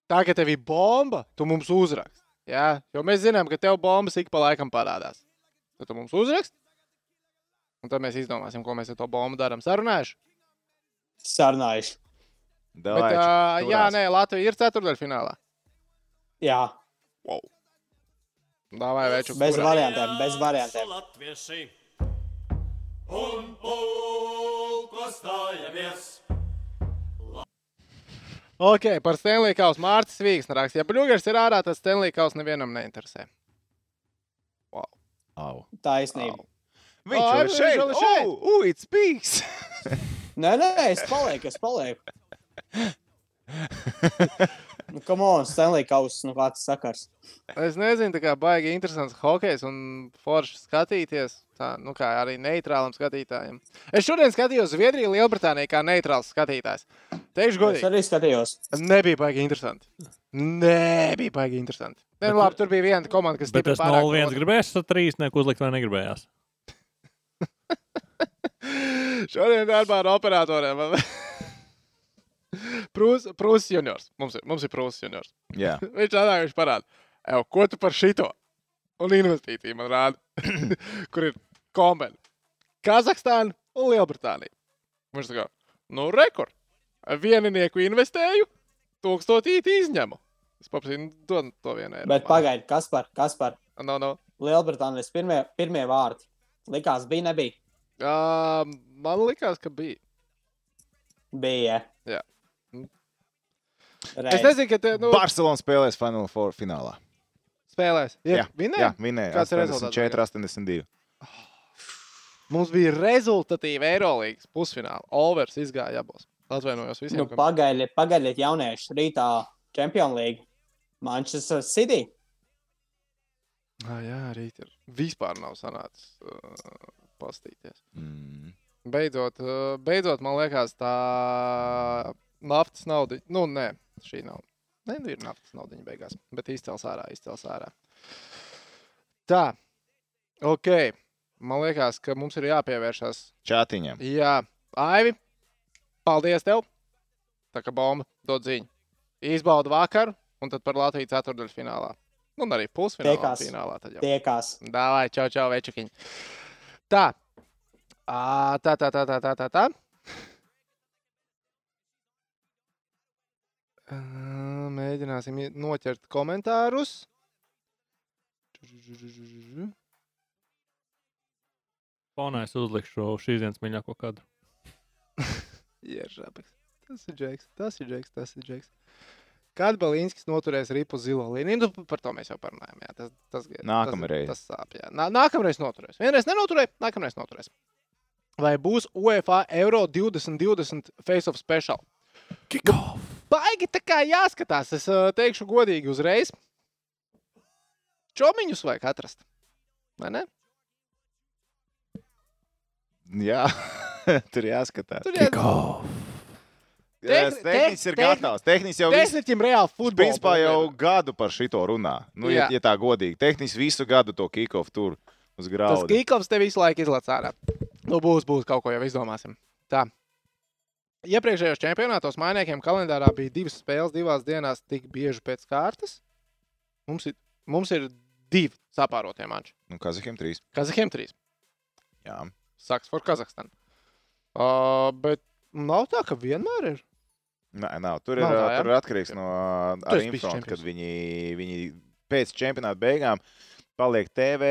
A: Tā kā tev ir bomba, tu mums uzrakst. Jā, jo mēs zinām, ka tev bombas ik pa laikam parādās. Tad tu mums uzrakst, un tad mēs izdomāsim, ko mēs ar to bombu darām. Sarunājuši.
F: Sarunājuši.
A: Bet,
C: Davai,
A: uh,
C: ču-
A: jā,
C: turās.
A: nē, Latvija ir ceturdaļfinālā.
F: Jā,
A: Davai, veču,
F: bez
A: kurā?
F: variantiem, bez variantiem.
E: Latvieši. Un pulko stājamies.
A: Ok, par Stanley Kausu Mārcis Vīgs raksta. Ja Bļūgers ir ārā, tad Stanley Kausu nevienam neinteresē.
C: Au.
F: Taisnība.
C: Viņš
A: Ai,
C: jau ir
A: viņš
C: šeit!
A: vēl ir šeit!
C: Ugh, ugh, it speaks!
F: Nē, nē, es palieku, es palieku. Nu, come on, Stanley Kausas, nu kāds sakars.
A: Es nezinu, tā kā baigi interesants hokejs un forši skatīties. Tā, nu kā arī neitrālam skatītājam. Es šodien skatījos Zviedriju, Lielbritāniju kā neitrāls skatītājs. Teikšu
F: Es
A: godīgi,
F: arī skatījos.
A: nebija baigi interesanti. Nebija baigi interesanti. Nē, nu, labi, tur bija viena komanda, kas
B: Bet
A: stipri
B: tas
A: pārāk
B: 0-1
A: otru.
B: gribēs, tad 3 neko uzlikt vai negribējās.
A: Šodien darbā ar operatoriem. Prūsijas prūs juniors. Mums ir, mums ir Prūsijas juniors.
C: Jā,
A: Viņš tādā viņš parāda. Evo, ko tu par šito? Un investīciju man rāda, kur ir kombinācija. Kazahstāna un Lielbritānija. Viņš tā kā, nu, rekord. Vienu nieku investēju, tūkstotī izņemu. Es paprasīju, nu, dod to vienu eiro.
F: Bet
A: man.
F: pagaidi, kas par, kas par
A: No, no.
F: Lielbritānijas pirmie, pirmie vārti? Likās, bija, nebija.
A: Uh, man likās, ka bija.
F: Bija.
A: Jā.
F: Reiz.
A: Es nezinu, ka te, nu, Bar...
C: Barcelona spēlēs Final Four finālā.
A: spēlēs. Jā,
C: jā
A: vinēja.
C: vinēja.
A: Kāds ir rezultāts
C: 84, 82.
A: Mums bija rezultatīva Eirolandes pusfināla. Overs izgāja abos. Atvainojos visiem.
F: Nu,
A: kam-
F: pagaidiet, pagaidiet, jaunieši rītā Champions League. Manchester City.
A: Ah, jā, rīt ir. Vispār nav sanācis uh, pastīties.
C: Mm.
A: Beidzot, uh, beidzot, man liekas, tā naftas nauda. Nu, nē, šī nav. Nē, nu ir naftas nauda beigās. Bet izcels ārā, izcels ārā. Tā, ok. Man liekas, ka mums ir jāpievēršas.
C: Čātiņam.
A: Jā, Aivi, paldies tev. Tā kā bomba dod ziņu. Izbaudu vakaru un tad par Latviju ceturdaļfinālā. Nu, un arī pusfinālā.
F: Tiekās.
A: Finālā tad jau.
F: Tiekās.
A: Dāvāj, čau, čau, večukiņ. Tā. Ā, Tā, tā, tā, tā, tā, tā. tā. Ā, Mēģināsim ie- noķert komentārus.
B: Fonā es uzlikšu šīs dienas mīļāko kadru.
A: Ježabeks. Tas ir Džeks, tas ir Džeks, tas ir Džeks. Kad Balīnskis noturēs ripu zilo līniju, nu, par to mēs jau parunājām. Jā, tas, tas, tas,
C: Nākamreiz.
A: Tas, tas sāp, jā. Nā, nākamreiz noturēs. Vienreiz nenoturēs, nākamreiz noturēs. Vai būs UEFA Euro 2020 Face of Special? Nu,
B: Kikof!
A: Baigi tā kā jāskatās, es ā, teikšu godīgi uzreiz. Čomiņus vajag atrast. Vai ne?
C: Jā, tur jāskatās.
A: Tur jau
B: Kikof!
A: Tehni-
C: Tas tehnicis ir
A: tehni-
C: gatavs. Tehnicis jau visu.
A: desmitiem reāli futbolu.
C: Principā jau gadu par šito runā. Nu, ja,
A: Jā.
C: ja tā godīgi. Tehnicis visu gadu to kikofu tur uz
A: Tas
C: graudu.
A: kīkls te visu laiku izlaiž ārā. Nu, būs, būs kaut ko jau izdomāsim. Tā. Iepriekšējos čempionātos mainiekiem kalendārā bija divas spēles, divās dienās tik bieži pēc kārtas. Mums ir, mums ir divi sapārotie mači.
C: Nu, Kazahim trīs.
A: Kazahiem trīs.
C: Jā.
A: Saks for Kazahstanu. Uh, bet nav tā, ka vienmēr ir.
C: Nē, nav. Tur ir,
A: Nav tā,
C: ā,
A: jā?
C: tur ir atkarīgs no
A: Tu esi bijis
C: infrāta, kad
A: čempions.
C: viņi, viņi pēc čempionāta beigām paliek TV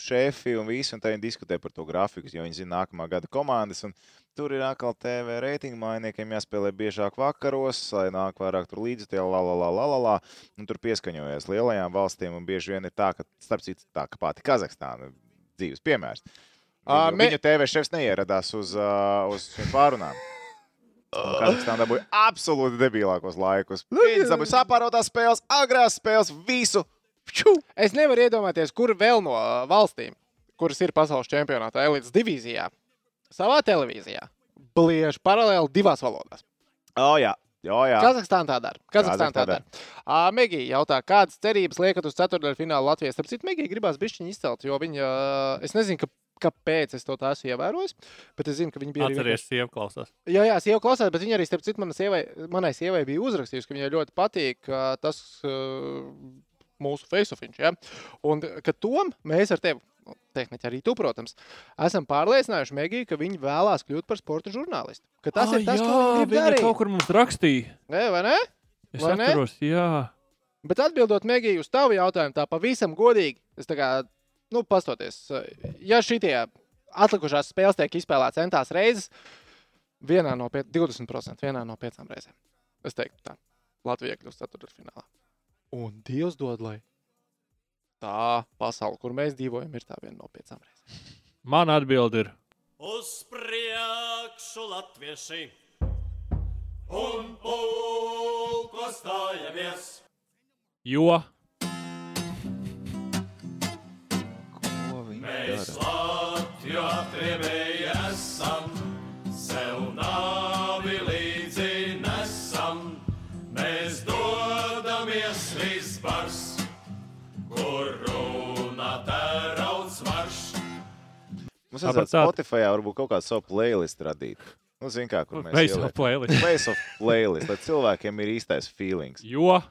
C: šefi un visi, un tad viņi diskutē par to grafiku, jo viņi zina nākamā gada komandas. un Tur ir atkal TV reitingu mainiekiem jāspēlē biežāk vakaros, lai nāk vairāk tur līdzekļu, la, la, la, la, la, la. Un tur pieskaņojas lielajām valstīm, un bieži vien ir tā, ka, starp citu, tā kā pati Kazahstāna dzīves piemērs.
A: Ā,
C: Viņu,
A: me-
C: viņu TV šefs neieradās uz, ā, uz šīm pārunām. Un Kazahstāna dabūja absolūti debilākos laikus. Viņa dabūja sapārotās spēles, agrās spēles, visu. Ču!
A: Es nevaru iedomāties, kur vēl no ā, valstīm, kuras ir pasaules čempionāta elites divīzijā, savā televīzijā, bliež paralēli divās valodās.
C: O, jā, o, jā.
A: Kazahstāna tā dara. Kazahstāna tā
C: Kazahstāna tā
A: dara. Ā, Megija jautā, kādas cerības liekat uz ceturdaļfinālu Latvijas? Starp citu, Megija gribās bišķiņu izcelt, jo viņa, es nezinu, ka, kāpēc es to tā esmu ievērojis, bet es zinu, ka viņa bija. arī
B: Atcerieties, sieva klausās.
A: Jā, jā, sieva klausās, bet viņa arī, starp citu, mana sievai, manai sievai bija uzrakstījusi, ka viņai ļoti patīk uh, tas uh, mūsu face-ofiņš. Ja? Un uh, ka tom mēs ar tevi, nu, tehniķi arī tu, protams, esam pārliecinājuši Megiju, ka viņa vēlās kļūt par sporta žurnālistu. Ka tas
B: Ā,
A: ir
B: Ah,
A: tas,
B: jā,
A: ko viņa grib
B: viņa
A: darīt.
B: kaut kur mums rakstīja.
A: Nē, vai ne?
B: Es
A: Vai ne?
B: atceros, jā.
A: Bet atbildot Megiju uz tavu jautājumu, tā pavisam godīgi, es tā kā, nu, pastoties, ja šitie atlikušās spēles tiek izspēlētas centās reizes, vienā no pie- 20%, vienā no piecām reizēm. Es teiktu, tā Latvija kļūst ceturtfinālā. Un Dievs dod, lai tā pasaule, kur mēs dzīvojam, ir tā viena no piecām reizēm.
B: Man atbild ir.
E: Uz priekšu latvieši un pulko stājamies!
B: Jo
E: Mēs Latviju atriebēji esam, sev nāvi līdzi nesam. Mēs dodamies visbars, kur runā tērauds marš.
C: Mums
B: Tāpat
C: vajadzētu
B: tā-
C: Spotify varbūt kaut kādu savu playlist radīt. Nu, zin kā, kur mēs
B: Face of
C: ieliekam.
B: playlist.
C: Face of playlist, lai cilvēkiem ir īstais feelings.
B: Jo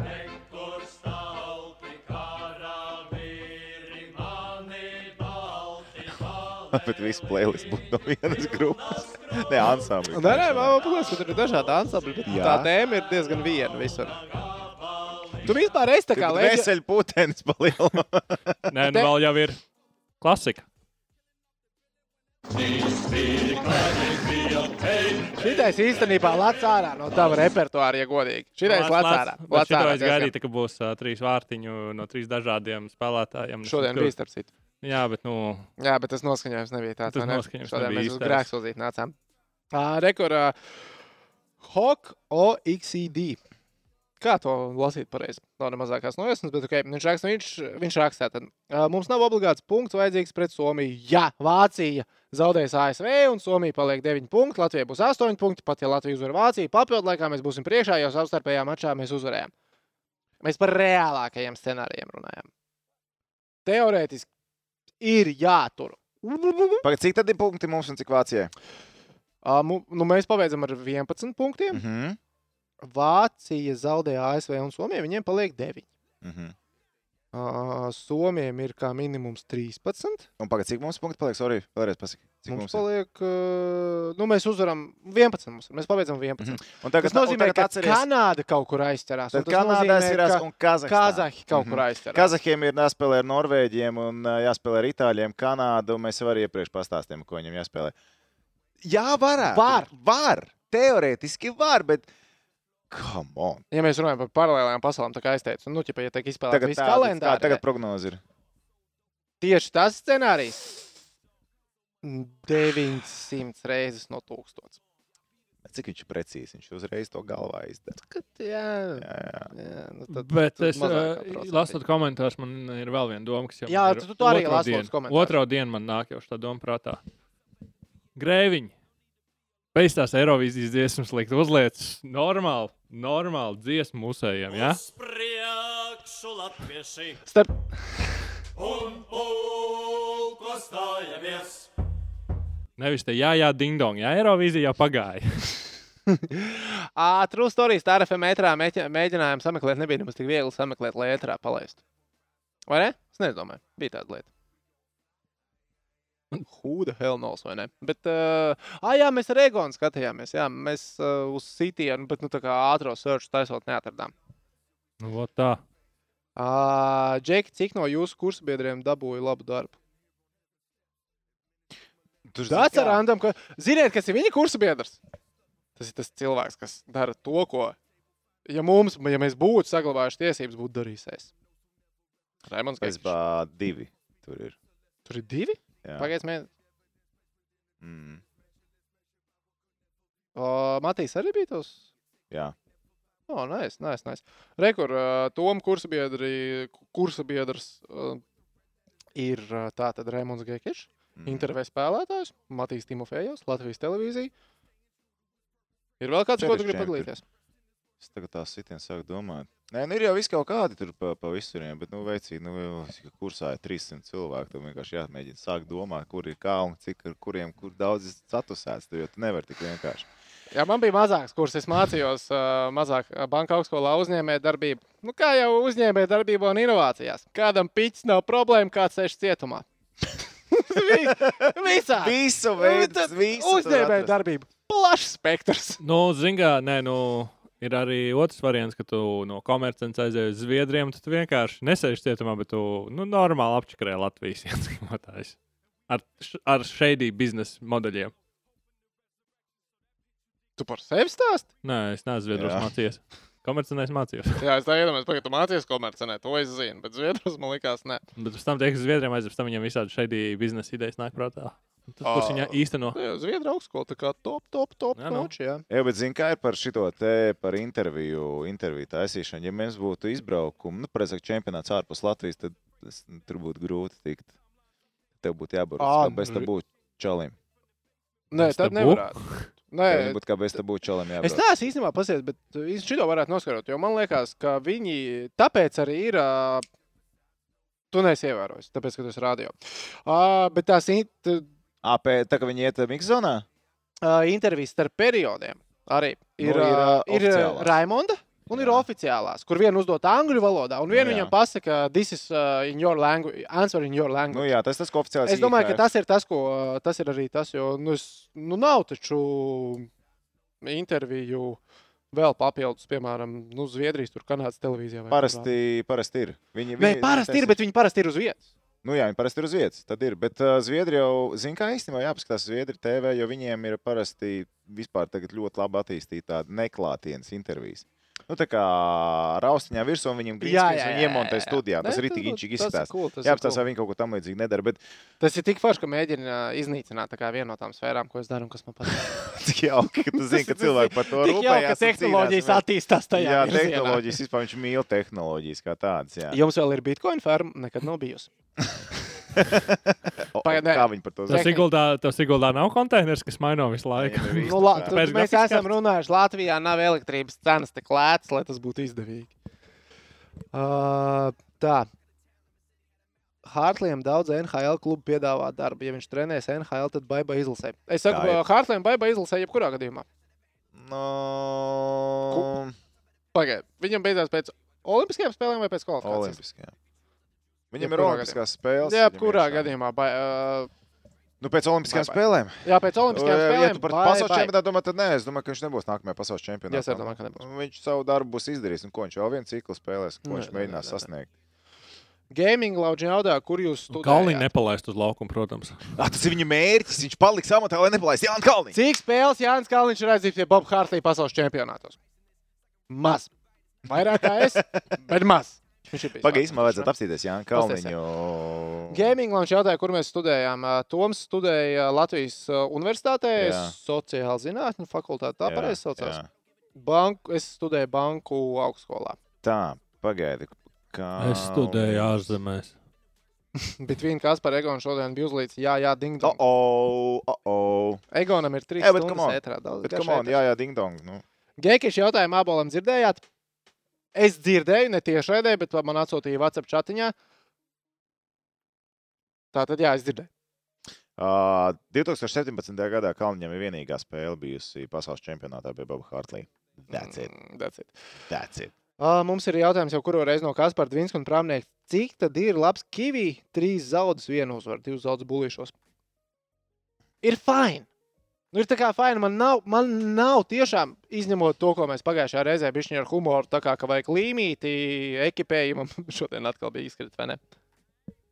E: Rektor stalti karavīri mani balti balti.
C: bet visu playlistu būtu no vienas grupas. Nē, ansambļa.
G: Nē, nē, man liekas, ka tur ir dažādi ansambļi, bet
C: Jā.
G: Jā. tā tēma ir diezgan viena visur. Tu vispār esi tā kā
C: Kā
G: leģenda.
C: veseļu putenis palielina.
B: Nē, nu vēl jau ir klasika.
A: Šitais īstenībā lats ārā no tava repertuāra, ja godīgi. Šitais lats ārā.
B: Lats
A: Lats
B: ārā.
A: ārā.
B: Es
A: diezgan.
B: gaidīju, ka būs uh, trīs vārtiņu no trīs dažādiem spēlētājiem. Nu,
A: Šodien bija starp citu.
B: Jā, bet nu,
A: Jā, bet tas noskaņojums nebija tāds.
B: Tas
A: vai ne?
B: noskaņojums
A: Šodien
B: nebija
A: mēs uz
B: īstais.
A: grēku solzīt nācām. Rekorā Hawk OXED. Kā to lasīt pareizi? Nav ne mazākās nojausmas, bet okay. viņš raksta, viņš, viņš raksta tad. Mums nav obligāts punkts vajadzīgs pret Somiju. Ja Vācija zaudēs ASV un Somija paliek 9 punkti, Latvija būs 8 punkti, pat ja Latvija uzvar Vāciju, papildu laikā mēs būsim priekšā, jo savstarpējā mačā mēs uzvarējām. Mēs par reālākajiem scenārijiem runājam. Teorētiski ir jātur.
C: Pagaid, cik tad ir punkti mums un cik Vācijai?
A: Ā, mu- Nu, mēs pabeidzam ar 11 punktiem.
C: Mhm.
A: Vācija zaudēja ASV un Somijai. Viņiem paliek 9.
C: Mhm.
A: Uh, Somijam ir kā minimums 13.
C: Un pagaid, cik mums punkti paliek? Sorry, vēlreiz pasaki. Cik
A: Mums
C: mums ir?
A: paliek, uh, nu, mēs uzvaram 11. Mums. ir. Mēs pabeidzam 11. Mm
C: Un
A: -hmm. Tas nozīmē,
C: un
A: ka
C: Mhm. tagad atceries-
A: Kanāda kaut kur aizķerās. un
C: Tad
A: tas
C: Kanādā
A: nozīmē,
C: ir
A: ka
C: un Kazahstānā.
A: Kazahi kaut kur
C: Mhm.
A: aizķerās.
C: Kazahiem ir jāspēlē ar Norvēģiem un ā, jāspēlē ar Itāļiem, Kanādu. Mēs jau arī iepriekš pastāstījām, ko viņam jāspēlē. Jā, varētu.
A: Var.
C: var. Teorētiski var, bet. Come on.
A: Ja mēs runājam par paralēlām pasaulēm, tā kā es teicu, nu, ķipa, ja tiek izspēlēts
C: Tagad
A: viss
C: tāda- tā,
A: kalendārs,
C: tagad prognoze ir.
A: tieši tas scenārijs 900 reizes no 1000.
C: Cik viņš ir precīzs? Viņš uzreiz to galvā izdara.
A: Kad,
C: Jā,
A: jā,
C: jā.
A: jā, nu,
B: Tad, bet
A: tad
B: es
A: mazākā
B: ā,
A: procentā.
B: lasot komentārus, man ir vēl viena doma, kas jau
A: Jā,
B: ir
A: tu- tu arī
B: otro
A: lasi
B: dienu.
A: lūdzu komentārus.
B: Otro dienu man nāk jau šī doma prātā. Grēviņi. Pēc tās Eirovīzijas dziesmas likt uzliekas normāli, normāli dziesmu musējiem. Ja?
E: Uz priekšu latvieši
A: Starp
E: un pulko stājamies.
B: Nevis te jā, jā, ding dong, jā, Eirovīzija jau pagāja.
A: Ā, True Stories, tā RFM metrā mēķi- mēģinājām sameklēt, nebija nemaz tik viegli sameklēt, lai ētrā palaistu. Vai ne? Es nezinu, bija tāda lieta. Who the hell knows, vai ne? Bet, uh, ah, jā, mēs ar Egonu skatījāmies, jā, mēs uh, uz sitienu, bet, nu, tā kā ātro search taisot neatradām.
B: Nu, vot tā.
A: Ā, Džeki, cik no jūsu kursabiedriem dabūja labu darbu?
C: Tur
A: Tāds ir randam, ka, ziniet, kas ir viņa kursabiedrs? Tas ir tas cilvēks, kas dara to, ko, ja mums, ja mēs būtu saglabājuši tiesības, būtu darījis es. Raimons, kas bija?
C: Pēcbā divi. Tur ir.
A: Tur ir divi?
C: Jā.
A: Pagaidiet, mēģiniet.
C: Mm.
A: Matīs arī bija tos.
C: Jā.
A: O, nē, nē, nē. Rekur, uh, Tom kursabiedri, kursabiedrs uh, ir uh, tātad Raimons Gekešs.
C: Mm.
A: Intervijas spēlētājs, Matīs Timofejovs, Latvijas televīzija. Ir vēl kāds, ko tu
C: Cerešķēni
A: gribi
C: tur.
A: padalīties?
C: Es tagad tā sitienu sāku domāt. Nē, nu ir jau viss kaut kādi tur pa, pa visuriem, bet, nu, veicīgi, nu, jau es- ka kursā ir 300 cilvēku. Tam vienkārši jāmēģina sākt domāt, kur ir kā un cik ar kuriem, kur daudz ir satusēts. Tur jau tu nevar tik vienkārši.
A: Jā, man bija mazāks kurs. Es mācījos uh, mazāk ā, banka augstskolā uzņēmējdarbību. Nu, kā jau uzņēmējdarbībā un inovācijās. Kādam pits nav problēma, kāds sēž cietumā. Vi- Visādi!
C: Visu
A: Nu, Tad
C: veidu, visu tur atrast.
A: Uzņēmējdarbība. Plašs spektrs.
B: Nu, zingā, nē, nu. Ir arī otrs variants, ka tu no komercijas aizjūji uz Zviedriem. Tad tu vienkārši nesēž cietumā, bet tu nu, normāli apčakarē Latvijas iedzīvotājus ar, š- ar šeidī biznesa modeļiem.
A: Tu par sevi stāst?
B: Nē, es neesmu Zviedrijas
C: Jā.
B: mācījies. Komercijas mācījos.
A: Jā, es tā iedomājos, pagaid, tu mācījies komercenē, to es zinu, bet Zviedrus man likās, ne.
B: Bet pēc tam, tiek uz Zviedriem, aizjūji, tam viņam visādi šeidī biznesa idejas nāk prātā. Un Tas, kurš viņa
A: Ā.
B: īsteno.
A: Nu, jā, Zviedru augstskola, tā kā top, top, top
B: Jā, nu.
A: noči, jā.
C: Jā, bet zini, kā ir par šo te par interviju, interviju taisīšanu. Ja mēs būtu izbraukumi, nu, precīzāk, čempionāts ārpus Latvijas, tad es, nu, tur būtu grūti tikt. Tev būtu jābūt
A: Ā,
C: kā bez
A: nu,
C: tā būtu čalim.
A: Nē,
B: Es
A: tad
B: tabu?
A: nevarētu. Nē,
C: Tev būtu kā bez tā būtu čalim jābūt.
A: Es neesmu īstenībā pasiet, bet uh, es šo varētu noskarot, jo man liekas, ka viņi tāpēc arī ir. ā, Tu neesi ievērojis, tāpēc, ka tu esi radio. Uh, bet tās in uh,
C: AP, tā kā viņi iet eh, mikzonā?
A: intervijas uh, starp periodiem arī ir,
C: Nu, ir,
A: uh,
C: ā,
A: ir
C: oficiālās.
A: Raimonda, Un ir oficiālās, kur vienu uzdot angļu valodā, un vienu
C: Nu, jā.
A: viņam pasaka, this is uh, in your language, answer in your language.
C: Nu, jā, tas tas, ko oficiāli
A: Es domāju, ka tas ir tas, ko ā, tas ir arī tas, jo nu, es, nu, nav taču interviju vēl papildus, piemēram, nu, Zviedrijas, tur Kanādas televīzijā. vai kur vēl.
C: parasti, parasti ir. Viņi,
A: Nē,
C: viņi-
A: parasti ir, bet viņi parasti ir uz vietas.
C: Nu, jā, viņi parasti ir uz vietas. Tad ir. Bet uh, Zviedri jau, zina, kā īstenībā jāpaskatās Zviedri TV, jo viņiem ir parasti vispār tagad ļoti labi attīstīta tāda neklātienes intervijas. Nu, tā kā raustiņā virsū un viņam gribas,
A: jā,
C: ka
A: jā,
C: viņi iemontē
A: jā, jā.
C: studijā. Tas
A: Nē,
C: ir itī ginčīgi
A: tas ir
C: izskatās.
A: cool, tas ir
C: Jā, tas
A: cool.
C: vai viņi kaut ko tam līdzīgu nedara, bet
A: Tas ir tik forši, ka mēģina iznīcināt tā kā vienu no tām sfērām, ko es daru un kas man patīk.
C: cik jauki, ka tu zini, ka
A: Tas- tas
C: cilvēki par to
A: Tik jau, ka
C: rūpējās. un
A: tehnoloģijas
C: cīnās.
A: attīstās tajā.
C: Jā,
A: virzienā.
C: tehnoloģijas, vispār viņš mīl tehnoloģijas kā tādas. Jā.
A: Jums vēl ir bitkoina ferma, nekad nav bijusi.
C: O, o,
A: Pagaid, nē.
C: Kā viņi par to
B: Tas
A: Tehni-
B: Siguldā, tas Siguldā nav konteiners, kas maino visu laiku.
C: Nē, nu,
A: Nu, la,
C: Tā.
A: tur,
B: Pēc
A: mēs
B: grafiskās-
A: esam runājuši, Latvijā nav elektrības cenas tik lētas, lai tas būtu izdevīgi. Uh, tā. Hartlīnam daudz NHL klubu piedāvā darbu. Ja viņš trenēs NHL, tad baiba izlasē. Es saku,
C: Tā ir.
A: Hartlīnam baiba izlasē jebkurā gadījumā.
C: No...
A: Pagaid, viņam beidzās pēc olimpiskajām spēlēm vai pēc kvalifikācijas?
C: Olimpiskajā. Viņam ir
A: Jebkurā
C: Olimpiskās spēles.
A: Jā,
C: viņam
A: kurā
C: iekšā.
A: gadījumā? Bai, uh,
C: Nu, pēc Olimpiskajām
A: Bye, bye.
C: spēlēm.
A: jā, pēc olimpiskajām
C: Ja ja
A: spēlēm.
C: tu par
A: bye,
C: pasaules
A: bye.
C: čempionātu domā, tad nē, es domāju, ka viņš nebūs nākamajā pasaules čempionātā.
A: Jā, es arī domāju, ka nebūs.
C: Viņš savu darbu būs izdarījis. Un ko viņš vēl vienu ciklu spēlēs, ko
A: Nē,
C: viņš
A: nē,
C: mēģinās
A: nē, nē.
C: sasniegt?
A: Gaming lauģi jautāja, kur jūs
B: Kalniņa
A: studējāt.
B: nepalaist uz laukumu, protams.
C: Ah, tas ir viņa mērķis. Viņš paliks amatā, lai nepalaist Jānis Kalniņš.
A: Cik spēles Jānis Kalniņš ir aizdzīts pie Boba Hārtlīna pasaules čempionātos? Maz. Vairāk kā es, bet maz. Viņš ir bijis
C: Pagaidzi,
A: labs.
C: man vajadzētu apstīties Jānis
A: Pasties, jā.
C: Kalniņu.
A: Gaming Lounge jautāja, kur mēs studējām. Ā, Toms studēja Latvijas ā, Universitātē,
C: Jā.
A: sociāla zinātņu fakultātē. Tā
C: Jā,
A: pareizi saucās.
C: jā.
A: Banku, es studēju banku augstskolā.
C: Tā, pagaidi. Kā...
B: Es studēju ārzemēs.
A: Bet viena kas par Egonu šodien bija uzlīts. Jā, jā, ding
C: Oh,
A: dong.
C: oh, oh, oh.
A: Egonam ir trīs
C: Eh, bet come on.
A: stundas ētrā. Daudz
C: Bet,
A: garš
C: come on,
A: ēters.
C: jā, jā, ding dong. Nu.
A: Gekiši jautājumu abolam dzirdējāt? Es dzirdēju, ne tieši raidē, bet man atsūtīja WhatsApp chatiņā. Tā tad jā, es dzirdēju.
C: Uh, 2017. gadā Kalniņam ir vienīgā spēle bijusi pasaules čempionātā pie Boba Hartlī. That's it.
A: Mm, That's it.
C: That's it.
A: Uh, mums ir jautājums jau kuru reizi no Kaspara Dvinska un Prāmnieka. Cik tad ir labs Kivī? Trīs zaudus, viena uzvara, divas zaudus bulīšos. Ir fine. Nu, ir tā kā fine. Man nav, man nav tiešām, izņemot to, ko mēs pagājušajā reizē bijām ar humoru, tā kā ka vajag līmīti ekipējumam. Šodien atkal bija izkrits, vai ne?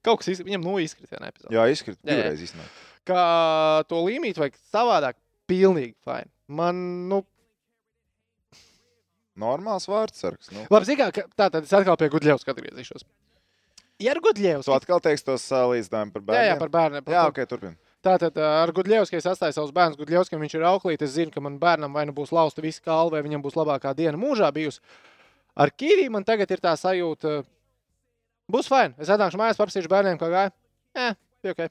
A: Kaut kas iz... viņam nu izkrits vienā epizodē.
C: Jā, izkrīt
A: Jā, jā.
C: divreiz īstenībā.
A: Kā to līmīti vajag savādāk, pilnīgi fine. Man, nu,
C: Normāls vārdsargs. Nu.
A: Labi, zini, kā tā tad es atkal pie Gudļevas atgriezīšos. Ja ar Gudļevas
C: Tu atkal teiksi to salīdzinājumu par
A: Jā,
C: bērniem.
A: jā, par bērniem.
C: jā ok, turpini.
A: Tātad ar Gudļevski es atstāju savus bērnus. Gudļevski viņš ir auklīte. Es zinu, ka man bērnam vai nu būs lausta visa kalva, vai viņam būs labākā diena mūžā bijusi. Ar Kīriju man tagad ir tā sajūta, būs fajn. Es atnākšu mājās, paprasīšu bērniem, kā gāja. Jā, bija ok.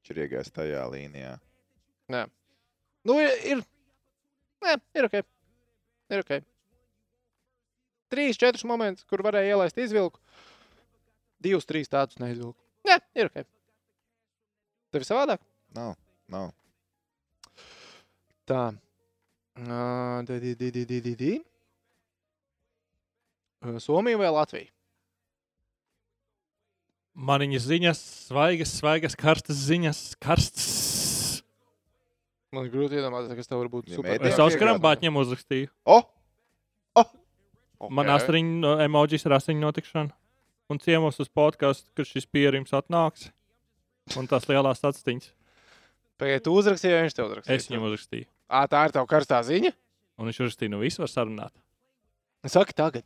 C: Viņš ir iegājis tajā līnijā.
A: Nu, ir, ir, nē, ir ok. Ir ok. Trīs, četrus momentus, kur varēja ielaist izvilku. Divus, trīs tādus neizvilku. Nē, ir ok. Tev ir savādāk?
C: Nav, nav.
A: Tā. Ā, di- di- di- di- di- di- di. Ā, Somija vai Latvija?
B: Maniņas ziņas, svaigas, svaigas, karstas ziņas, karsts.
A: Man ir grūti iedomāties, kas tev var būt
C: Ja
A: super.
C: mēdī-
B: Es
C: Jā,
B: Oskaram
C: piekrītu.
B: Bāķiem uzrakstīju.
C: O!
B: Man astriņu emoģijas ir asiņu notikšana. Un ciemos uz podkāstu, kad šis pierīms atnāks. Un tās lielās atstiņas.
A: Pagaidiet, tu uzrakstīji, vai viņš tev uzrakstīja?
B: Es viņam uzrakstīju.
A: Ā, tā ir tava karstā ziņa?
B: Un viņš uzrakstīja, nu viss var sarunāt.
A: Saki tagad.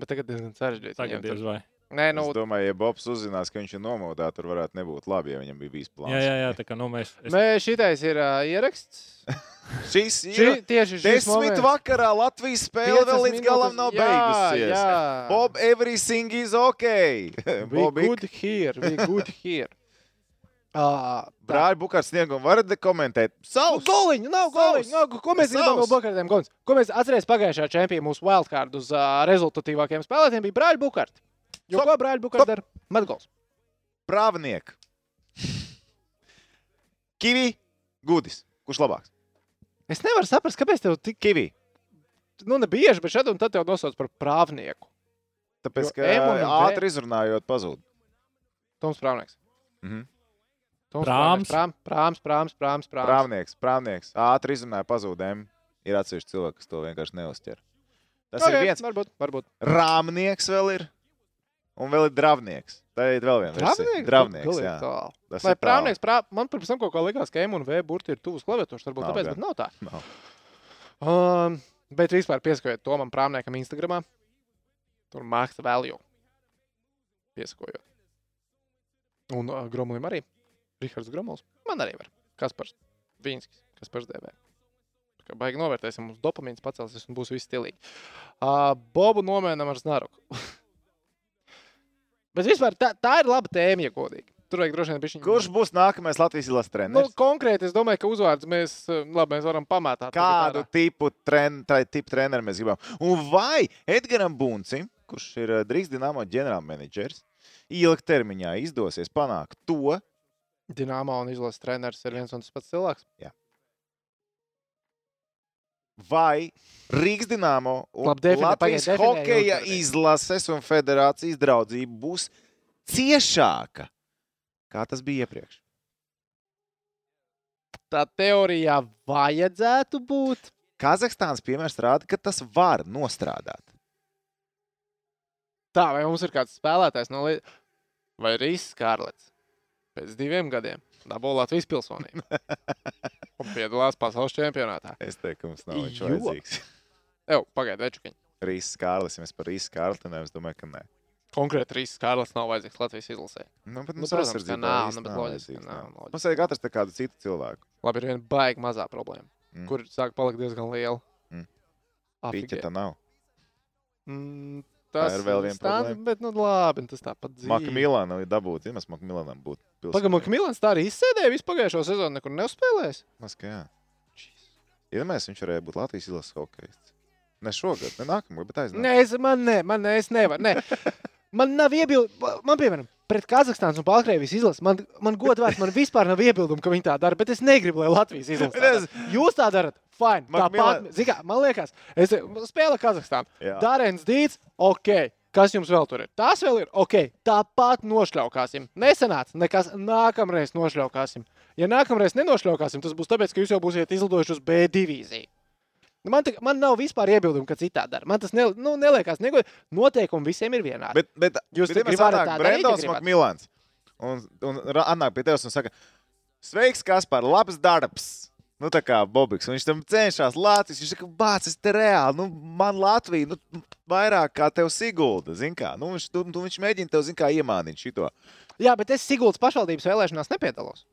A: Bet tagad diezgan sarežģīti.
B: Tagad
A: viņam tur-
B: diez vai.
A: Nē,
C: Nu,
A: nu,
C: es domāju, ja Bobs uzzinās, ka viņš ir nomodā, tur varētu nebūt labi, ja viņam bija bijis plāns.
B: Jā, jā, jā, tā kā nu mēs. Es...
A: Mēs šitais ir uh, ieraksts.
C: Šis
A: Ši,
C: ir
A: tieši šis
C: desmit vakarā Latvijas spēle
A: Piecas
C: vēl līdz galam
A: minūtes-
C: nav
A: jā,
C: beigusies.
A: jā.
C: Bob, everything is ok.
A: We
C: Bob,
A: good here, we good here. Uh,
C: brāļi, bukārs sniegumu varat komentēt.
A: Nav
C: Savs!
A: goliņa, nav goliņa.
C: Savs!
A: Nav, go- ko mēs
C: Savs!
A: gribam no Bukartiem? Gons? Ko mēs atcerēsimies pagājušā čempionā mūsu wildcard uz uh, rezultatīvākajiem spēlētājiem bija brāļi Bukarti. Jo
C: Stop!
A: ko brāļi Bukarti dara? Matgols.
C: Prāvnieki. Kivi, Gudis. Kurš labāks?
A: Es nevaru saprast, kāpēc tev tik
C: Kivi.
A: nu, ne bieži, bet šeit un tad tev nosauc par prāvnieku.
C: Tāpēc,
A: Jo
C: ka
A: M un V-
C: ātri izrunājot, pazūd.
A: Toms Prāvnieks.
C: Mhm.
A: Toms
B: Prāms?
A: Prāvnieks. Prām- Prāms, prāms, prāms, prāms.
C: Prāvnieks, prāvnieks. Ātri izrunājot, pazūdēm. Ir atsevišķi cilvēki, kas to vienkārši neuzķer. Tas
A: Ok,
C: ir viens.
A: Varbūt, varbūt.
C: Rāmnieks vēl ir. Un vēl ir dravnieks. Tā ir vēl viena. versija. Dravnieks,
A: Galīgi
C: jā.
A: tālu.
C: Tas
A: Vai
C: ir tālu.
A: prāvnieks, prā... man pirms tam kaut kā likās, ka M un V burti ir tuvs klaviatūras, varbūt
C: Nav
A: tāpēc,
C: gan.
A: bet nav tā.
C: Nav.
A: Um, bet vispār piesakojiet to man prāvniekam Instagramā. Tur māksla value. Piesakojot. Un uh, Gromlim arī. Rihards Gromls. Man arī var. Kaspars. Vīnskis. Kaspars DV. Tā kā Baigi novērtēsim, mums dopamīns pacelsies un būs viss stilīgi. Uh, Bobu nomēnam ar znaruku. Bet vispār tā, tā ir laba tēma, ja godīgi. Tur vajag droši vien bišķiņ...
C: Kurš būs nākamais Latvijas ilas
A: Nu,
C: treneris?
A: konkrēti, es domāju, ka uzvārds mēs, eh, labi, mēs varam pamatāt.
C: Kādu tipu, tren, tā, tipu treneru mēs gribam? Un vai Edgars Buncim, kurš ir eh, Drīgas Dienāmo ģenerālmenedžers, ilgtermiņā izdosies panākt to,
A: Dienāmā un izlases treneris ir viens un tas pats cilvēks.
C: vai Rīgas Dienāmo un
A: Labi, definē,
C: Latvijas
A: pagaid, definē
C: hokeja
A: ilgtermiņu.
C: izlases un federācijas draudzība būs ciešāka, kā tas bija iepriekš?
A: Tā teorijā vajadzētu būt.
C: Kazahstānas piemērs rāda, ka tas var nostrādāt.
A: Tā, vai mums ir kāds spēlētājs no Latvijas, vai Rīsas Kārlis pēc diviem gadiem dabūja Latvijas pilsonību un piedalās pasaules čempionātā.
C: Es teiktu, ka mums nav viņš
A: Jo.
C: vajadzīgs.
A: Evo, pagaidiet, večukiņ. Rīsas
C: Rīsas Kārlis, ja mēs par Rīsas Kārli runājam, es domāju, ka nē.
A: Konkrēti, Rīsas Kārlis nav vajadzīgs Latvijas izlasē.
C: Nu, bet
A: Nu,
C: mums
A: protams, ka
C: aizsardzībā
A: nav,
C: īsti
A: nu, bet
C: nav
A: loģiski,
C: vajadzīgs,
A: nav,
C: nē.
A: loģiski.
C: Mums vajag atrast kādu citu cilvēku.
A: Labi, ir viena baigta mazā problēma,
C: Mm.
A: mm. kur sāk palikt diezgan liela.
C: Mm. Piķa
A: Afigē.
C: tā nav.
A: Mm,
C: Tā
A: Tas
C: ir vēl viena
A: stand-
C: problēma.
A: Bet, nu, labi, tas tāpat dzīvo.
C: Makmilāna ir dabūta. Zinu, Makmilānam būtu pilsēta.
A: Pagaidām, ka Milans tā arī izsēdēja visu pagājušo sezonu, nekur neuzspēlējis.
C: Mas, ka jā. Iedomājieties, viņš varēja būt Latvijas izlases hokejists. Ne šogad, ne nākamgad, bet aizvien.
A: Nē, es, man, nē, man, nē, es nevaru. Nē. Man nav iebildumu, man, piemēram, pret Kazahstānas un Baltkrievijas izlases. Man, man godīgi, man vispār nav iebildumu, ka viņi tā dara, bet es negribu, lai Latvijas izlase. tā
C: Es-
A: dara. Jūs tā darat, fine.
C: Man
A: Tāpat,
C: Milan-
A: zikā, man liekas, es spēlēju Kazahstānu.
C: Jā.
A: Darēns Dīts, ok. Kas jums vēl tur ir? Tas vēl ir ok. Tāpat nošļaukāsim. Nesenāts, nekas nākamreiz nošļaukāsim. Ja nākamreiz nenošļaukāsim, tas būs tāpēc, ka jūs jau būsiet izlidojuši uz B divīziju. Nu, Man, te, man nav vispār iebildumu, ka citā dara. Man tas ne, nu, neliekas, neko. Noteikumi visiem ir vienādi.
C: Bet, bet
A: Jūs
C: bet ja
A: gribat
C: mēs
A: varat
C: atnāk
A: tā darīt,
C: Brendons
A: ja gribat?
C: Makmilāns. Un, un ra- atnāk pie tevis un saka, sveiks, Kaspar, labs darbs. Nu, tā kā Bobiks. Un Viņš tam cenšas Latvijas. Viņš saka, bāc, es te reāli, nu, man Latvija, nu, vairāk kā tev Sigulda, zin kā. Nu, viņš, tu, tu, viņš mēģina tev, zin kā, iemānīt šito.
A: Jā, bet es Siguldas pašvaldības vēlēšanās nepiedalos.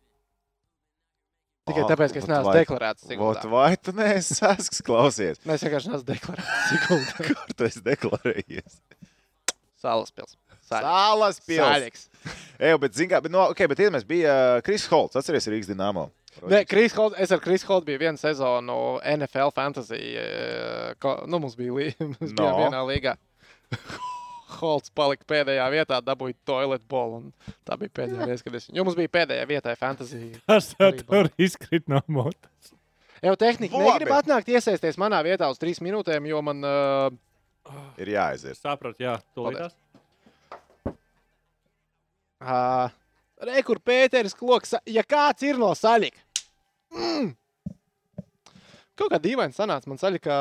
A: Tikai
C: Ah,
A: tāpēc, ka es
C: vot
A: neesmu
C: vai-
A: deklarēts
C: Vot,
A: Siguldā.
C: vai tu neesi sasks klausies?
A: Nē, Es vienkārši neesmu deklarēts Siguldā.
C: Kur tu esi deklarējies?
A: Salas pils. Saļ-
C: Sālas pilsēta.
A: Saļiks.
C: Jā, bet, zin kā, bet, no, okay, bet iedomājies, bija uh, Kris Holts, atceries Rīgas Dienāmo.
A: Nē, Kris Holt, es ar Krisu Holtu biju vienu sezonu NFL fantasy. eh, ko- Nu, mums bija lī, mums no.
C: No.
A: vienā līgā. Holts palika pēdējā vietā, dabūja toilet bolu. un Tā bija pēdējā reize, kad es. Jo mums bija pēdējā vietā fantasy.
B: Tas tev
A: Arī
B: tur izkrīt no motas.
A: Jau tehniski
C: Labi.
A: negrib atnākt iesaisties manā vietā uz trīs minūtēm, jo man uh,
C: Ir jāaiziet.
B: Sapratu, jā, to
A: Paldies.
B: liekas.
A: uh, rekur Pēteris Kloks, ja kāds ir no saļika. Mm. Kaut kā dīvaini sanāca man saļika,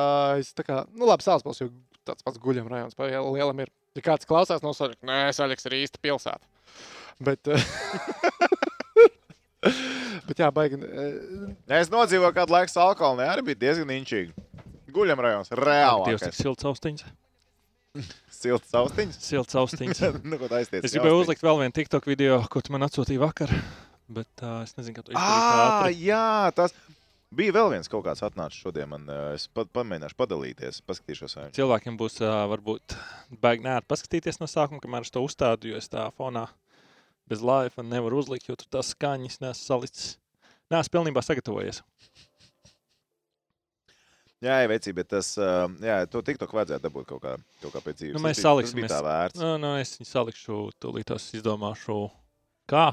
A: es tā kā, nu labi, sāspils, jo tāds pats guļam rajons pa liel- lielam ir. Ja kāds klausās no saļika, nē, saļiks ir īsta pilsēta. Bet, eh, bet jā, baigi. eh,
C: Nē, Es nodzīvoju kādu laiku Salkalnē, arī bija diezgan inčīgi. Guļam rajonos,
B: Dievs, cik
C: reāli.
B: silts austiņas.
C: Silts austiņas.
B: Silts austiņas.
C: nu, ko taisties?
B: Es gribēju uzlikt vēl vienu TikTok video, ko tu man atsūtīji vakar, bet uh, es nezinu, kā to
C: Ah,
B: izdarīt. ātri.
C: jā, tas bija vēl viens kaut kāds atnācis šodien. Man, eh, es pat pamēģināšu padalīties, paskatīšos. vai-
B: Cilvēkiem būs uh, varbūt baigi nē, paskatīties no sākuma, kamēr es to uzstādu, jo es tā fonā bez laiva nevaru uzlikt, jo tur tās skaņas nesu salicis. Nē, es pilnībā sagatavojies.
C: Jā, jā, vecī, bet tas, eh, jā, to tiktok vajadzētu dabūt kaut kā, kaut kā pēc dzīves.
B: Nu,
C: Tas bija-
B: mēs
C: tas
B: saliksimies.
C: bija Tā vērts.
B: Nu, nu, es viņu salikšu, tūlīt tās izdomāšu, kā.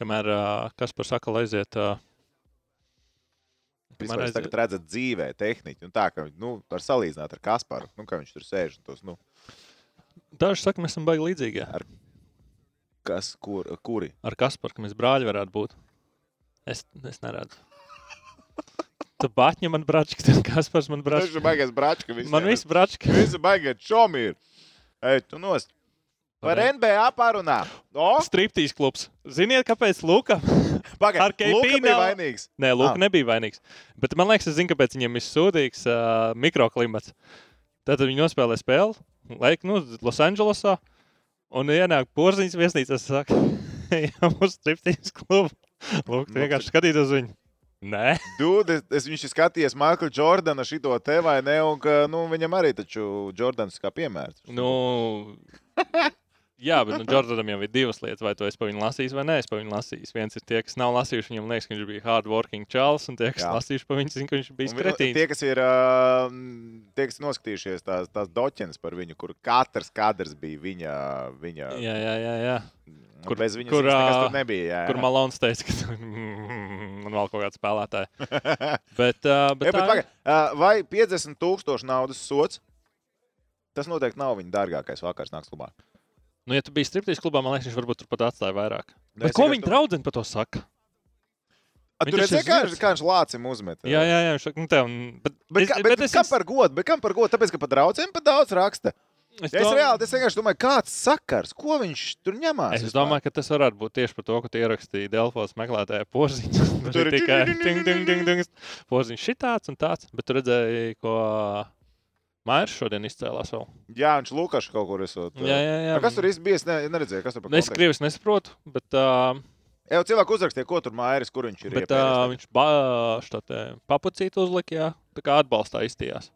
B: Kamēr uh, kas par sakalu aiziet uh,
C: vispār
B: aiz-
C: aiz... tagad redzat dzīvē tehniku. Un tā, ka, nu, var salīdzināt ar Kasparu, nu, kā viņš tur sēž un tos, nu,
B: Daži saka, mēs esam baigi līdzīgi.
C: kas, kur, kuri.
B: Ar Kasparu, ka mēs brāļi varētu būt. Es, es neredzu. Tu bāķi man brāčki, tad Kaspars man
C: Tas
B: brāčki.
C: ir baigais bračka.
B: Man viss brāčki.
C: Visi baigās šomīri. Ej, tu nost. Par
B: Labi.
C: NBA parunā. O,
B: Striptīs klubs. Ziniet, kāpēc Luka? Ar
C: pagaid,
B: KP
C: Luka bija
B: nav-
C: vainīgs.
B: Nē, Luka
C: Ah.
B: nebija vainīgs. Bet man liekas, es zinu, kāpēc viņam ir sūdīgs uh, mikroklimats. Tad viņi nospēlē spēli, laik, nu, Losandželosā. Un ienāk porziņš viesnīcā, saka, ejam uz striptīs klubu. Lūk,
C: Nu,
B: vienkārši skatīt uz viņu. Nē,
C: Dude, es, es viņš ir skatījies Maikla Jordana šito te vai ne, un ka, nu, viņam arī taču Jordans kā piemērs.
B: nu. Jā, bet nu, Jordanam jau ir divas lietas, vai tu esi pa viņu lasījis, vai nē, es pa viņu lasīju. Viens ir tie, kas nav lasījuši, viņam liekas, ka viņš bija hardworking čels, un tie, kas
C: Jā.
B: lasījuši pa viņu, zina, ka viņš bija
C: Un vi-
B: skretīns.
C: Tie, kas ir ā, m, tie, kas ir noskatījušies tās, tās doķenes par viņu, kur katrs kadrs bija viņa. viņa
B: Jā, jā, jā. jā.
C: nu,
B: kur-
C: bez viņas
B: kur,
C: kur, nekas
B: ā,
C: tur nebija. Jā, jā.
B: Kur Malons teica, ka man vēl kaut kāda spēlētāja. Bet, uh, bet,
C: Bet, bet,
B: tā
C: paga, ā, vai 50 tūkstoši naudas sots? Tas noteikti nav viņa dārgākais vakars naktas klubā.
B: nu, ja tu biji striptīs klubā, man liekas, viņš varbūt tur pat atstāja vairāk.
C: Nu,
B: Bet
C: es
B: ko
C: vienkārši
B: viņa draudzene par to saka?
C: A, Tur
B: Viņš ir
C: redzēja,
B: šis
C: kā,
B: vietas.
C: kā viņš lācim uzmet.
B: Jā, jā, jā. Viņš saka, nu, tev, bet,
C: Bet, kā, bet, bet
B: es,
C: kam par godu? Bet kam par godu? Tāpēc, ka par draugiem pat daudz raksta.
B: es,
C: Es
B: dom-
C: reāli es vienkārši domāju, kāds sakars, ko viņš tur ņemās.
B: Es domāju, ka tas varētu būt tieši par to, ka tu ierakstīji Dēlφos meklētāju porziņu. Tur
C: Tur
B: ir
C: ir
B: tikai ding, ding, ding, ding. Porziņš šitāds un tāds. Bet tu redzēji, ko Mairs šodien izcēlās vēl.
C: Jā, viņš Lukašs kaut kur esot.
B: Jā, jā, jā.
C: A, Kas tur īsti bija? Es ne, neredzēju, kas tur bija.
B: Nu, Es krievis nesaprotu, bet. Uh,
C: Jau cilvēku uzrakstīja, ko tur mājās, kur viņš ir.
B: Bet
C: iepēries
B: uh,
C: tagad.
B: viņš bija papucīt uzlika, jā, tā kā atbalstā izstījās.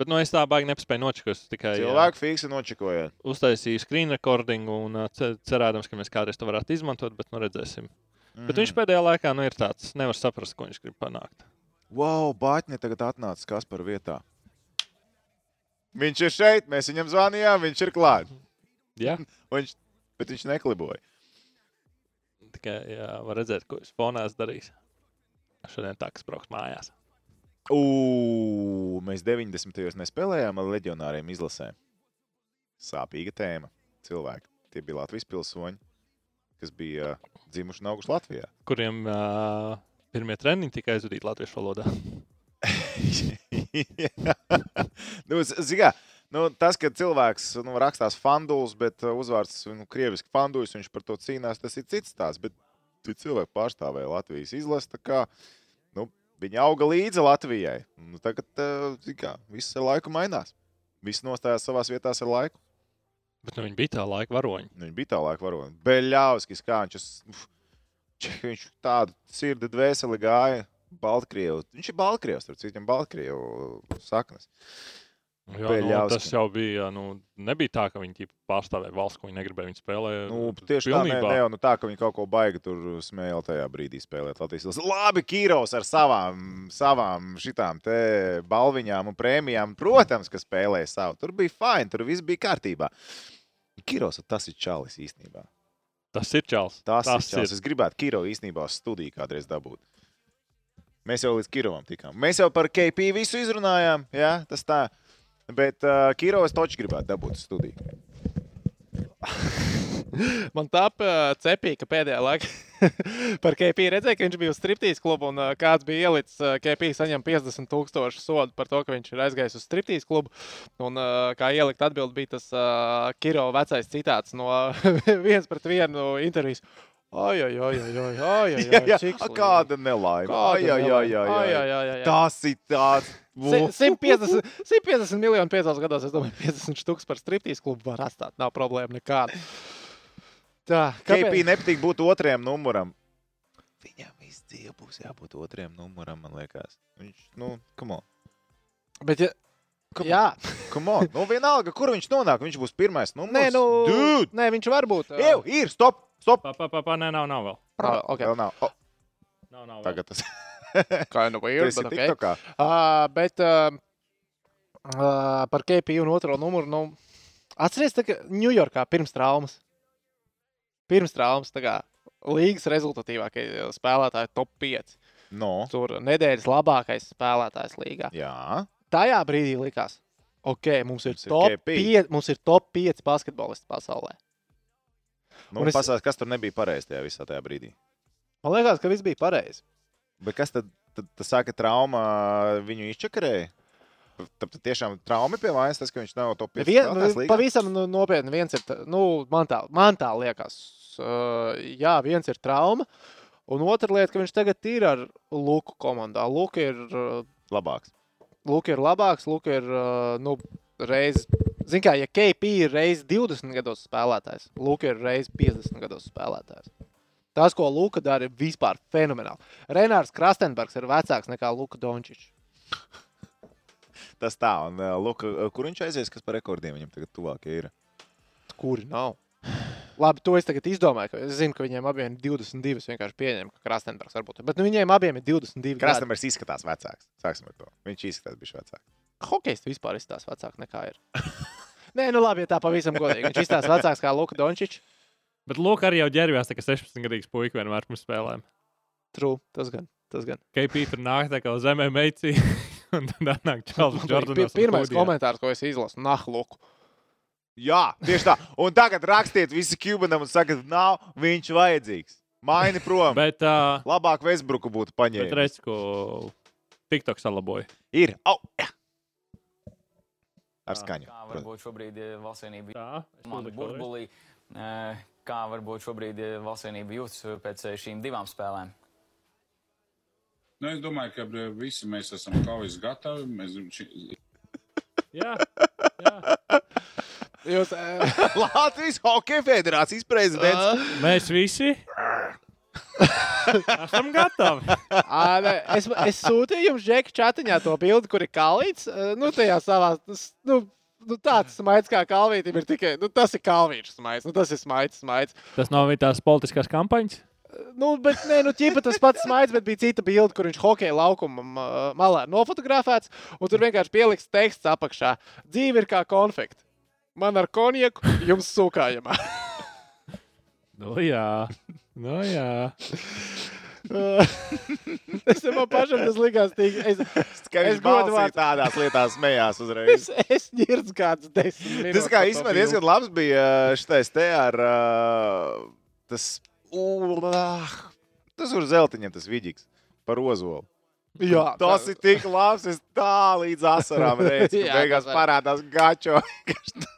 B: Bet nu, es tā baigi nespēju nočakot. Es tikai
C: cilvēku fiksi nočakoja.
B: ā, uztaisīju screen recordingu un ā, ce- cerēdams, ka mēs kādreiz to varētu izmantot, bet nu redzēsim. Mm. Bet
C: Mhm.
B: viņš pēdējā laikā nu, ir tāds, nevar saprast, ko viņš grib panākt.
C: Wow, Bāķņi tagad atnācis kas par vietā. Viņš ir šeit, mēs viņam zvanījām, viņš ir klāts.
B: Jā,
C: Viņš... Bet viņš nekliboja.
B: tikai jā, var redzēt, ko viņš fonās darīs. Šodien tā, kas brauks mājās.
C: Ugh, mēs 90. gados nespēlējām ar leģionāriem izlasēm. Sāpīga tēma. Cilvēki, tie bija Latvijas pilsoņi, kas bija eh, dzimuši un auguši Latvijā.
B: Kuriem uh, pirmie treniņi tika aizvadīti latviešu valodā.
C: nu, z- zigā, nu, tas, ka cilvēks nu, rakstās fandulis, bet uh, uzvārds nu, krieviski fandulis, viņš par to cīnās, tas ir cits tās. Bet tie cilvēki pārstāvēja Latvijas izlasi. tā kā, Nu, viņa auga līdzi Latvijai. Nu, tagad uh, zigā, viss ar laiku mainās. Viss nostājās savā vietā ar laiku.
B: Bet nu, viņi bija tā laika varoņi.
C: Nu, Viņa bija tā laika varona. Beļģauskis, kā viņš, uf, če- viņš tādu sirdi dvēseli gāja. Baltkrievu. Viņš ir Baltkrievs, tur citam Baltkrievu saknes.
B: Jā, nu,
C: Beļļauska.
B: tas jau bija. Nu, nebija tā, ka viņi tīpa, pārstāvēja valsts, ko viņi negribēja. Viņi spēlēja
C: Nu, tieši tā, ne,
B: pilnībā.
C: ne jau nu tā, ka viņi kaut ko baigi tur smēla tajā brīdī spēlēt Latvijas valsts. Labi, Kīros ar savām, savām šitām te balviņām un prēmijām, protams, ka spēlēja savu. Tur bija fajn, tur viss bija kārtībā. Kīros, tas ir čalis īstenībā.
B: Tas ir Čels.
C: Tas, tas ir tas, kas gribētu Kiro īstenībā studiju kādreiz dabūt. Mēs jau līdz Kirovam tikām. Mēs jau par KP visu izrunājām, jā, tas tā. Bet uh, Kirovs taču gribētu dabūt studiju.
A: Man tā ā, cepīja, ka pēdējā laikā par KP redzēja, ka viņš bija uz striptīs klubu un ā, kāds bija ielicis eh, ā, KP saņem 50 tūkstošu sodu par to, ka viņš ir aizgājis uz striptīs klubu. Un ā, kā ielikt atbildi bija tas ā, Kiro vecais citāts no viens pret vienu intervijas. Ai, ai, ai, ai, ai, ai, ai,
C: Jā, jā,
A: cik
C: a,
A: slikti.
C: kāda nelaime.
A: Kāda
C: Ai, ai, ai, ai,
A: nelaime.
C: ai.
A: Ai, ai, ai, ai.
C: Tas ir tāds.
A: Si- 150, 150 miljonu piecās gados, es domāju, 50 štuks par striptīs klubu var atstāt. Nav problēma nekāda. Tā,
C: KP nepatīk būt otrajam numuram. Viņam viss dzīve būs jābūt otrajam numuram, man liekas. Viņš, nu, come on.
A: Bet, ja,
C: Come on.
A: jā,
C: Come on. Nu, vienalga, kur viņš nonāk, viņš būs pirmais numurs.
A: Nē, nu,
C: Dude!
A: nē, viņš var būt.
C: Jau, ir, stop, stop.
B: Pā, pā, pā, pā, nē, nav, nav vēl.
A: Protams, okay.
C: Vēl nav. O,
B: Nav, nav vēl.
C: tagad tas
A: kind of weird,
C: Tas
A: bet
C: ir
A: okay.
C: TikTokā.
A: uh, bet uh, uh, par KPI un otro numuru. Nu, Atcerieties, ka Ņujorkā pirms traumas, pirms traumas, tā kā līgas rezultatīvākie spēlētāji, top 5.
C: No.
A: Tur nedēļas labākais spēlētājs līgā.
C: Jā.
A: Tajā brīdī likās, ok, mums ir
C: Mums ir
A: top
C: KP.
A: 5, mums ir top 5 basketbolisti pasaulē.
C: Nu,
A: Un
C: es...
A: es-
C: Pasāc, kas tur nebija pareizi tajā visā tajā brīdī?
A: Man liekas, ka viss bija pareizi.
C: Bet kas tad, tad, tad saka, trauma viņu izčakarēja? Tad tiešām trauma pie vainas, tas, ka viņš nav to
A: Vien,
C: pieredzējis.
A: pavisam nu, nopietni, viens ir, tā- nu, man tā, man tā liekas, uh, jā, viens ir trauma, un otra lieta, ka viņš tagad ir ar Luku komandā. Luka ir uh,
C: Labāks.
A: Luka ir labāks, Luka ir uh, nu, reizes. Ziniet, kā, ja KP ir reizes 20 gados spēlētājs, Luka ir reizes 50 gados spēlētājs. Tas, ko Luka dara, ir vispār fenomenāli. Renārs Krastenbergs ir vecāks nekā Luka Dončičs.
C: Tas tā, un uh, lūk, uh, kur viņš aizies, kas par rekordiem viņam tagad tuvākie ir.
A: Kuri nav? Labi, to es tagad izdomāju. ka- Es zinu, ka viņiem abiem ir 22. Es vienkārši pieņēmu, ka Krastenbergs varbūt. Bet nu, viņiem abiem ir 22. gadi.
C: Krasnodēļs izskatās vecāks. Sāksim ar to. Viņš izskatās bijis vecāks.
A: Hokejs vispār izstāsta vecāk nekā ir. Nē, nu labi, ja tā pavisam godīgi. Viņš izstāsta vecāks kā Luka Dončičs.
B: Bet Lūk, arī jau ģērbjās, tā kā 16-gadīgs puika vienmēr pirms spēlēm.
A: True, tas gan. Tas gan.
B: KP tur nāk tā kā uz zemē meitī, un tad nāk Čārlis
A: Pi-
B: Jordans.
A: Pirmais komentārs, ko es izlasu, nah, lūk.
C: Jā, tieši tā. Un tagad rakstiet visi Kubanam un sakiet, nav viņš vajadzīgs. Maini prom. Bet...
B: Bet, uh,
C: Labāk Vēsbruku būtu
B: bet
C: paņēmis.
B: redz, ko TikTok salaboja.
C: Ir. Au! jā. Ar skaņu.
H: Kā
C: protams.
H: varbūt šobrīd eh, valstsvienība
B: Tā,
H: izmanto burbulī, eh, kā varbūt šobrīd eh, valstsvienība jūtas eh, pēc eh, šīm divām spēlēm?
I: Nu, es domāju, ka eh, visi mēs esam kaujas gatavi. Mēs, ši-
B: Jā, jā.
A: Jūs, eh,
C: Latvijas Hokeja Federācijas prezidents.
B: Mēs visi esam gatavi.
A: ā, nē, es, es sūtīju jums, Džek, čatiņā to bildi, kur ir kalīts. eh, Nu, tajā savā. s- Nu, nu, tāds smaids kā kalvītam ir tikai. Nu, tas ir kalvīčs smaids. Nu, tas ir smaids, smaids.
B: Tas nav viņa tās politiskās kampaņas.
A: Nu, bet, nē, nu, ķipa tas pats smaids, bet bija cita bilde, kur viņš hokeja laukuma eh, malā nofotografēts. Un tur vienkārši pieliks teksts apakšā. Dzīve ir kā konfekts. Man ar konjaku, jums sūkājumā.
B: Nu, jā, nu, jā.
A: es man pašam tas likās tik. Es,
C: Ka
A: Es
C: viņš godu
A: godvārds-
C: vārdu tādās lietās smējās uzreiz.
A: Es, es dzirdu, kāds desmit minūtes.
C: Tas kā
A: par to
C: īstenībā
A: bildi.
C: diezgan labs bija šitais te ar uh, tas. Ulā, tas ir zeltiņam, tas vidīgs par ozolu.
A: Jā,
C: Tas ir tik labs, es tā līdz asarām redzu.
A: Jā,
C: ka Beigās
A: tas var.
C: parādās gačo.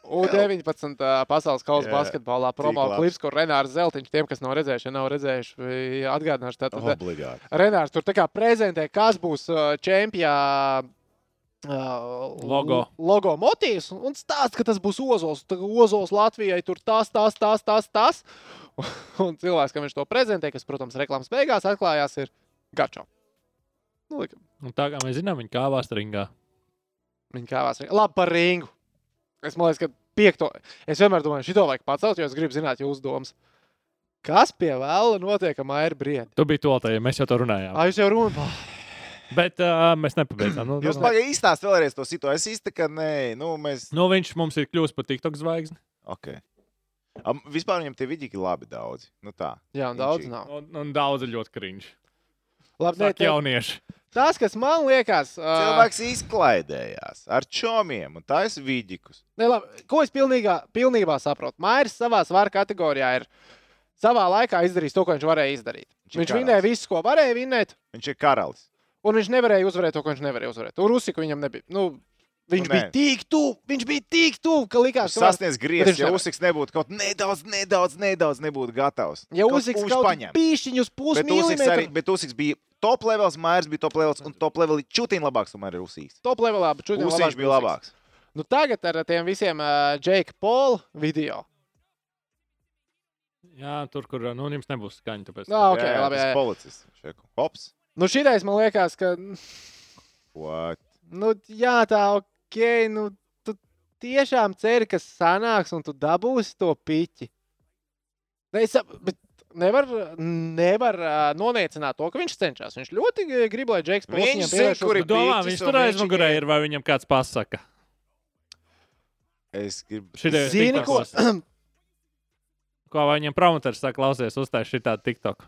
A: U19 ā, pasaules kausa
C: Jā,
A: basketbolā promo
C: labs.
A: klips, kur Renārs Zeltiņš tiem, kas nav redzējuši, ja nav redzējuši, vi- atgādināšu.
C: Oh.
A: Tātad, ā,
C: Obligāti.
A: Renārs tur tā kā prezentē, kas būs ā, čempionā.
B: Logo.
A: logo motīvs un un stāsta, ka tas būs Ozols. Tā kā Ozols Latvijai tur tas, tas, tas, tas, tas. Un cilvēks, kam viņš to prezentē, kas, protams, reklāmas beigās atklājās, ir Gačo. Nu, lika-
B: Un tā kā mēs zinām, viņa kāvās ringā.
A: Viņa kāvās. ar- Labi, par ringu. Es domāju, ka piekto. Es vienmēr domāju, šito vajag pacelt, jo es gribu zināt jūsu domas. Kas pie vēla notiek ar Maiju Briedu?
B: Tu biji to tajā, mēs jau to runājām.
A: Ai, jūs jau runājat.
B: Bet uh, mēs nepabeidzām. Nu,
C: Jūs
B: nu,
C: pagaidiet īstās vēlreiz to situāciju. Es īsti, ka nē, nu mēs.
B: nu, viņš mums ir kļuvis par TikTok zvaigzni.
C: Okay. Am, vispār viņam tie vidīgi labi daudzi. Nu tā.
A: Jā, un daudz nav.
B: Un, un daudzi ļoti cringe.
A: Labi, ne,
B: Sāk
A: Nu, te,
B: jaunieši.
A: tas, kas man liekas, ā,
C: Cilvēks izklaidējās ar čomiem un taisa vidikus.
A: ne, labi, ko es pilnīgā, pilnībā saprotu. Mairis savā svara kategorijā ir savā laikā izdarījis to, ko viņš varēja izdarīt.
C: Viņš ir
A: Viņš
C: karals.
A: vinēja visu, ko varēja vinēt,
C: Viņš ir karalis.
A: un viņš nevarēja uzvarēt to, ko viņš nevarēja uzvarēt. Tur Rusiku viņam nebija. Nu, viņš
C: Nu,
A: bija
C: nē.
A: tik tuvu, viņš bija tik tuvu, ka likās,
C: Viņš
A: ka var-
C: sasniedz
A: Bet
C: griezt,
A: viņš
C: ja
A: nevar.
C: Uziks nebūtu kaut nedaudz, nedaudz, nedaudz nebūtu gatavs.
A: Ja
C: Kaut
A: uzliks
C: pūš
A: kaut
C: paņem.
A: kādu pīšķiņu uz pusi
C: Bet Uziks, arī,
A: milimetru,
C: bet Uziks bija top levels, Mairs bija top levels un top levelī čutīn labāks tomēr ir Uziks.
A: top levelā, bet šodien
C: Uziks bija labāks.
A: Nu, tagad ar tiem visiem uh, Jake Paul video.
B: Jā, tur, kur nu, jums nebūs skaņa. Tāpēc...
A: Nā, Ah, ok, jā,
C: jā,
A: labi.
C: tas
A: Jā, jā.
C: policists. Čeku. Hops.
A: Nu, šitais man liekas, ka,
C: What?
A: nu, jā, tā ok, nu, tu tiešām ceri, ka sanāks un tu dabūsi to piķi. Ne, es, sap- bet nevar, nevar uh, noniecināt to, ka viņš cenšas. Viņš ļoti eh, grib, lai Jakes Pauls
C: Viņš
A: viņam
C: zina,
A: pievērš
C: kur ir
A: uzmanību.
B: Domā,
C: Biķis
B: viņš
C: un
B: tur
C: viņš
B: aizmugurē
C: ir-
B: ir, vai viņam kāds pasaka.
C: Es gribu.
B: Šitie
A: Zini, ko?
B: TikTokos. Ko vai viņam promoters saka, klausies, uzstāj šitā TikTok.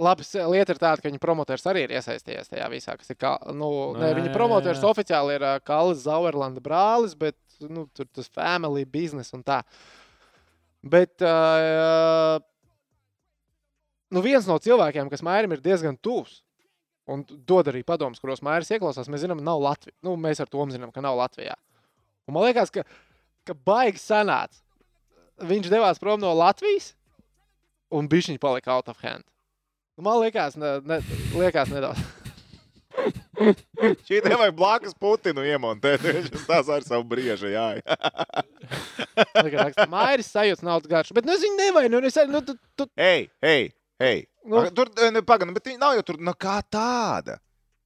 A: Labi, eh, lieta ir tāda, ka viņa promotors arī ir iesaistījies tajā visā. kas ir Kā, nu, nē,
B: jā,
A: viņa
B: jā,
A: promotors
B: jā.
A: oficiāli ir ā, Kalis Zauerlanda brālis, bet nu, tur tas family business un tā. Bet ā, nu, viens no cilvēkiem, kas Mairim ir diezgan tuvs un dod arī padomus, kuros Mairis ieklausās, mēs zinām, nav Latvija. Nu, mēs ar to zinām, ka nav Latvijā. Un man liekas, ka, ka baigi sanāca. Viņš devās prom no Latvijas un bija viņa palika out of hand. Nu, Man liekas, ne, ne, liekas nedaudz.
C: Šī te vajag blakus Putinu iemontēt. Viņš tās ar savu briežu jāja.
A: Mairis sajūta naudas garšu, bet nu, es viņu nevainoju. Es, arī- nu, tu, tu,
C: Hei, hei, hei.
A: Nu.
C: Nu. Tur, e, nu, pagaidi, bet viņi nav jau tur no kā tāda.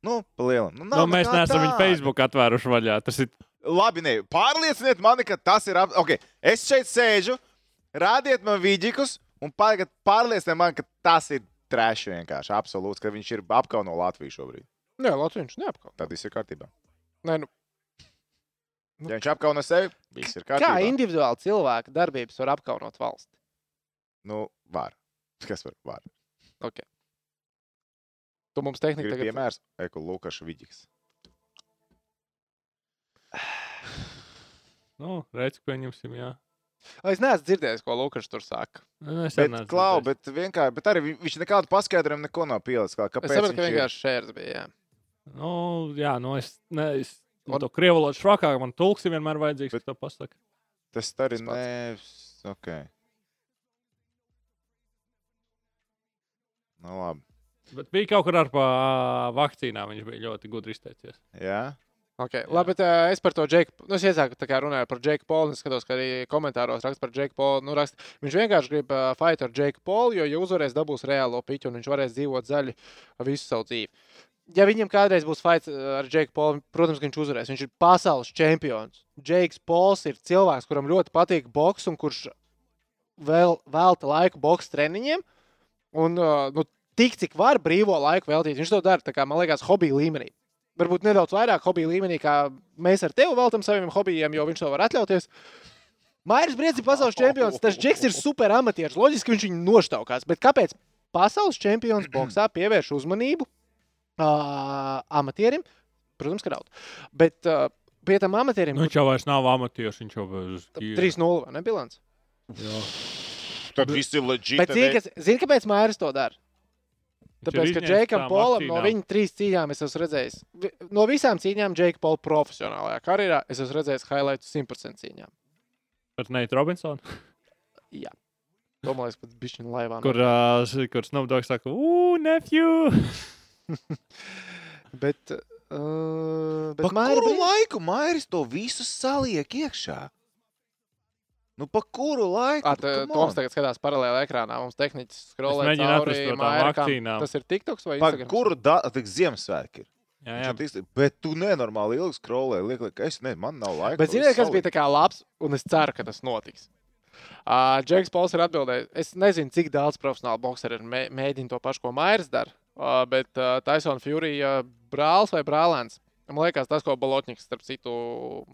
C: Nu, palielam. Nu, nav
B: Nu,
C: nu
B: mēs
C: kā
B: neesam viņu
C: tāda.
B: Facebook atvēruši vaļā. Tas ir
C: Labi, nē, pārlieciniet mani, ka tas ir. Ap... Okay, es šeit sēžu, rādiet man vidīkus, un tagad pārlieciniet mani, ka tas ir trešs vienkārši. Absolūts, ka viņš ir apkauno Latviju šobrīd.
A: nē, Latvijas neapkalpo.
C: Tad viss ir kārtībā.
A: Nē, nu,
C: Ja viņš apkauno sevi, viss ir kārtībā.
A: kā individuāli cilvēka darbības var apkaunot valsts?
C: Nu, var. Kas var? Var.
A: Okay. Tu mums tehnika
C: Ir
A: Nu, tagad
C: piemērs, Eko Lukas Vidīgs.
B: nu, reizes, ko pieņemsim. Jā.
A: Es neesmu dzirdējis, ko Lukas tur saka.
B: Nu, es
C: Bet,
B: arī neesmu
C: klau,
B: dzirdējis.
C: bet vienkārši, bet arī vi- viņš nekādu paskaidrojumu neko nav pielicis. klāt, Kāpēc?
A: Es saprotu, ka
C: viņš ir-
A: vienkārši šērs bija. Jā.
B: Nu, jā, nu es. Ne, es
A: Un-
B: Un to krievu valodu švakāk, man tulks ir vienmēr vajadzīgs, bet to pasaka.
C: Tas arī
A: Tas pats.
C: nē, s- ok. Nu, labi.
B: Bet bija kaut kur ar pa vakcīnām, viņš bija ļoti gudri izteicies.
C: Jā,
A: Okay. Labi, bet uh, es par to Džeku. Nu, es iesāku tā kā runāju par Džeku Polu. un Es skatos, ka arī komentāros raksta par Džeku Polu. Nu, raksta, viņš vienkārši grib uh, fight ar Džeku Polu, jo, ja uzvarēs, dabūs reālo pitu un viņš varēs dzīvot zaļi visu savu dzīvi. Ja viņam kādreiz būs fight uh, ar Džeku Polu, protams, ka viņš uzvarēs. Viņš ir pasaules čempions. Džeks Pols ir cilvēks, kuram ļoti patīk boks un kurš vēl, velta laiku boks treniņiem. Un, uh, nu, tik cik var brīvo laiku veltīt, viņš to dara, tā kā, man liekas, hobija līmenī varbūt nedaudz vairāk hobiju līmenī, kā mēs ar tevi veltam saviem hobijiem, jo viņš to var atļauties. Mairis Briedis ir pasaules čempions, tas Džeks ir super amatieris. Loģiski viņš viņu noštaukās, bet kāpēc pasaules čempions boxā pievērš uzmanību uh, amatierim? Protams, ka raud. Bet uh, pie tam amatierim
B: Nu,
A: nu,
B: viņš jau vairs nav amatieris, viņš jau bez
A: 3-0 vai ne bilants?
C: tad viss ir leģitāri.
A: Bet zini, kas- zini, kāpēc Mairis to dara? Tāpēc, ka Džekam Polam no viņa trīs cīņām es esmu redzējis, vi- no visām cīņām Džeka Pola profesionālajā karjerā es esmu redzējis highlightu 100% cīņām.
B: Ar Neitu Robinsonu,
A: Domāju, ka viņš ir laivā.
B: kur, uh, kur Snowdogs saka, uu, nephew!
A: Bet, uh, bet
C: Bet
A: Maira
C: kuru
A: bija-
C: bija... laiku Mairis to visu saliek iekšā? Nu, pa kuru laiku?
A: At, uh, Toms tagad skatās paralēli ekrānā. Mums tehnicis skrolē.
B: mēģinu atrast to tām vakcīnām.
A: Tas ir TikToks vai
C: Pa
A: Instagram?
C: kuru datu Ziemassvētki ir?
B: Jā,
C: Viņš
B: jā.
C: ir tiks- Bet tu nenormāli ilgi skrolē, liek, liek, es nezinu, man nav laika.
A: Bet
C: to
A: ziniet,
C: visu
A: kas bija tā kā labs, un es ceru, ka tas notiks. Uh, Džeks Pols ir atbildējis. Es nezinu, cik daudz profesionāli boxeri ir mē mēģinājis to pašu, ko Mairs dara. Uh, bet uh, Tyson Fury uh, brālis vai brālēns? Man liekas, tas, ko Bolotņiks, starp citu,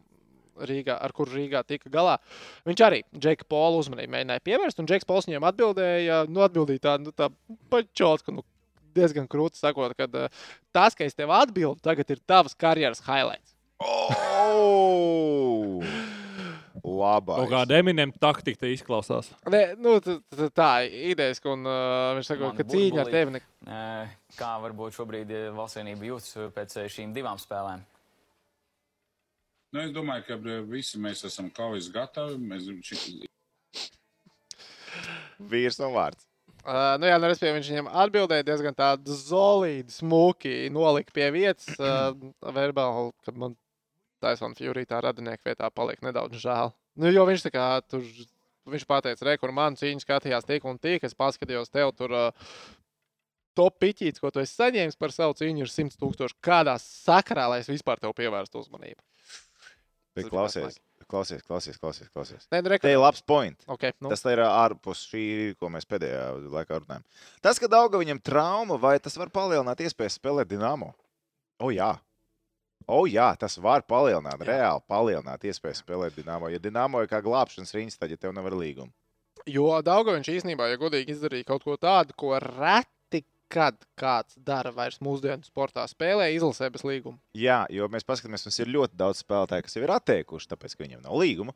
A: Rīgā, ar kuru Rīgā tika galā, viņš arī Džeka Pola uzmanību mēģināja pievērst. Un Džeks Pols viņam atbildēja, nu, atbildīja tā, nu, tā pačotka, nu, diezgan krūti sakot, ka uh, tas, ka es tev atbildu, tagad ir tavs karjeras highlights.
C: O! Labā.
B: Kaut kāda Eminem taktika izklausās.
A: Nē, nu, t- t- tā ir ideja, ka uh, viņš saka,
H: Man
A: ka cīņa ar
H: burbulī.
A: tevi. Ne...
H: Eh, Kā varbūt šobrīd eh, valsts vienība jūtas eh, pēc eh, šīm divām spēlēm?
I: Nu, es domāju, ka eh, visi mēs esam kaujas gatavi. Mēs, ši,
C: Vīrs un vārds.
A: Uh, nu, jā, nu, respektīvi, viņš viņam atbildēja diezgan tādu solīdu, smuki nolika pie vietas. Uh, verbāli, kad man Taisona Fjurī tā radinieka vietā paliek nedaudz žēl. Nu, jo viņš tā kā tur, viņš pateica, re, kur man cīņa skatījās tik un tik, es paskatījos tev tur. Uh, Top pitīts, ko tu esi saņēmis par savu cīņu, ir 100 tūkstoši. Kādā sakarā, lai es vispār tev pievērstu uzmanību?
C: Bet
A: Tas bija
C: klausies, klausies, klausies, klausies. klausies.
A: Nē, nu, re,
C: Te ir labs point.
A: okay, nu.
C: Tas ir ārpus šī, ko mēs pēdējā laikā runājam. Tas, ka Dauga viņam trauma, vai tas var palielināt iespējas spēlēt Dienāmo? O, jā. O, jā, tas var palielināt, jā. reāli palielināt iespējas spēlēt Dienāmo. Ja Dienāmo ir kā glābšanas riņķis, tad ja tev nevar līgumu.
A: Jo Dārgaviņš īstenībā, ja godīgi izdarīja kaut ko tādu, ko reti kad kāds dara vairs mūsdienu sportā, spēlē izlasē bez līguma.
C: Jā, jo mēs paskatāmies, mums ir ļoti daudz spēlētāju, kas jau ir atteikuši, tāpēc, ka viņiem nav līguma.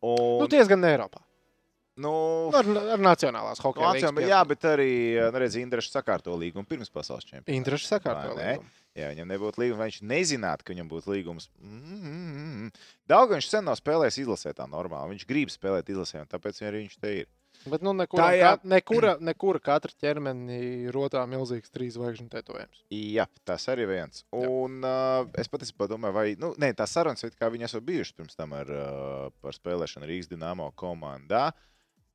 C: Un,
A: Nu, diezgan ne Eiropā.
C: nu,
A: Nu, ar, ar nacionālās hokeja
C: Vācijā, bet- Nu, jā, bet arī nu, redz, Indriša sakārto līgumu pirms pasaules čempionāta.
A: Interešu sakārtā.
C: Vai ne? Ja viņam nebūtu līguma, vai viņš nezinātu, ka viņam būtu līgums. Mm, mm, mm. Daudz viņš sen nav spēlējis izlasē tā normāli. Viņš grib spēlēt izlasē, un tāpēc arī viņš te ir.
A: Bet nu, nekura,
C: Tā jā.
A: jā... nekura, nekura katra ķermenī rotā milzīgs trīs zvaigžņu tetovējums.
C: Jā, tas arī viens. Un uh, es patiesībā domāju, vai nu, ne, tā saruna, kā viņi esmu bijuši pirms tam ar, uh, par spēlēšanu Rīgas dīnāmo komandā,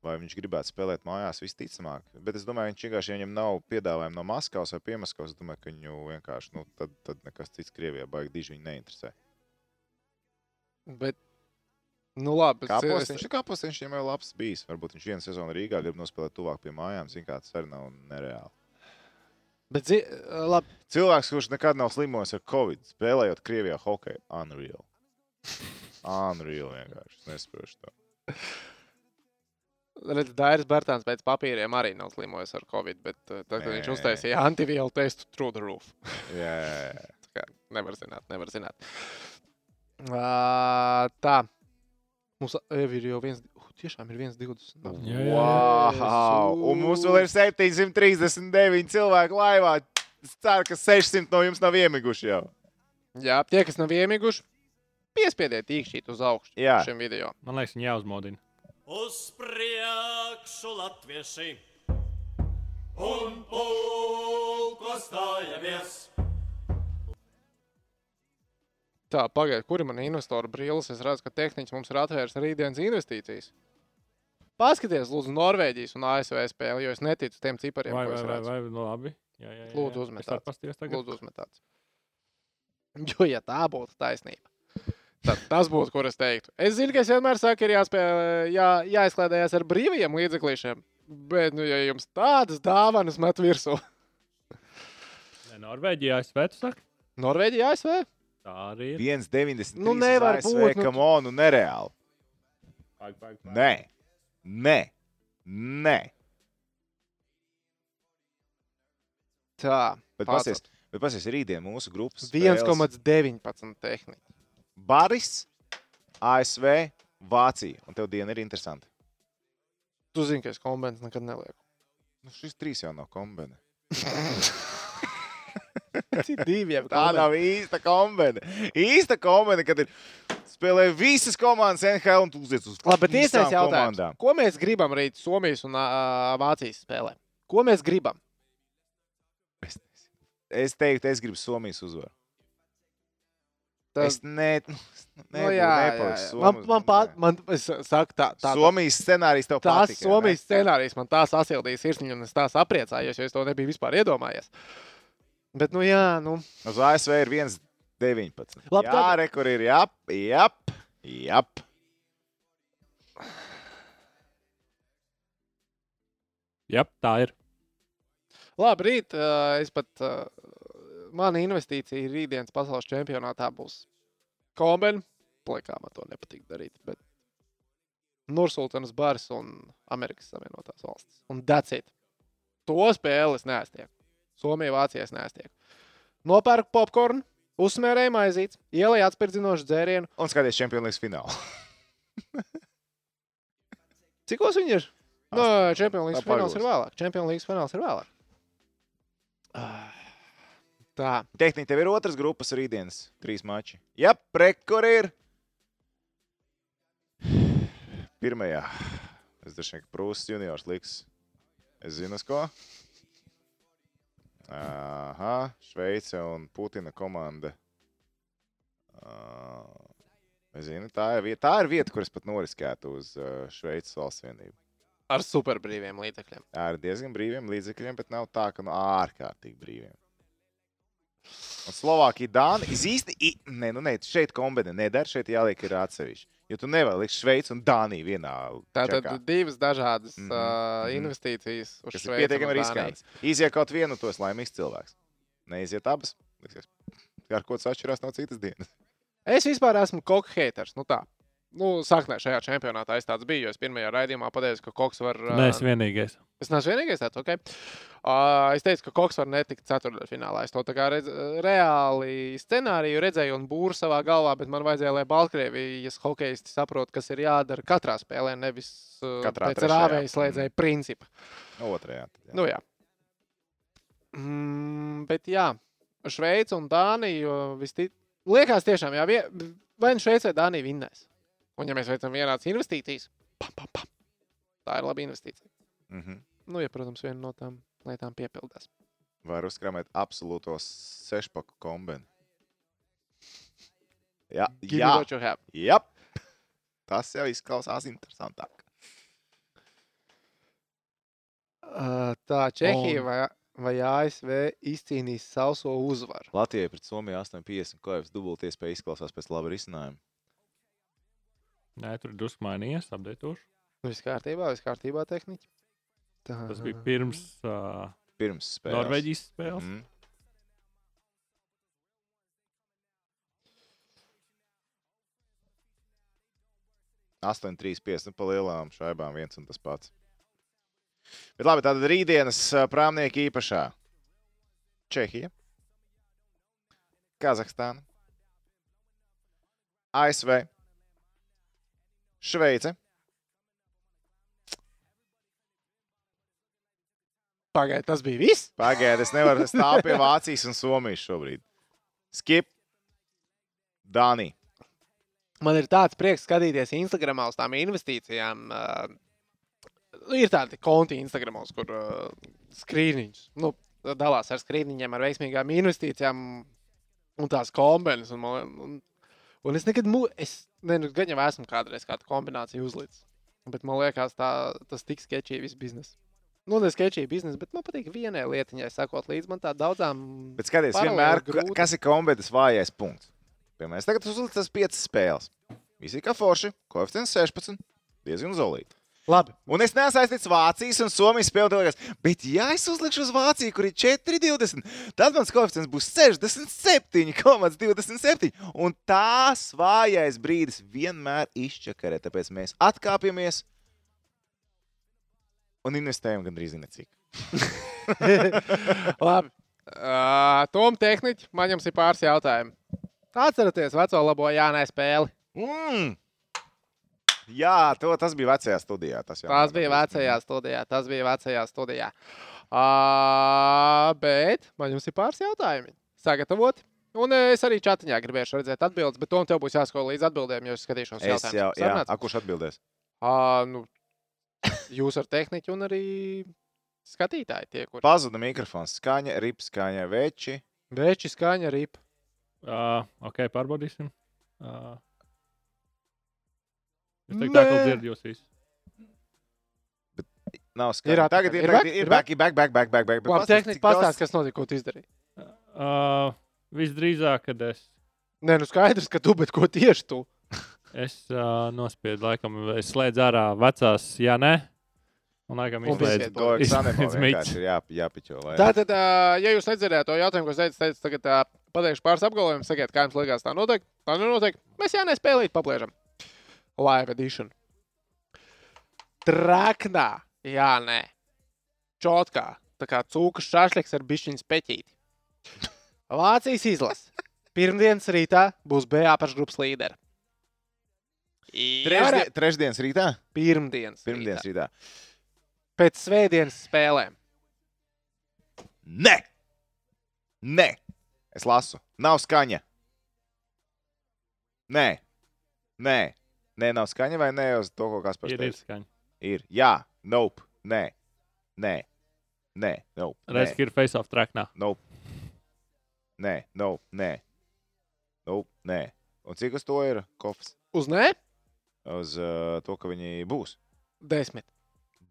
C: vai viņš gribētu spēlēt mājās, visticamāk. Bet es domāju, viņš vienkārši, ja viņam nav piedāvājumu no Maskavas vai Piemaskavas, es domāju, ka viņu vienkārši, nu, tad, tad nekas cits Krievijā baigi diži viņu neinteresē.
A: Bet, nu, labi. bet
C: Kāpēc
A: es-
C: viņš ir kāpēc viņš viņam jau labs bijis? Varbūt viņš vienu sezonu Rīgā grib nospēlēt tuvāk pie mājām, zin kā tas arī nav nereāli.
A: Bet, zi... labi.
C: Cilvēks, kurš nekad nav slimojis ar Covid, spēlējot Krievijā hokeju, unreal. Unreal vienkārši. Es nespēju to.
A: Redz, Dairis Bērtāns pēc papīriem arī nav slimojis ar covid, bet eh, tad, kad
C: Nē.
A: viņš uztaisīja antivielu testu through the roof.
C: Jā, jā, jā.
A: Tā kā nevar zināt, nevar zināt. Uh, tā. Mums jau ir jau viens, uh, tiešām ir viens, divdesmit. nav.
B: Jā, jā,
C: Wow! Un mums vēl ir 739 cilvēki laivā. Es ceru, ka 600 no jums nav iemiguši jau.
A: Jā, tie, kas nav iemiguši, piespiediet īkšķīt uz augšu
C: Jā.
A: šim video.
B: Man liekas, viņa jāuzmodina.
E: Uz priekšu latvieši un pulko stājamies.
A: Tā, pagaidiet, kur ir mana investora brīvs? Es redzu, ka tehnicis mums ir atvērts rītdienas investīcijas. Paskatieties, lūdzu, Norvēģijas un ASV spēli, jo es neticu tiem cipariem,
B: Vai,
A: ko
B: vai,
A: es
B: vai,
A: redzu.
B: vai, nu labi. Jā, jā, jā, jā.
A: Lūdzu, uzmet
B: Es varu
A: tādu.
B: paskatīties tagad.
A: Lūdzu, uzmetiet. Jo, ja tā būtu taisnība, tad tas būtu, kur es teiktu. Es zinu, ka es vienmēr saku, ir jāspēlē, jā, jāizklaidējas ar brīviem līdzeklīšiem. Bet, nu, ja jums tādas dāvanas met virsū,
B: Nē, Norvēģijā es svētu saku.
A: Norvēģija, ASV,
B: Tā arī ir.
C: 1,93.
A: Nu, nevar būt, nu,
C: Kam on, nu, nereāli.
B: Pag, pag, pag.
C: Nē, nē, nē.
A: tā,
C: Bet
A: Pats-
C: pasies, bet pasies rītdien mūsu grupas. spēles.
A: 1,19 tehnika.
C: Baris, ASV, Vācija. Un tev diena ir interesanta.
A: Tu zini, ka es kombināciju nekad nelieku.
C: Nu, šis trīs jau nav kombinācija.
A: Cik divi jau
C: Tā nav īsta kombinācija. Īsta kombinācija, kad ir spēlē visas komandas NHL un tu uzies uz
A: Labi, bet
C: visām
A: īstais jautājums.
C: komandām.
A: Ko mēs gribam rīt Somijas un ā, Vācijas spēlē? Ko mēs gribam?
C: Es, es teiktu, es gribu Somijas uzvaru.
A: Tas-
C: Es ne, nu, es
A: Nu,
C: nebūtu
A: jā, jā,
C: nepalicis
A: jā. Man,
C: Somu-
A: man, pā,
C: nē.
A: man es saku, tā, tā, tā,
C: Somijas scenārijs tev
A: tās
C: patika, vai ne?
A: Somijas scenārijas man tā sasildīja sirsniņu, un es tā sapriecājos, jo es to nebiju vispār iedomājies. Bet, nu, jā, nu,
C: Uz ASV ir 1,19.
A: Labi,
C: Jā,
A: tad-
C: rekur ir jā, jā, jā.
B: Jā, tā ir.
A: labi, rīt ā, es pat, ā, mana investīcija rītdienas pasaules čempionātā būs kombinācija. Plakā man to nepatīk darīt, bet Nursultānas bars un Amerikas Savienotās valstis. Un dacīt. To spēli es neaiztieku. Somija, Vācija es neaiztieku. Nopērku popkornu, uzsmērēju maizītes, ielēju atspērdzinošu dzērienu.
C: Un skaties Champions League finālu.
A: Cikos viņi ir? No, Champions League
C: Tā
A: fināls
C: pagūst.
A: ir vēlāk. Champions League fināls ir vēlāk. Ah, Tā,
C: Tehniski tev ir otras grupas rītdienas, trīs mači. Jā, rekur ir. Pirmajā. Es droši vien, ka Prūsas juniors liks. Es zinu, uz ko. Aha, Šveice un Putina komanda. Ah, Es zinu, tā ir vieta, tā ir vieta kur es pat noriskētu uz eh, Šveices valsts vienību.
A: ar superbrīviem līdzekļiem.
C: ar diezgan brīviem līdzekļiem, bet nav tā, ka no ārkārtīgi brīviem. Un Slovākija, Dāna, iz īsti, i, nē, nu nē, šeit kombinē nedara, šeit jāliek ir atsevišķi. Jo tu nevari likt Šveici un Dāniju vienā.
A: Tātad
C: čekā,
A: divas dažādas mm
C: Mhm,
A: -hmm. uh,
C: mhm.
A: investīcijas uz
C: kas
A: Šveici.
C: ir pietiekami riskanti. Iziet kaut vienu, to es laimīgs cilvēks. Neiziet abas, liksies, ar ko tas atšķirās no citas dienas.
A: Es vispār esmu koku haters. Nu tā. Nu, sākumā šajā čempionātā es tāds biju. jo Es pirmajā raidījumā pateicu, ka Koks var. ā,
B: Nē, es vienīgais.
A: Es neesmu vienīgais, tāds ok. Uh, es teicu, ka Koks var netikt ceturdaļfinālā. Es to tā kā redz, reāli scenāriju redzēju un būru savā galvā, bet man vajadzēja, lai Baltkrievijas hokeisti saprotu, kas ir jādara katrā spēlē, nevis uh,
C: Katrā
A: pēc
C: trešajā. Mm.
A: rāvēja slēdzēja principa.
C: Otrajā. tad, jā.
A: Nu, jā. Mm, bet jā, Šveice un Dānija visticamāk, liekas, tiešām, jā, vie- vai nu Šveice vai Dānija vinnēs. Un, ja mēs veicam vienādas investīcijas, pam, pam, pam, tā ir laba investīcija.
C: Mhm.
A: Nu, ja, protams, viena no tām lietām piepildās.
C: Var uzkrāpēt absolūto sešpaku kombināciju. Jā,
A: Give me
C: jā,
A: what you have.
C: jā. Tas jau izklausās interesantāk.
A: Uh, tā Čehija
B: Un-
A: vai, vai ASV izcīnīs sauso uzvaru.
C: Latvijai pret Somiju 8,50 koevis dubultā iespēja izklausās pēc laba risinājuma.
B: Nē, tur drusku mainījies, apdeitošu.
A: Nu, viss kārtībā, viss kārtībā, tehniķi. Tā.
B: Tas bija pirms uh,
C: Pirms spēles.
B: Norvēģijas spēles.
C: Mm. Astoņi, trīs, pieci. Nu, pa lielām šaibām viens un tas pats. Bet labi, tātad rītdienas ā, prāmnieki īpašā. Čehija, Kazahstāna, ASV, Šveice.
A: Pagaidiet, tas bija viss.
C: Pagaidiet, es nevaru stāvēt pie Vācijas un Somijas šobrīd. Skip, Dānija.
A: man ir tāds prieks skatīties Instagram uz tām investīcijām. Uh, ir tādi konti Instagram, kur uh, skrīniņš nu, dalās ar skrīniņiem, ar veiksmīgām investīcijām un tās kombinācijas. Un, man- un, un es nekad, mu- es nezinu, gan jau esmu kādreiz kādu kombināciju uzlicis. Bet man liekas, tā, tas tik sketčīgi viss biznesa. Nu, ne sketčīgi biznesa, bet man patīk vienai lietiņai, sakot līdzi man tā daudzām.
C: Bet skaties,
A: Paralēli
C: vienmēr, ka-
A: grūti.
C: kas ir kombinācijas vājais punkts. Piemēram, es tagad uzliku tas piecas spēles. Visi ir kā forši, koeficients 16, diezgan zolīti.
A: Labi,
C: Un es nesaistīju Vācijas un Somijas spēlētājas. Bet, ja es uzlikšu uz Vāciju, kur ir 4,20, tad mans koeficients būs 67,27. Un tās vājais brīdis vienmēr izčakarē. Tāpēc mēs atkāpjamies un investējam gandrīz necik.
A: Labi. Uh, Tom, tehniķi, man jums ir pāris jautājumi. Atcerieties, veco labo Jānis spēli.
C: Mm. Jā, to, tas bija vecajā studijā. Tas jau
A: Tās bija vecajā studijā. Tas bija vecajā studijā. Uh, bet man jums ir pāris jautājumi. Sagatavot. Un eh, es arī čatiņā gribēšu redzēt atbildes, bet Tom, tev būs jāsako līdz atbildēm, jo es skatīšos
C: Es
A: jautājumus.
C: jau, jā,
A: Sarunāts?
C: a, kurš atbildēs?
A: Ā, nu, jūs ar tehniķu un arī skatītāji tie, kur.
C: Pazuda mikrofons, skaņa, rips, skaņa, veči.
A: Veči skaņa arī. Mhm.
B: Uh, ok, pārbaudīsim. Uh, es teiktu, ka
A: Nē.
B: dzirdu jūs visus.
C: Nav
A: Ir
C: skaņa.
A: atpakaļ.
C: Tagad ir
A: Ir
C: back,
A: back?
C: ir
A: Ir
C: back, ir back, back, back, back, back.
A: Labi,
C: Pastāsti,
A: tehniķi
C: cik daudz-
A: pastāsta, kas notika, ko tu izdarīji.
B: Uh, visdrīzāk, kad es,
A: Nē, nu skaidrs, ka tu, bet ko tieši tu?
B: es uh, nospiedu, laikam, es slēdzu ārā vecās, ja nē, un laikam
A: Un
B: izslēdzu
A: visiet.
C: To eksāmenam
B: Izslēdz
C: vienkārši ir jā, jāpiķo. Lai...
A: Tātad, ā, ja jūs nedzirdējāt to jautājumu, ko es teicu, tad tagad ā, pateikšu pāris apgalvojumus, sakiet, kā jums likās, tā notiek. Tā nenotiek. Mēs jau nespēlīt, paplēžam. Live edition. Traknā, jā, nē. Čotkā, tā kā cūkas šāšļiks ar bišķiņu speķīti. Vācijas izlase. Pirmdienas rītā būs B apakšgrupas līderi.
C: Trešdien,
A: Trešdien,
C: trešdienas rītā?
A: pirmdienas,
C: Pirmdienas
A: pirmdienas.
C: rītā.
A: Pēc svētdienas spēlēm.
C: Nē! Nē! Es lasu. Nav skaņa. Nē. Nē. Nē, nav skaņa vai nē uz to, ko Kaspars
B: Ir, ir
C: teica?
B: skaņa.
C: Ir. Jā. Nope. Nē. Nē. Nē. Nope. Nē.
B: Redz, ka ir face-off traknā.
C: Nope. Nē, no, nē. Nope, nē. Un cik uz to ir kops?
A: Uz nē?
C: Uz uh, to, ka viņi būs.
A: Desmit.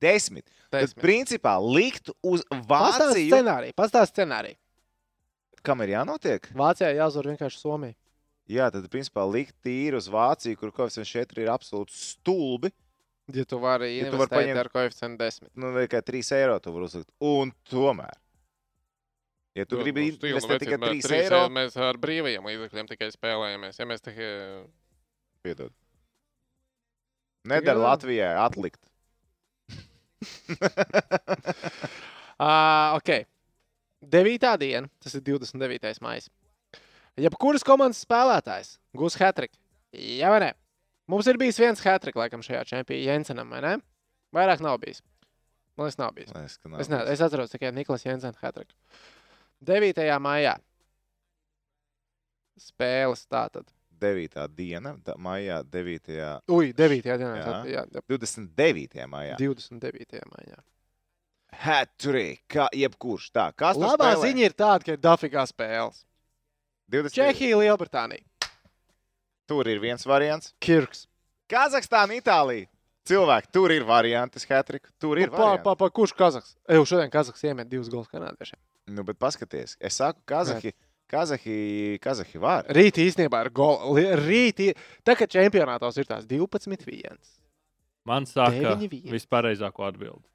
C: Desmit. Tad,
A: Desmit.
C: principā, likt uz
A: Pastāst
C: Vāciju.
A: scenāriju. Pastāst scenāriju.
C: Kam ir jānotiek?
A: Vācijā jāuzvar vienkārši Somija.
C: Jā, tad, principā, likt tīri uz Vāciju, kur koeficients 4 ir absolūti stulbi.
A: Ja tu vari
C: Ja tu vari
A: investēt
C: paņemt-
A: ar koeficientu 10.
C: Nu, tikai 3 eiro tu vari uzlikt. Un tomēr. Ja
E: Nu,
C: tu gribi investēt tikai 3 eiro,
A: Mēs ar brīvajiem līdzekļiem tikai spēlējamies. Ja mēs tikai
C: piedod. Nedara Latvijai atlikt.
A: Uh, ok. 9. diena, tas ir 29. maija. Jebkuras komandas spēlētājs gūs hatriku. Jā, vai ne? Mums ir bijis viens hatriks, laikam, šajā čempionā Jensenam, vai ne? Vairāk nav bijis. Man liekas, nav bijis.
C: Liekas, ka nav
A: Es, ne, es atceros tikai Niklaus Jensena hatriku. 9. maijā spēles tātad.
C: 9. diena, da- maijā, 9.
A: Ui, 9. dienā.
C: Jā.
A: tātad, Jā, jā,
C: 29. maijā.
A: 29. maijā.
C: Haturī, kā jebkurš. Tā, kas tur
A: Labā
C: spēlē?
A: ziņa ir tāda, ka ir dafigā spēles.
C: 20.
A: Čehija, Lielbritānija.
C: Tur ir viens variants.
A: Kirks.
C: Kazahstāna, Itālija. Cilvēki, tur ir variants, Haturī. Tur ir
A: Nu, Pa,
C: varianti.
A: pa, pa, kurš Kazaks? Jau šodien Kazaks iemet divus golus kanādiešiem.
C: Nu, bet paskaties, es saku, Kazahi, Kazahi, Kazahi var.
A: Rīt īstenībā ir goli. Rīt, i- tā kā čempionātos ir tās 12-1.
B: Man saka,
A: Deviņi viens.
B: vispareizāko atbildi.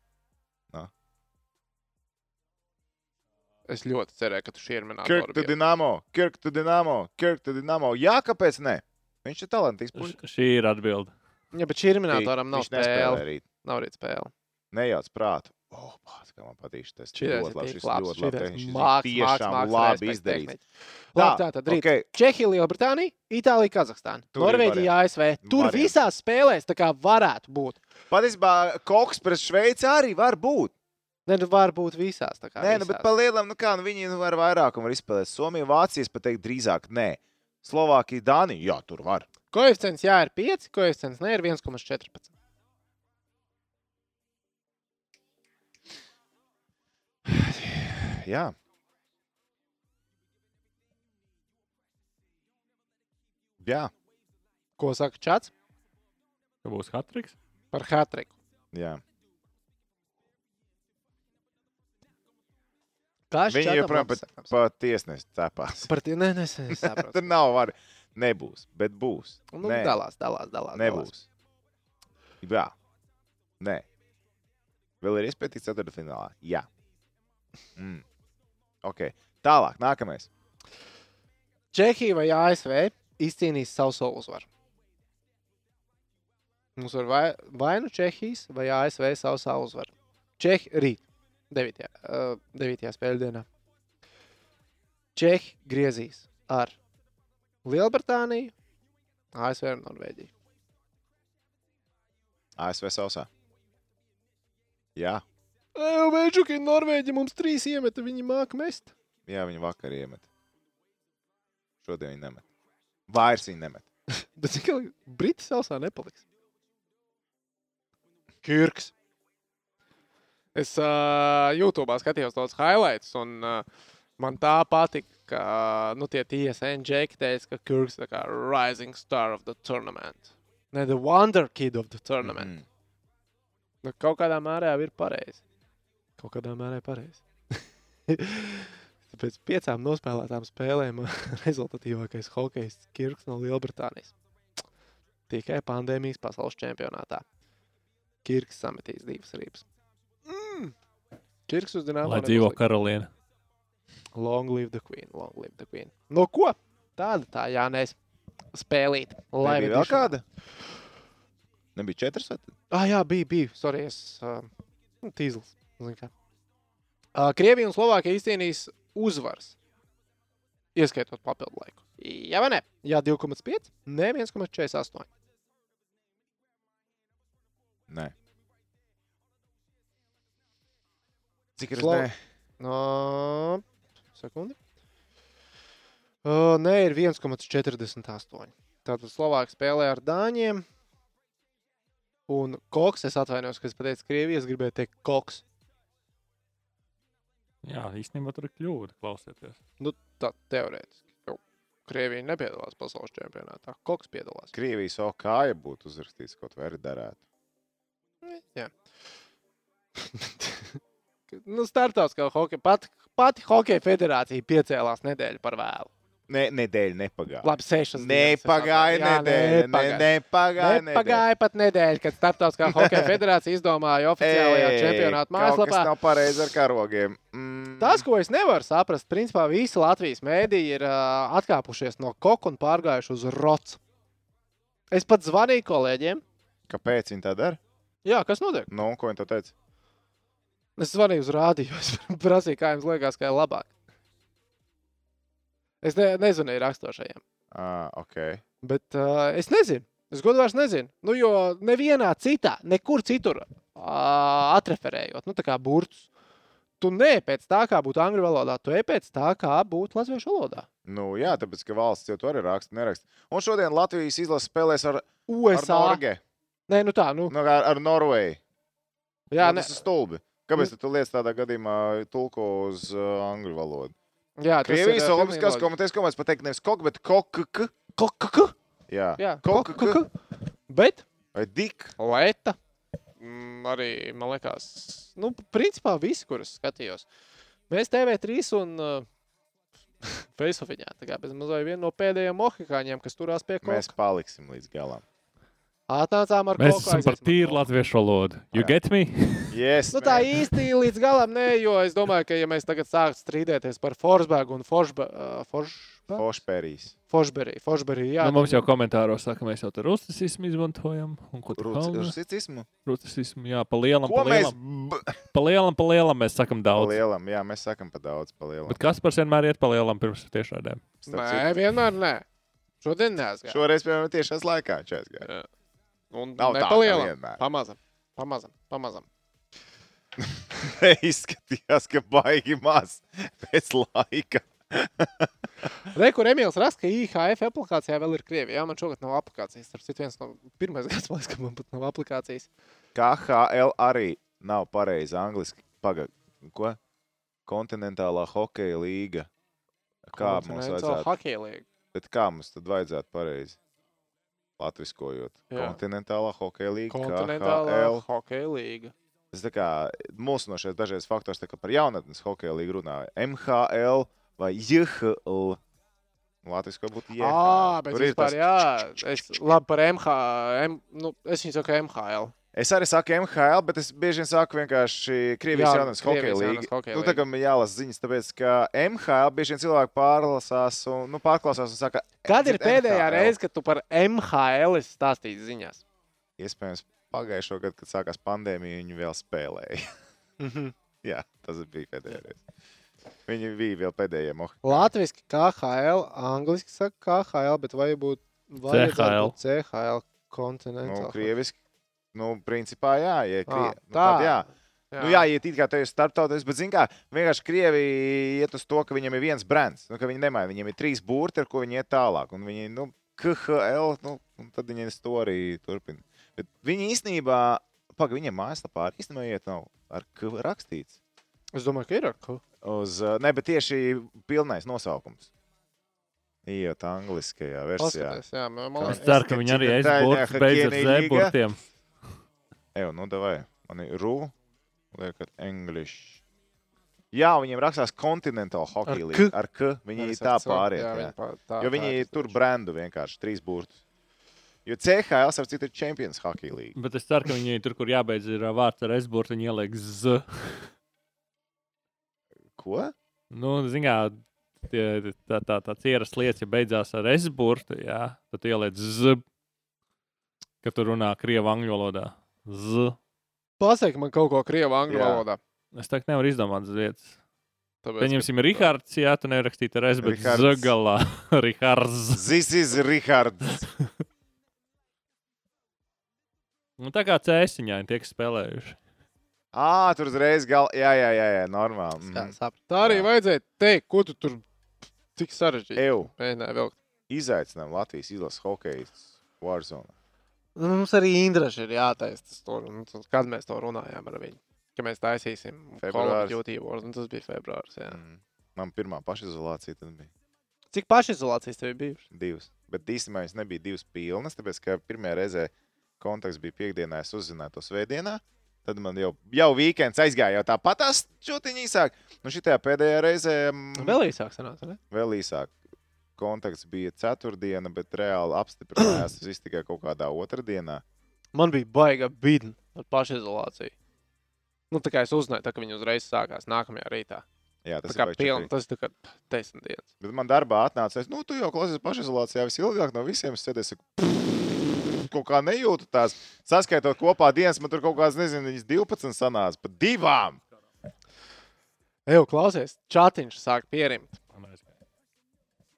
A: Es ļoti cerēju, ka tu šī ir
C: Kirk to
A: minēta.
C: Dinamo, Kirk to Dinamo, Kirk to Dinamo. Jā, kāpēc ne? Viņš ir talantīgs. puika.
B: Š- Šī ir atbilde.
A: Jā, bet šī ir minēta. Nav
C: Viņš nespēlē
A: spēle.
C: arī.
A: Nav rīt spēle.
C: Nejauc prātu. O, pats, kā man patīk šis
A: Šī ir
C: ļoti labi. Šis ļoti labi. tehniski, Šis
A: mākslinieks.
C: ir tiešām labi izdarīts.
A: Labi, tā tad rīt.
C: ok.
A: Čehija, Lielbritānija, Itālija, Kazahstāna,
C: Tur ir
A: Norvēģija, ASV. Tur
C: Varianti.
A: visās spēlēs tā kā varētu būt.
C: Patiesībā eh, koks pret Šveici arī var būt.
A: Ne, nu var būt visās. tā kā
C: Nē, nu,
A: visās.
C: bet par lielam, nu kā, nu viņi nu, var vairāk un var izspēlēt. Somija, Vācijas pat teikt drīzāk nē. Slovākija, Dānija, jā, tur var.
A: Koeficients jā, ir 5, koeficients nē, ir 1,14.
C: Jā. Jā,
A: Ko saka Čats
B: Ka būs Hatriks.
A: par Hatriku?
C: jā.
A: Kā šis
C: Viņi
A: čatam
C: joprojām pat,
A: apsakams?
C: pat tiesnesi cepās.
A: par to nesaprotu.
C: Tur nav var. Nebūs, bet būs.
A: Nu,
C: Nē.
A: dalās, dalās, dalās. dalās.
C: Nebūs. Jā, nē. Vēl ir iespēja tikt ceturtfinālā. Jā. Mm. Ok. Tālāk, nākamais.
A: Čehija vai ASV izcīnīs savu soli uzvaru. Mums var vai, vai nu Čehijas vai ASV savu savu uzvaru. Čehija rīt, 9. Uh, 9. spēļu dienā. Čehija griezīs ar Lielbritāniju, ASV un Norvēģiju.
C: ASV sausā. Jā,
A: Vēģuki, Norvēģi mums trīs iemeta, viņi māca mest.
C: jā viņi vakar iemet. Šodien viņi nemet. Vairs viņi nemet.
A: Bet cik ilgi Briti sausā nepaliks? Kirks. Es uh, YouTube skatījos tos highlights, un uh, man tā patika, ka nu, tie TSN džeki teica, ka Kirks ir rising star of the tournament. Ne, the wonder kid of the tournament. Mm.
C: Mm.
A: Nu, kaut kādā mērā jau ir pareizi. Kaut kādā mērā ir pareizi. Pēc piecām nospēlētām spēlēm rezultatīvākais hokejs Kirks no Lielbritānijas. Tikai pandēmijas pasaules čempionātā. Kirks sametīs divas rības. Mm. Kirks uz dīnām.
B: Lai dzīvo karaliene.
A: Long live the queen, long live the queen. No ko? Tāda tā Jānis spēlīt. Lai
C: Nebija vēl kāda? Nebija četras? vai tad?
A: Ah, jā, bija, bija. Sorry, es. Uh, nu, tīzlis. zini kā. Uh, Krievija un Slovākija izcīnīs uzvaras. Ieskaitot papildu laiku. Jā, vai ne? Jā, 2,5, ne 1,48.
C: Nē. Cik ir?
A: Slo-
C: Nē.
A: No, sekundi. Uh, nē, ir 1,48. Tātad Slovākija spēlē ar Dāņiem. Un koks, es atvainojos, ka es pateicu, Krievijas gribēju teikt koks.
B: Jā, īstenībā tur ir kļūda. Klausieties.
A: Nu, tā teorētiski. Jo Krievija nepiedalās pasaules čempionātā. Koks piedalās.
C: Krievijas okāja būtu uzrakstīts kaut vai arī darētu.
A: Jā. nu, startautiskā hokeja, pat, pati hokeja federācija piecēlās nedēļu par vēlu.
C: Nē, nedēļa nepagāja.
A: Labi, sešas dienas. es
C: Nepagāja
A: atvainojos. Jā,
C: nedēļa.
A: nepagāja.
C: Nepagāja nedēļa.
A: Nepagāja pat nedēļa, kad Startautiskā hokeja federācija izdomāja oficiālajā
C: Ei,
A: čempionāta
C: kaut kas
A: mājaslapā.
C: Nav pareizi ar karogiem. Mm.
A: Tas, ko es nevaru saprast, principā visi Latvijas mēdīji ir uh, atkāpušies no koka un pārgājuši uz rocu. Es pat zvanīju kolēģiem,
C: Kāpēc viņi tā dara?
A: Jā, kas notiek?
C: Nu, un ko viņi tā teica?
A: Es zvanīju uz rādio, es prasīju, kā jums liekas, kā ir labāk. Es ne, nezvanīju rakstošajiem.
C: Ah, ok.
A: Bet uh, es nezinu. Es godīgi vairs nezinu. Nu, jo nevienā citā, nekur citur uh, atreferējot, nu, tā kā burts. Tu neej pēc tā, kā būtu angļu valodā, tu ej pēc tā, kā būtu latviešu valodā.
C: Nu, jā, tāpēc, ka valsts jau to arī raksta, neraksta. Un šodien Latvijas izlase spēlēs ar
A: USA.
C: Ar Norge.
A: Nē, nu tā, nu.
C: Nu, ar, ar Norvēģiju.
A: Jā,
C: nu,
A: ne-
C: tas ir stulbi. Kāpēc tu lietas tādā gadījumā tulko uz uh, angļu valodu?
A: Jā, tas ir,
C: Krievijas
A: uh,
C: Olimpiskās
A: pilnīgi
C: komitejas komats pateikt nevis kok, bet kokk.
A: Kokk?
C: Jā,
A: Jā,
C: Kok-
A: kokk. Bet
C: Vai dik?
A: Leta. Mm, arī, man liekas, nu, principā visi, kurus skatījos. Mēs TV3 un uh, Facebookā. Tā kā mēs bijām viena no pēdējiem mohikāņiem, kas turās pie
C: Mēs
A: kaut kā.
C: paliksim līdz galam.
A: Atnācām ar
B: Mēs
A: koku,
B: esam par
A: aizies-
B: tīru latviešu valodu. You get me?
C: Yes,
A: Nu, tā īsti līdz galam nē, jo es domāju, ka ja mēs tagad sāksim strīdēties par Forsbergu un Forsbe- uh, Forš-
C: Pošpērijas.
A: Forsberiju. Forsberiju, jā,
B: Jā, nu, mums jau komentāros saka, ka mēs jau tādu rusicismu izmantojam. un ko tu kalni?
C: Rusicismu?
B: Rusicismu, jā, pa lielam,
C: Ko
B: pa
C: mēs
B: lielam. Pa lielam, pa lielam mēs sakam
C: Pa
B: daudz.
C: lielam, jā, mēs sakam pa daudz pa lielam.
B: Bet kas par vienmēr iet pa lielam pirms tiešādēm?
A: Nē, vienmēr nē. Šodien neesmu.
C: Šoreiz, piemēram, tiešās laikā četras gadi.
A: Un
C: Nav
A: ne
C: tā,
A: pa
C: ka
A: lielam.
C: vienmēr.
A: Pamazam, pamazam, pamazam.
C: Izskatījās, ka baigi maz pēc laika.
A: Re, kur Emīls raksta, ka IHF aplikācijā vēl ir Krievija. Jā, man šogad nav aplikācijas. Tas ir viens no pirmais gads, man liekas, ka man pat nav aplikācijas.
C: KHL arī nav pareizi angliski. Pagaid, ko? Kontinentālā hokeja līga. Kā mums vajadzētu?
A: Hokeja līga.
C: Bet kā mums tad vajadzētu pareizi? Latviskojot.
A: Jā.
C: Kontinentālā hokeja līga.
A: Kontinentālā
C: KHL.
A: hokeja līga.
C: Tas tā kā mūsu no šeit dažreiz faktors, tā kā par jaunatnes hokeja līgu runāja. MHL vai JHL. Latvijas kā būtu JHL.
A: Ā, bet
C: Tur ir
A: vispār,
C: tas-
A: jā, es labi par MH, M, nu, es viņu saku MHL.
C: Es arī saku MHL, bet es bieži vien saku vienkārši Krievijas
A: Jā,
C: jaunatnes hokeja
A: Krievijas
C: līga.
A: jaunatnes hokeja
C: Nu, tā kā man jālasa ziņas, tāpēc, ka MHL bieži vien cilvēki pārlasās un, nu, pārklausās un saka,
A: Kad ir
C: "Dzird
A: pēdējā
C: MHL?"
A: reize, kad tu par MHL esi stāstījis ziņās?
C: Iespējams, pagājušo gadu, kad sākās pandēmija, viņi vēl spēlēja.
A: Mhm.
C: jā, tas bija pēdējais reize. Viņi bija vēl pēdējie mohi.
A: Latvijasiski KHL, angliski saka KHL, bet vai būtu
C: CHL.
A: vajadzētu būt CHL
C: Nu,
A: kontinentālā?
C: krieviski. Nu, principā, jā, ja krie...
A: Ā,
C: nu, tad
A: Ah, tā.
C: jā.
A: Jā.
C: Jā. Nu, jā, iet it kā te ir starptautisks, bet, zināmā mērā, vienkārši krievi iet uz to, ka viņiem ir viens brands. Nu, ka viņi nemaina, viņiem ir trīs burti, ar ko viņi iet tālāk. Un viņi, nu, KHL, nu, un tad viņi to arī turpina. Bet viņi īstenībā, pagaidi, viņiem mājaslapā arī īstenībā iet nav ar K rakstīts.
A: Es domāju, ka ir ar ko.
C: Uz, uh, ne, bet tieši pilnais nosaukums. Iet angliskajā versijā.
A: Paskaties, jā, man- man
B: Es ceru, ka viņi arī aiz burtus beidz ar zēburtiem.
C: Evo, nu, davai. Man ir rū, liekat, English. Jā, viņiem rakstās Continental
A: Ar
C: Hockey
A: K.
C: League. Ar K. Viņi
A: Arī
C: tā
A: saka,
C: pāriet.
A: jā,
C: Jā,
A: viņi pār- tā-
C: jo
A: tā
C: viņi
A: ir
C: tur brendu vienkārši trīs burtus. Jo CHL, starp citu, ir Champions Hockey League.
B: Bet es ceru, ka viņi tur, kur jābeidz ir ā, vārds ar esburtu, viņi ieliek z.
C: Ko?
B: Nu, zinām, tā, tā, tā, tā cieras lietas, ja beidzās ar esburtu, jā, tad tu ieliec z, kad tu runā krievu angļu valodā. Z.
A: Pasaki man kaut ko krievu angļu
B: Jā.
A: valodā.
B: Es tā nevaru izdomāt lietas.
A: Tāpēc,
B: Pieņemsim, Rihards, jā, tu nerakstīt ar S, bet
C: Rihards.
B: Z galā. Rihards.
C: This is Rihards.
B: Nu, tā kā cēsiņā viņi tiek spēlējuši.
C: Ā, tur uzreiz gal... Jā, jā, jā, jā normāli. Mm.
A: Tā arī vajadzēja teikt, ko tu tur tik sarežģīti
C: Eju.
A: mēģināji vilkt.
C: Izaicinām Latvijas izlases hokeja Warzone.
A: Nu, mums arī Indraša ir jātaisa tas tur, nu, tas- kad mēs to runājām ar viņu. Ka mēs taisīsim
C: Februāris.
A: jūtību, un tas bija februāris. Jā.
C: Mm. Man pirmā pašizolācija tad bija.
A: Cik pašizolācijas tev bija?
C: Divas. Bet īstenībā viņas nebija divas pilnas, tāpēc, ka pirmajā reizē kontakts bija piekdienā, es uzzināju to svētdienā. Tad man jau, jau weekends aizgāja, jau tāpat tās čūtiņa īsāk. Nu, šitā pēdējā reizē mm,
A: Nu, Vēl īsāk sanāca, ne?
C: vēl īsāk. Kontakts bija ceturtdiena, bet reāli apstiprinājās tas viss tikai kaut kādā otrdienā.
A: Man bija baiga bīdna ar pašizolāciju. Nu, tā kā es uzzināju, tā, ka viņi uzreiz sākās nākamajā rītā.
C: Jā, tas
A: tā kā
C: ir baigi
A: pilna,
C: čakarīgi.
A: tas ir tā kā desmit dienas.
C: Bet man darbā atnāca, es, nu, tu jau klausies pašizolācijā visilgāk no visiem. Es sēdēju, saku, kaut kā nejūtu tās. Saskaitot kopā dienas, man tur kaut kādas, nezinu, viņas 12 sanāca pa divām.
A: Eju, klausies, čatiņš sāk pierimt.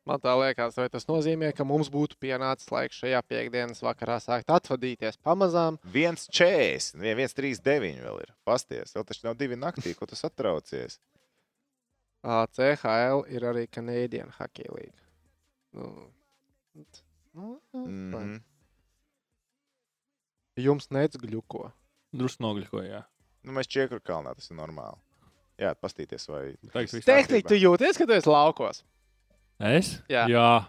A: Man tā liekas, vai tas nozīmē, ka mums būtu pienācis laiks šajā piekdienas vakarā sākt atvadīties pamazām.
C: 1,40, 1,39 vēl ir. Pasties, vēl taču nav divi naktī, ko tu satraucies.
A: Ā, CHL ir arī Canadian Hockey League. Nu, t- nu,
C: Mm
A: mm.
C: -hmm.
A: Jums nec gļuko.
B: Drusku nogļukoja.
C: nu, mēs čiekur kalnā, tas ir normāli. Jā, pastīties, vai
B: Nu, Teiks, viss
A: Tehniski, tu jūties, ka tu esi laukos.
B: Es?
A: Jā.
B: Jā.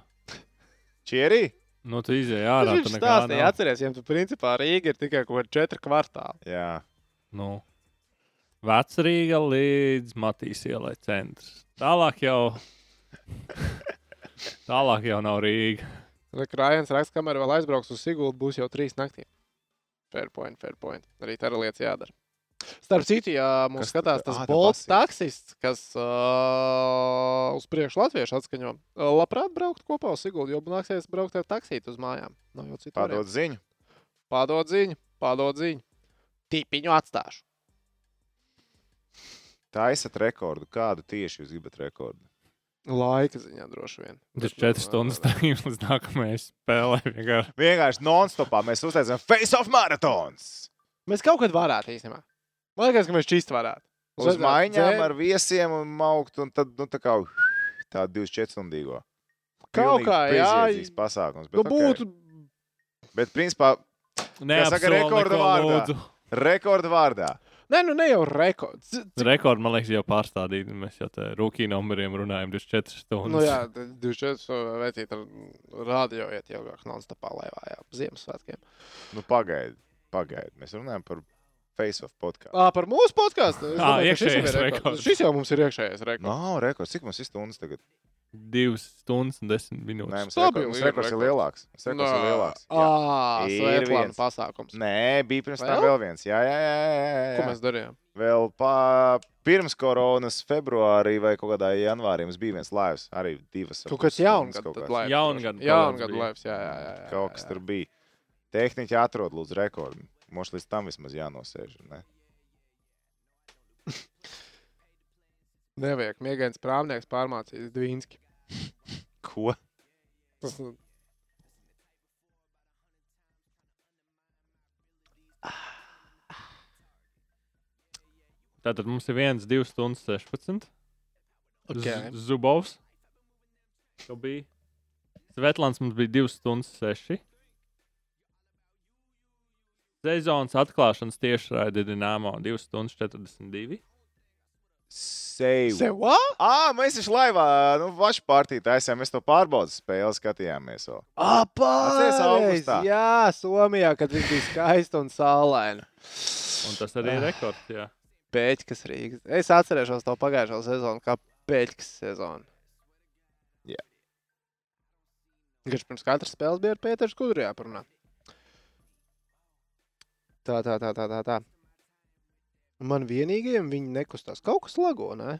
C: Čierī?
B: Nu, tu izēji
A: Tas
B: ārā.
A: viņš
B: tur nekā
A: stāstīja,
B: nav.
A: atceries, viņam tu principā Rīga ir tikai kaut kādi četri kvartāli.
C: Jā.
B: Nu. Vecrīga līdz Matīs ielai centrs. Tālāk jau. Tālāk jau nav Rīga.
A: Krājums raksts, kamēr vēl aizbrauks uz Siguldu, būs jau trīs naktī. Fair point, fair point. Arī tā ir lietas jādara. Starp citu, ja mums
C: Kas tu-
A: skatās tas
C: ā, tā
A: bolts taksists, kas uh, uz priekšu latviešu atskaņo, uh, labprāt braukt kopā uz Siguldu, jo nāksies braukt ar taksītu uz mājām. Nav jau citu variantu.
C: Pārdot ziņu.
A: Pārdod ziņu, pārdod ziņu. Tipiņu atstāšu.
C: Tā esat rekordu. Kādu tieši jūs gribat rekordu?
A: Laika ziņā droši vien.
B: Tas četras stundas stāvījums līdz nākamajai spēlē. vienkārši.
C: Vienkārši non-stopā mēs uztaisām Face of Marathons.
A: Mēs kaut kad varētu īstenībā. Man liekas, ka mēs čīst varētu.
C: Uz
A: Vajadzētu
C: maiņām
A: dzērt.
C: ar viesiem un maukt, un tad, nu, tā kā tā 24 stundīgo.
A: Kaut kā, jā.
C: bezjēdzīgs pasākums. Bet,
A: Nu,
C: okay.
A: būtu
C: bet principā, saka,
B: Neapsolu
C: rekorda
B: neko,
C: vārdā.
B: lūdzu.
C: rekordu vārdā.
A: Nē, nu ne jau rekords. Z-
B: Rekords, man liekas, jau pārstādīts. Mēs jau tādā rūkī numuriem runājam 24 stundas.
A: Nu, jā, tad 24 vērtīt ar radio iet ilgāk non-stopā laivā, jā, Ziemassvētkiem.
C: Nu, pagaidi, pagaidi. Mēs runājam par Face of podkāstu.
A: Ā, par mūsu podkāstu.
B: Ā,
A: Es domāju, ka šis jau ir
B: iekšējais
A: rekords.
B: rekords.
A: Šis jau mums ir iekšējais rekords.
C: Nav rekords. Cik mums ir stundas tagad?
B: 2 stundas un 10
C: Nē,
B: minūtes.
C: mums
A: Stabili
C: rekord- mums
A: ir
C: rekords ir
A: rekords.
C: lielāks. Mums Rekords ir lielāks. Jā.
A: Ā,
C: Ir
A: Svētplāna
C: viens.
A: pasākums.
C: Nē, bija pirms tam
A: Vēl?
C: vēl viens. Jā, jā, jā. jā, jā,
A: Ko
C: jā.
A: mēs darījām?
C: Vēl pa, pirms koronas, februārī vai kaut kādā janvārī mums bija viens laivs. Arī divas.
A: Kaut kāds jaungad tad laivs.
B: Jaungada
A: Jaungad
B: bija.
A: laivs, jā, jā, jā. jā,
C: Kaut kas
A: jā.
C: tur bija. Tehniķi atrod lūdzu rekordu. Mums līdz tam vismaz jānosēž. Ne?
A: Nevajag miegains prāvnieks pārmācīt Dvīnski.
C: Ko?
A: Tas nu-
B: Tātad mums ir 1, 2 stundas 16.
A: Ok.
B: Z- Zubovs. Tur bija. Svetlāns mums bija 2 stundas 6. Sezonas atklāšanas tiešraide Dienāmo 2 stundas 42.
C: Seju.
A: Se, what?
C: Ā, mēs esam laivā, nu, vašu partiju taisījām. Mēs to pārbaudas spēli skatījāmies. Vēl. Atceries
A: Apāries!
C: augustā?
A: Jā, Somijā, kad viņš bija skaists un saulains.
B: Un tas arī
C: Ah.
B: ir rekords. Jā.
A: Pēķis Rīgas. Es atcerēšos to pagājušo sezonu, kā pēķis sezonu.
C: Jā.
A: Viņš pirms katras spēles bija ar Pēteru Skudru jāparunā. Tā, tā, tā, tā, tā. tā. Man vienīgajam viņi nekustās. Kaut kas lago, nē?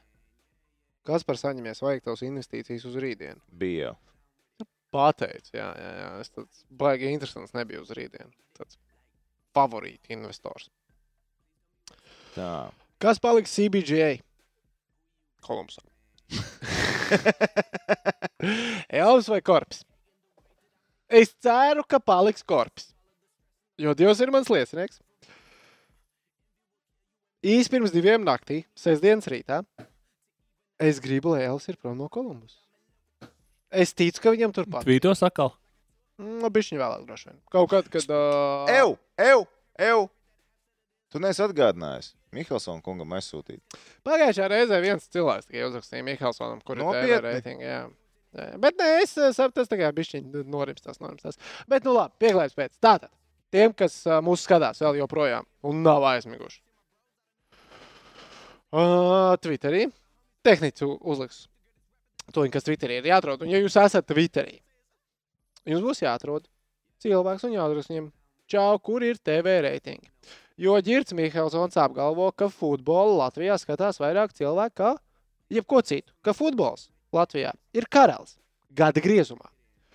A: Kas par saņemies vajag tavas investīcijas uz rītdienu?
C: Bija jau.
A: Pateicu, jā, jā, jā. Es tāds baigi interesants nebija uz rītdienu. Tāds favorīti investors.
C: Tā.
A: Kas paliks CBGA? Kolumbusam. Elvis vai korps? Es ceru, ka paliks korps. Jo Dievs ir mans liecinieks. Īsi pirms diviem naktī, sestdienas rītā, es gribu, lai Elvis ir prom no Kolumbus. Es ticu, ka viņam turpat.
B: Tvītos atkal.
A: Nu, bišķiņ vēlāk, droši vien. Kaut kad, kad... Uh...
C: Eju, eju, eju! Tu neesi atgādinājis. Mihelsona kungam aizsūtīt.
A: Pagājušā reizē viens cilvēks tikai uzrakstīja Mihelsonam, kurš ir
C: Nopietni?
A: reitingi. Jā. Jā, jā. Bet nē, es saprotu, tas tikai bišķiņi norimstās, norimstās. Bet, nu labi, pieklājības pēc. Tātad, tiem, kas ā, mūs skatās vēl joprojām un nav aizmiguši. Uh, Twitterī. Tehnici uzliks to, kas Twitterī ir jāatrod. Un, ja jūs esat Twitterī, jums būs jāatrod cilvēks un jāuzraksta viņam, čau, kur ir TV reitingi. Jo Girts Mihelsons apgalvo, ka futbolu Latvijā skatās vairāk cilvēku kā jebko citu. Ka futbols Latvijā ir karalis gada griezumā.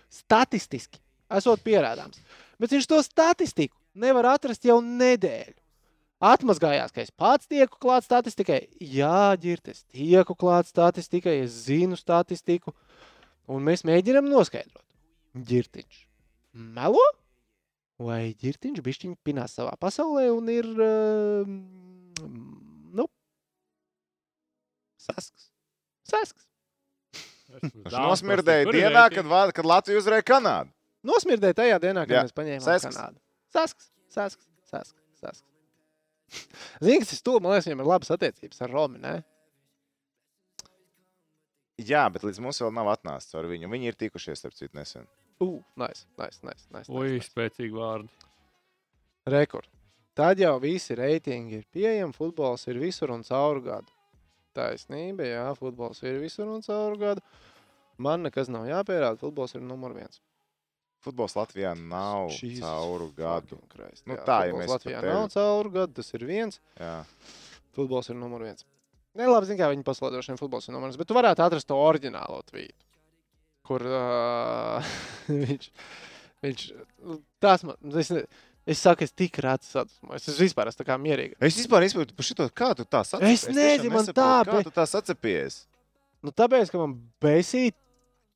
A: Statistiski esot pierādāms. Bet viņš to statistiku nevar atrast jau nedēļu. Atmazgājās, ka es pats tieku klāt statistikai. Jā, ģirt, es tieku klāt statistikai, es zinu statistiku. Un mēs mēģinām noskaidrot. Girtiņš melo? Vai ģirtiņš bišķiņš pinās savā pasaulē un ir, uh, nu, sasks. Sasks.
C: Nosmirdēja dienā, kad, vā- kad Latvija uzvarēja Kanādu.
A: Nosmirdēja tajā dienā,
C: Jā.
A: kad Jā. mēs paņēmām
C: Sasks.
A: sasks. Kanādu. Sasks, sasks, sasks, sasks. Zini, kas ir stulbi, man liekas, viņam ir labas attiecības ar Romu, ne?
C: Jā, bet līdz mums vēl nav atnācis ar viņu. Viņi ir tikušies, starp citu, nesen.
A: Ugh, nice, nice, nice, nice.
B: Ui, spēcīgi vārdi.
A: Rekord. Tad jau visi reitingi ir pieejami. Futbols ir visur un caur gadu. Taisnība, jā, futbols ir visur un caur gadu. Man nekas nav jāpierāda. Futbols ir numur viens.
C: Futbols Latvijā nav
A: Jesus
C: cauru gadu.
A: Christ,
C: Nu,
A: jā,
C: tā, ja
A: futbols
C: mēs
A: Latvijā nav caur gadu, tas ir viens.
C: Jā.
A: Futbols ir numur viens. Nē, labi, zinu, kā viņi paslēdz šiem futbols ir numur viens. Bet tu varētu atrast to oriģinālo tvītu, kur uh, viņš. viņš nu, tas man. Es, ne- es saku, es tik rādu sadusmojos. Es vispār esmu tā kā mierīga.
C: Es vispār nesaprotu, par šito, kā tu tā sacepies.
A: Es nezinu, man tā,
C: kā
A: bet-
C: tu tā sacepies.
A: Nu, tāpēc, ka man besīja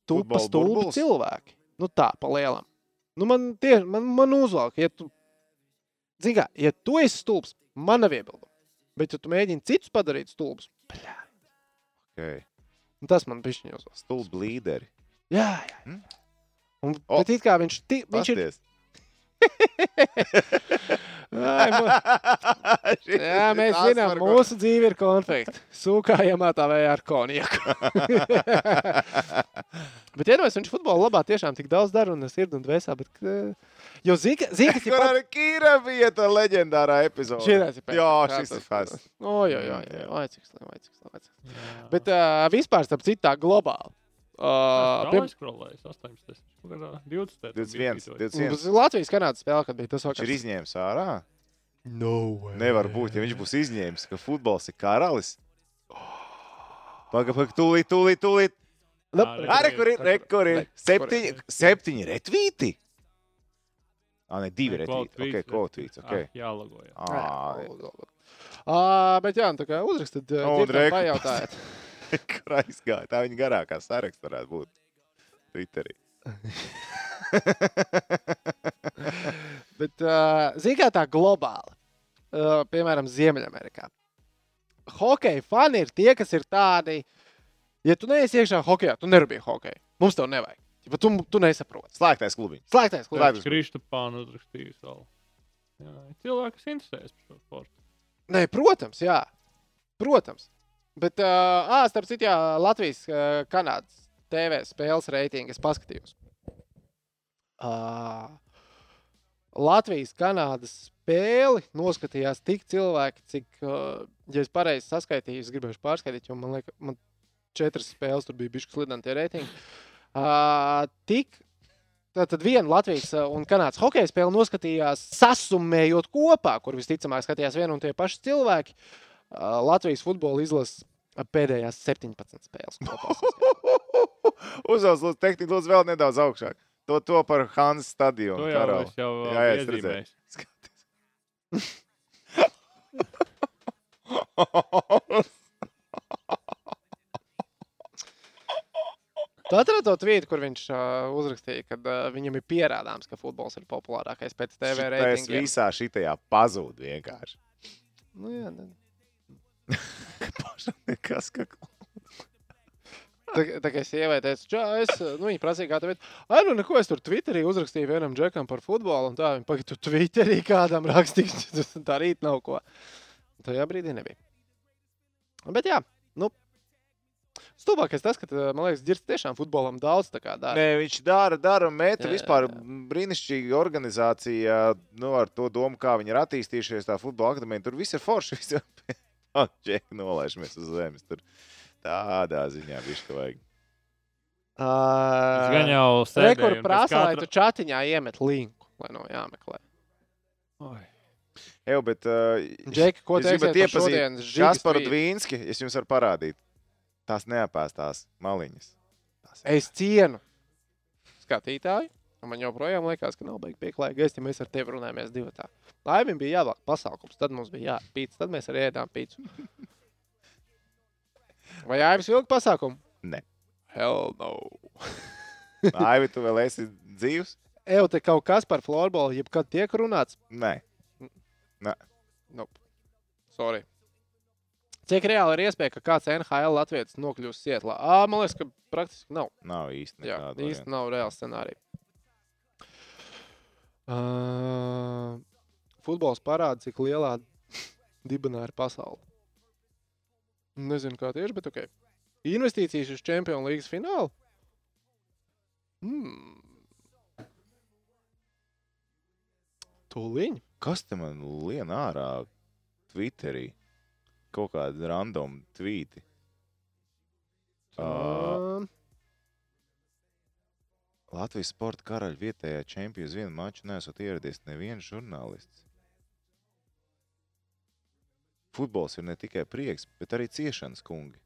A: tupa
C: Futbola
A: stulbi
C: burbulis?
A: cilvēki. Nu, tā, pa lielam. Nu, man tieši, man, man uzvalk, ja tu, zini kā, ja tu esi stulbs, man nav iebildumi. Bet, ja tu mēģini citus padarīt stulbus,
C: Okay.
A: nu, tas man pišķiņ uzvalk.
C: Stulbi līderi.
A: Jā, jā. jā. Un,
C: Mm. O!
A: bet it kā viņš, ti, viņš ir...
C: Pasties.
A: Ai, mu- jā, mēs
C: Tas
A: zinām,
C: var ko-
A: mūsu dzīve ir konflikta. Sūkājam atavējā ar konjaku. bet iedomājos, viņš futbola labā tiešām tik daudz dara un sirdi un dvēsā, bet... eh, Jo zini, ka- zini, kas ir
C: Kur
A: pats...
C: arī Kīra bija tā leģendārā epizode?
A: Šis ir
C: Jā, šis ir fast.
A: O, jā, jā, jā, vai cik slikti, vai cik slikti. vai cik slikti. Bet uh, vispār, starp citu, tā globāli.
C: Ah,
A: Uh,
B: Pirmā
A: pirms,
B: skrolējas, 18, 20.
C: 21, 21.
A: uz Latvijas kanādas spēle, kad bija tas
C: Viņš ir
A: vakars.
C: izņēmis ārā.
A: No way.
C: Nevar būt, ja viņš būs izņēmis, ka futbols ir karalis. Pagaid, pagaid, tūlīt, tūlīt, tūlīt.
A: Nu,
B: Ā, re-
C: Arī kur ir, re, kur ir.
A: Re,
C: Septiņi, septiņi retvīti. Ah, ne, divi
B: Nē, quote
C: retvīti. Ok,
B: tweets, Ah.
C: kvotvīts, ok.
B: Jā, logojas.
C: Ā,
A: Uh, bet jā, nu tā kā uzrakstīt,
C: Nu,
A: uh,
C: un
A: no,
C: reku-
A: pajautājiet.
C: Kur aizgāja? Tā viņa garākā saraksts varētu būt. Twitterī.
A: Bet, uh, zināmā mērā, tā globāli, uh, piemēram, Ziemeļamerikā. Hokeja fani ir tie, kas ir tādi, ja tu neesi iekšā hokeja, tu nerūpīgi hokeja. Mums tev nevajag. Ja tu, tu nesaproti.
C: Slēgtais klubiņš.
A: Slēgtais, ko
C: Slēgtais.
A: gribi.
B: Tāpēc Kristapāna uzrakstījis vēl. Jā, ir cilvēki, kas interesējas par šo sportu.
A: Nē, protams, jā. Protams. Bet, uh, ā, starp citu, jā, Latvijas uh, kanādas TV spēles reitingu es paskatījos. Uh, Latvijas kanādas spēli noskatījās tik cilvēki, cik, uh, ja es pareizi saskaitīju, es gribēju pārskaitīt, jo man liekas, man četras spēles tur bija bijušas slidantie reitingi. Uh, tik Tātad viena Latvijas uh, un Kanādas hokeja spēle noskatījās sasummējot kopā, kur visticamāk skatījās vienu un tie paši cilvēki. Uh, Latvijas futbola izlases pēdējās 17 spēles. kopā saskaitot.
C: Uzvelc lūdzu, tehniku lūdzu vēl nedaudz augšāk. To, to par Hansa
B: To
C: stadionu.
B: jau
C: karali.
B: es jau uh,
C: Jā, jā, es
B: iezīmēju.
A: Tu atceries to tvītu, kur viņš uh, uzrakstīja, ka uh, viņam ir pierādāms, ka futbols ir populārākais pēc TV
C: Šitais
A: reitingiem.
C: visā šitajā pazūd vienkārši.
A: Nu, jā, ne-
C: Pašam nekas, ka
A: tā, kā- tā kā es ievēju, teicu, čau, es, uh, nu, viņi prasīja, kā tev iet. Ai, nu, neko, es tur Twitterī uzrakstīju vienam džekam par futbolu, un tā, viņi pagaid, tu Twitterī kādam rakstīji, tas tā rīt nav ko. Tajā brīdī nebija. Bet jā, nu, stulbākais tas, ka, uh, man liekas, dzirds tiešām futbolam daudz tā kā dara.
C: Nē, viņš dara, dara, meta.
A: Jā, jā,
C: Vispār
A: jā.
C: brīnišķīga organizācija. Nu, ar to domu, kā viņi ir attīstījušies, tā futbola akadēmija. Tur viss ir forši. Viss ir Čeki nolaižamies uz zemes. Tur tādā ziņā bija šis vajag.
A: Uh,
B: Gan jau sēdēju.
A: Rekords prasa, lai tu čatiņā iemet linku, lai nav jāmeklē.
C: Eju, bet, uh,
A: Džeki, ko
C: jūs
A: teiksiet
C: gribat
A: par
C: iepazīt
A: šodienas žigas
C: Kasparu
A: rītu?
C: Dvīnski, es jums varu parādīt. Tās neapēstās maliņas.
A: Es cienu skatītāju, Un Man joprojām liekas, ka nav baigi pieklājīgi. Es, ja mēs ar tevi runājamies divi tā. Laimīgi bija jāvelk pasākums, tad mums bija jāpīts, tad mēs arī ēdām pīci. Vai Aivis vilka pasākumu?
C: Nē.
A: Hell no.
C: Ai, tu vēl esi dzīvs?
A: Eju, te kaut kas par floorbola, jebkad tiek runāts?
C: Nē. Nē.
A: Nope. Sorry. Cik reāli ir iespēja, ka kāds NHL latviečs nokļūs Sietlā? Ā, man liekas, ka praktiski nav.
C: Nav īsti
A: Jā,
C: nekāda.
A: īsti nav reāla scenārija. Uh, futbols parāda, cik lielā dibenā ir pasaule. Nezinu, kā tieši, bet ok. Investīcijas uz Champions League finālu? Hmm. Tūliņ.
C: Kas te man lien ārā Twitterī? Kaut kādi random tvīti. Uh,
A: Uh,
C: Latvijas sporta karaļa vietējā čempions vienu maču nesot ieradies neviens žurnālists. Futbols ir ne tikai prieks, bet arī ciešanas kungi.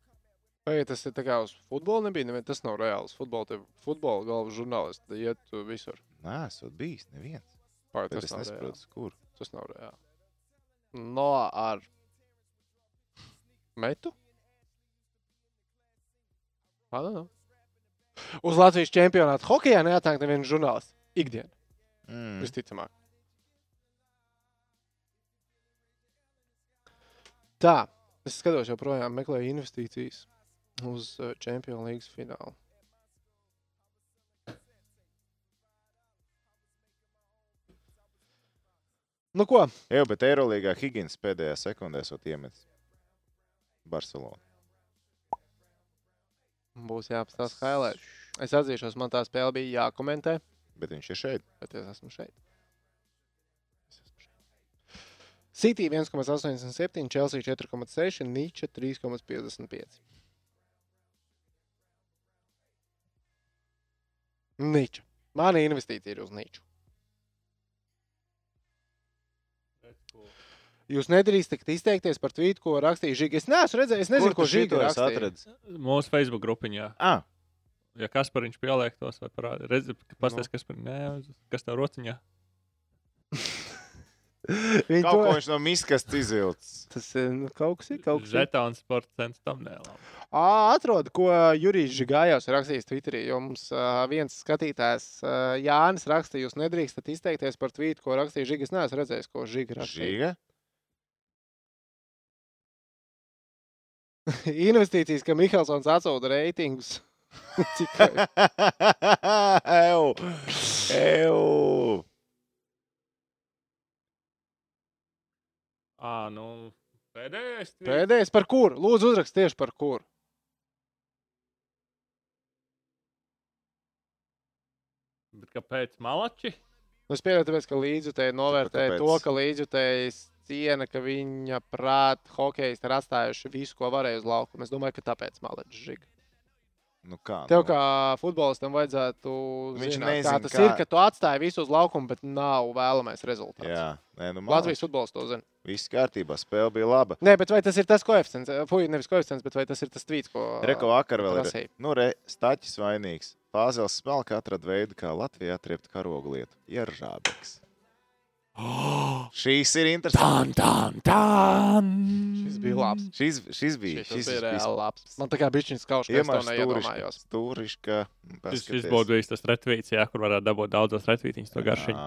A: Vai tas ir tā kā uz futbola nebija? Nevien, tas nav reāls. Futbola, te, futbola galva žurnālisti iet uh, visur.
C: Nē, esot bijis neviens.
A: Vai
C: Bet
A: tas
C: es
A: nav
C: nesaprotu,
A: reāli?
C: kur.
A: Tas nav reāli. No ar metu? I don't know. er Uz Latvijas čempionāta hokeja neatnāk neviens žurnālists. Ikdienā, mm.
C: Mm.
A: visticamāk. Tā, es skatos, joprojām meklēju investīcijas uz uh, Champions League finālu. Nu, ko?
C: Jā, bet Eirolandā Higgins pēdējā sekundē esot iemetis Barcelonā.
A: Būs jāapstāsta highlight. Es atzīšos, man tā spēle bija jākomentē,
C: Bet viņš ir šeit.
A: bet es esmu šeit. Es esmu šeit. City 1,87, Chelsea 4,6, Nīča 3,55. Nīča. Mana investīcija ir uz Nīču. Jūs nedrīkstat izteikties par tvītu, ko rakstīja Žiga. Es neesmu redzējis, es nezinu,
C: Kur
A: ko
C: tu šito esi
A: Žiga rakstīja.
C: atradis?
B: Mūsu Facebook grupiņā.
C: Ah,
B: Ja kas par viņš pieliek tos, vai parādīt, redziet, pasties, kas par nē, kas tev rociņā.
A: Viņi
C: kaut
A: to-
C: ko viņš no miskas izvilcis.
A: Tas ir nu, kaut kas, ir, kaut kas ir.
B: Žetāns sports centrs tam nēlā.
A: Ā, Atrod, ko Jurijs Gājās rakstījis Twitterī. Jo mums ā, viens skatītājs, ā, Jānis, rakstīja, jūs nedrīkstat izteikties par tvītu, ko rakstīja Žiga. Es neesmu redzējis, ko Žiga rakstīja.
C: Žiga?
A: Investīcijas, ka Mihelsons atsauda reitingus. Cik
C: Eju! Eju!
B: Ā, nu, pēdējais. Pēd...
A: pēdējais par kuru? Lūdzu, uzrakst tieši par kuru.
B: Bet kāpēc malači?
A: Nu, es pieņemu, tāpēc, ka līdzjutēji novērtēja
C: kāpēc?
A: to, ka līdzjutēji ciena, ka viņa prāt hokejais ir atstājuši visu, ko varēja uz laukuma. Es domāju, ka tāpēc malets Žiga.
C: Nu kā?
A: Tev
C: nu?
A: kā futbolistam vajadzētu
C: Viņš
A: zināt,
C: nezin,
A: kā tas
C: kā-
A: ir, ka tu atstāji visu uz laukuma, bet nav vēlamais rezultāts.
C: Jā, nē, nu
A: Latvijas
C: Latvijas.
A: futbolists to zina.
C: Viss kārtībā, spēle bija laba.
A: Nē, bet vai tas ir tas koeficients? Fui, nevis koeficients, bet vai tas ir tas tvīts, ko.
C: Reko vakar vēl ir.
A: Ah, prasīja.
C: Nu, re, staķis vainīgs. Pāzels smelka atrada veidu, kā Latvijā atriept karogu lietu. Ir žābeks. Šīs ir interesantas.
A: Šis bija labs.
C: Šis, šis bija.
A: Šis,
C: Šis,
A: šis bija reāli labs. Man tā kā bišķiņas kaut kā
C: Iemārs
A: tāda neiedomājos.
C: stūriška.
B: Šis, šis būtu bijis tas retvīts, jā, kur varētu dabūt daudzos retvītiņus to garšiņu.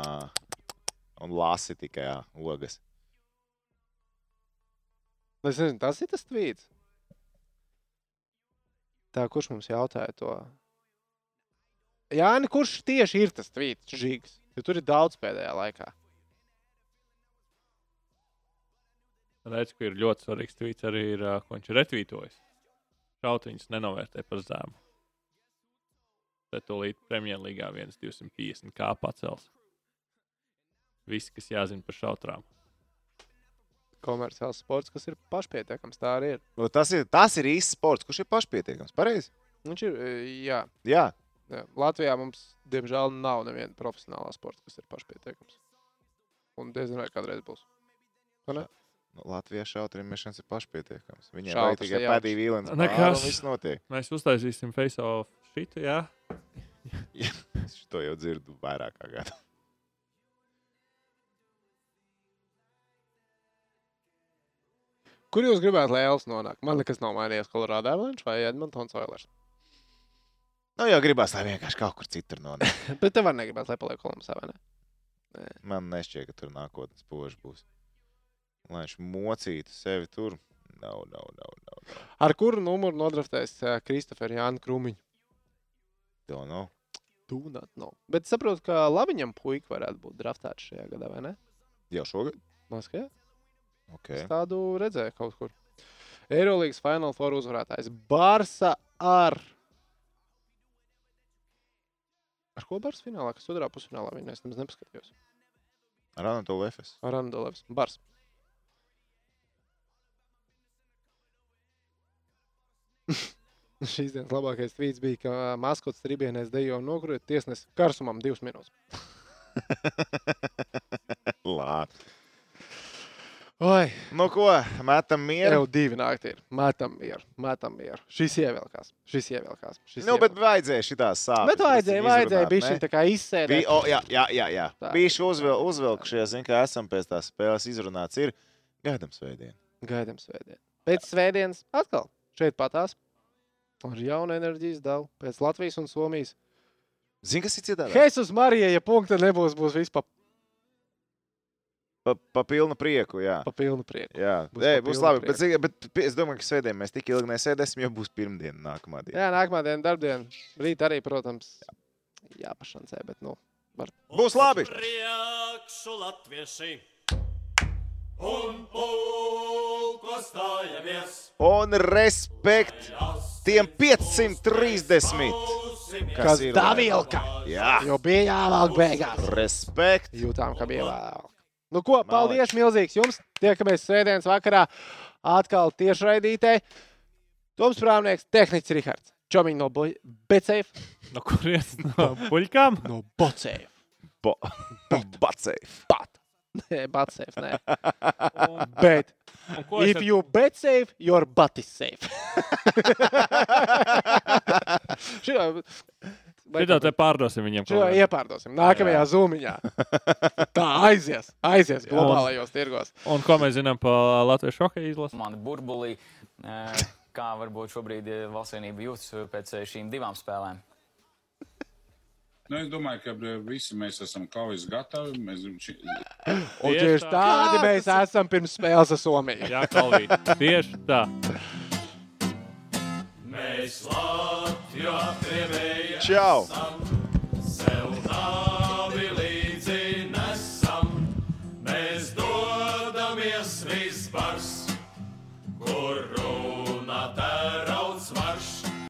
C: Un lasi tikai jā, ogas.
A: Nu, Es nezinu, tas ir tas tvīts. Tā, kurš mums jautāja to? Jā, nē, kurš tieši ir tas tvīts, žīgs? Jo tur ir daudz pēdējā laikā.
B: Redz, ka ir ļoti svarīgs tvīts arī ir, ā, ko viņš ir retvītojis. Šautiņus nenovērtē par zēmu. Tad tūlīt Premjerlīgā viens 250 kā pacels. Viss, kas jāzina par šautrām.
A: Komerciāls sports, kas ir pašpietiekams, tā arī ir.
C: Nu, tas ir, tas ir īsts sports, kurš ir pašpietiekams. Pareizi?
A: Viņš ir, e, jā,
C: Jā,
A: jā. Latvijā mums, diemžēl, nav neviena profesionālā sporta, kas ir pašpietiekams. Un diezgan vai kādreiz būs.
C: nu, Latvijā šautriem mešanas ir pašpietiekams. Viņiem vajag
A: Šauters
C: tikai
A: ir jauks.
C: pēdī vīlens.
B: Nekas.
C: Nekas. Viss notiek.
B: Mēs uztaisīsim face-off šitu, jā.
C: Šito to jau dzirdu vairāk kā gadu.
A: Kur jūs gribētu, lai Elvis nonāk? Man liekas, nav mainījies Colorado Avalanche vai Edmunds Oilers.
C: Nu, jau gribās, lai vienkārši kaut kur citur nonāk.
A: Bet tev var negribēt, lai paliek Kolumbusā, vai ne?
C: Man nešķiet, ka tur nākotnes poži būs. Lai viņš mocītu sevi tur. Nav, nav, nav, nav.
A: Ar kuru numuru nodraftēs e, ā, Kristoferu Jānu Krūmiņu?
C: To nav.
A: Dūnāt, no. Bet saprotu, ka Laviņam puika varētu būt draftēts šajā gadā, vai ne?
C: Jau šogad?
A: Moskajā?
C: Okay.
A: Es tādu redzēju kaut kur. Eirolandes Final Four uzvarētājs Barsa ar. Ar ko Barsa finālā? Kas otrā pusfinālā viņa es nemaz nepaskatījos.
C: Ar Anatolu FS.
A: Ar Andolevs. Bars. Šīs dienas labākais tvīts bija, ka maskots tribienēs dejo un nokrīt tiesnesis karsumam divas minūtes.
C: Labi.
A: Oi,
C: Nu, ko? Mētam mieru.
A: jau divi naktī ir. Mētam mieru, mētam mieru. Šis ievilkās, šis ievilkās. Šis
C: Nu, bet vajadzēja šitās sāpes.
A: Bet vajadzēja,
C: drusciņ Ah,
A: vajadzēja
C: izrunāt,
A: bija
C: ne?
A: šī tā kā izsēdēt.
C: Bija, o, jā, jā, jā. jā.
A: Tā.
C: Bijuši uzvel, uzvilkušies, zin, kā esam pēc tās spēles izrunāts. Ir gaidām svētdien.
A: Gaidām svētdienu. Pēc svētdienas atkal šeit patās. Ar jaunu enerģijas dalu pēc Latvijas un Somijas.
C: Zini, kas ir citādi?
A: Jēzus Marija, ja punkta nebūs, būs vispār
C: Pa, pa pilnu prieku, jā.
A: pa pilnu prieku.
C: Jā, būs,
A: Būs
C: Ei,
A: pa
C: būs
A: pilnu
C: labi.
A: prieku.
C: Bet, zini, bet pi- es domāju, ka sēdēsim mēs tik ilgi nesēdēsim, jo būs pirmdiena nākamā diena.
A: Jā, nākamā diena, darbdiena. Rīt arī, protams, jāpašancē, bet nu, var
C: Būs labi!
E: Priekšu latvieši un pulko stājamies.
C: Un respekt tiem 530, kas ir
A: tā vilka.
C: Jā,
A: Jo bija jāvelk beigās.
C: respekt.
A: Jūtām, ka bija vēl. Nu, ko, paldies milzīgs jums. Tiekamies svētdienas vakarā atkal tiešraidītē. Toms Prāvnieks, tehnicis Rihards. Čomiņ no Bo- Becēf.
B: No kurienes? No puļkām?
A: No Bocēf.
C: Bo- Bacēji.
A: Pat. Nē, Bacēf, nē. Bet.
B: Un ko es
A: If
B: ar-
A: you bet safe, your butt is safe. Šitā,
B: Šito te pārdosim viņam.
A: Šo
B: kaut kā.
A: iepārdosim nākamajā zūmiņā. Tā aizies, aizies globālajos tirgos.
B: Un ko mēs zinām par latviešu hokeju izlasi?
H: Man burbulī, eh, kā varbūt šobrīd eh, valsts vienība jūtas eh, pēc eh, šīm divām spēlēm.
I: Nu, es domāju, ka eh, visi mēs esam kaujas gatavi. Mēs, ši-
A: Un
B: Tieši
A: tieši
B: tā.
A: tādi mēs esam pirms spēles ar Somiju.
B: Jā, Kalvīt. Tieši tā.
E: Mēs Latviju apgrievējamies,
C: Čau!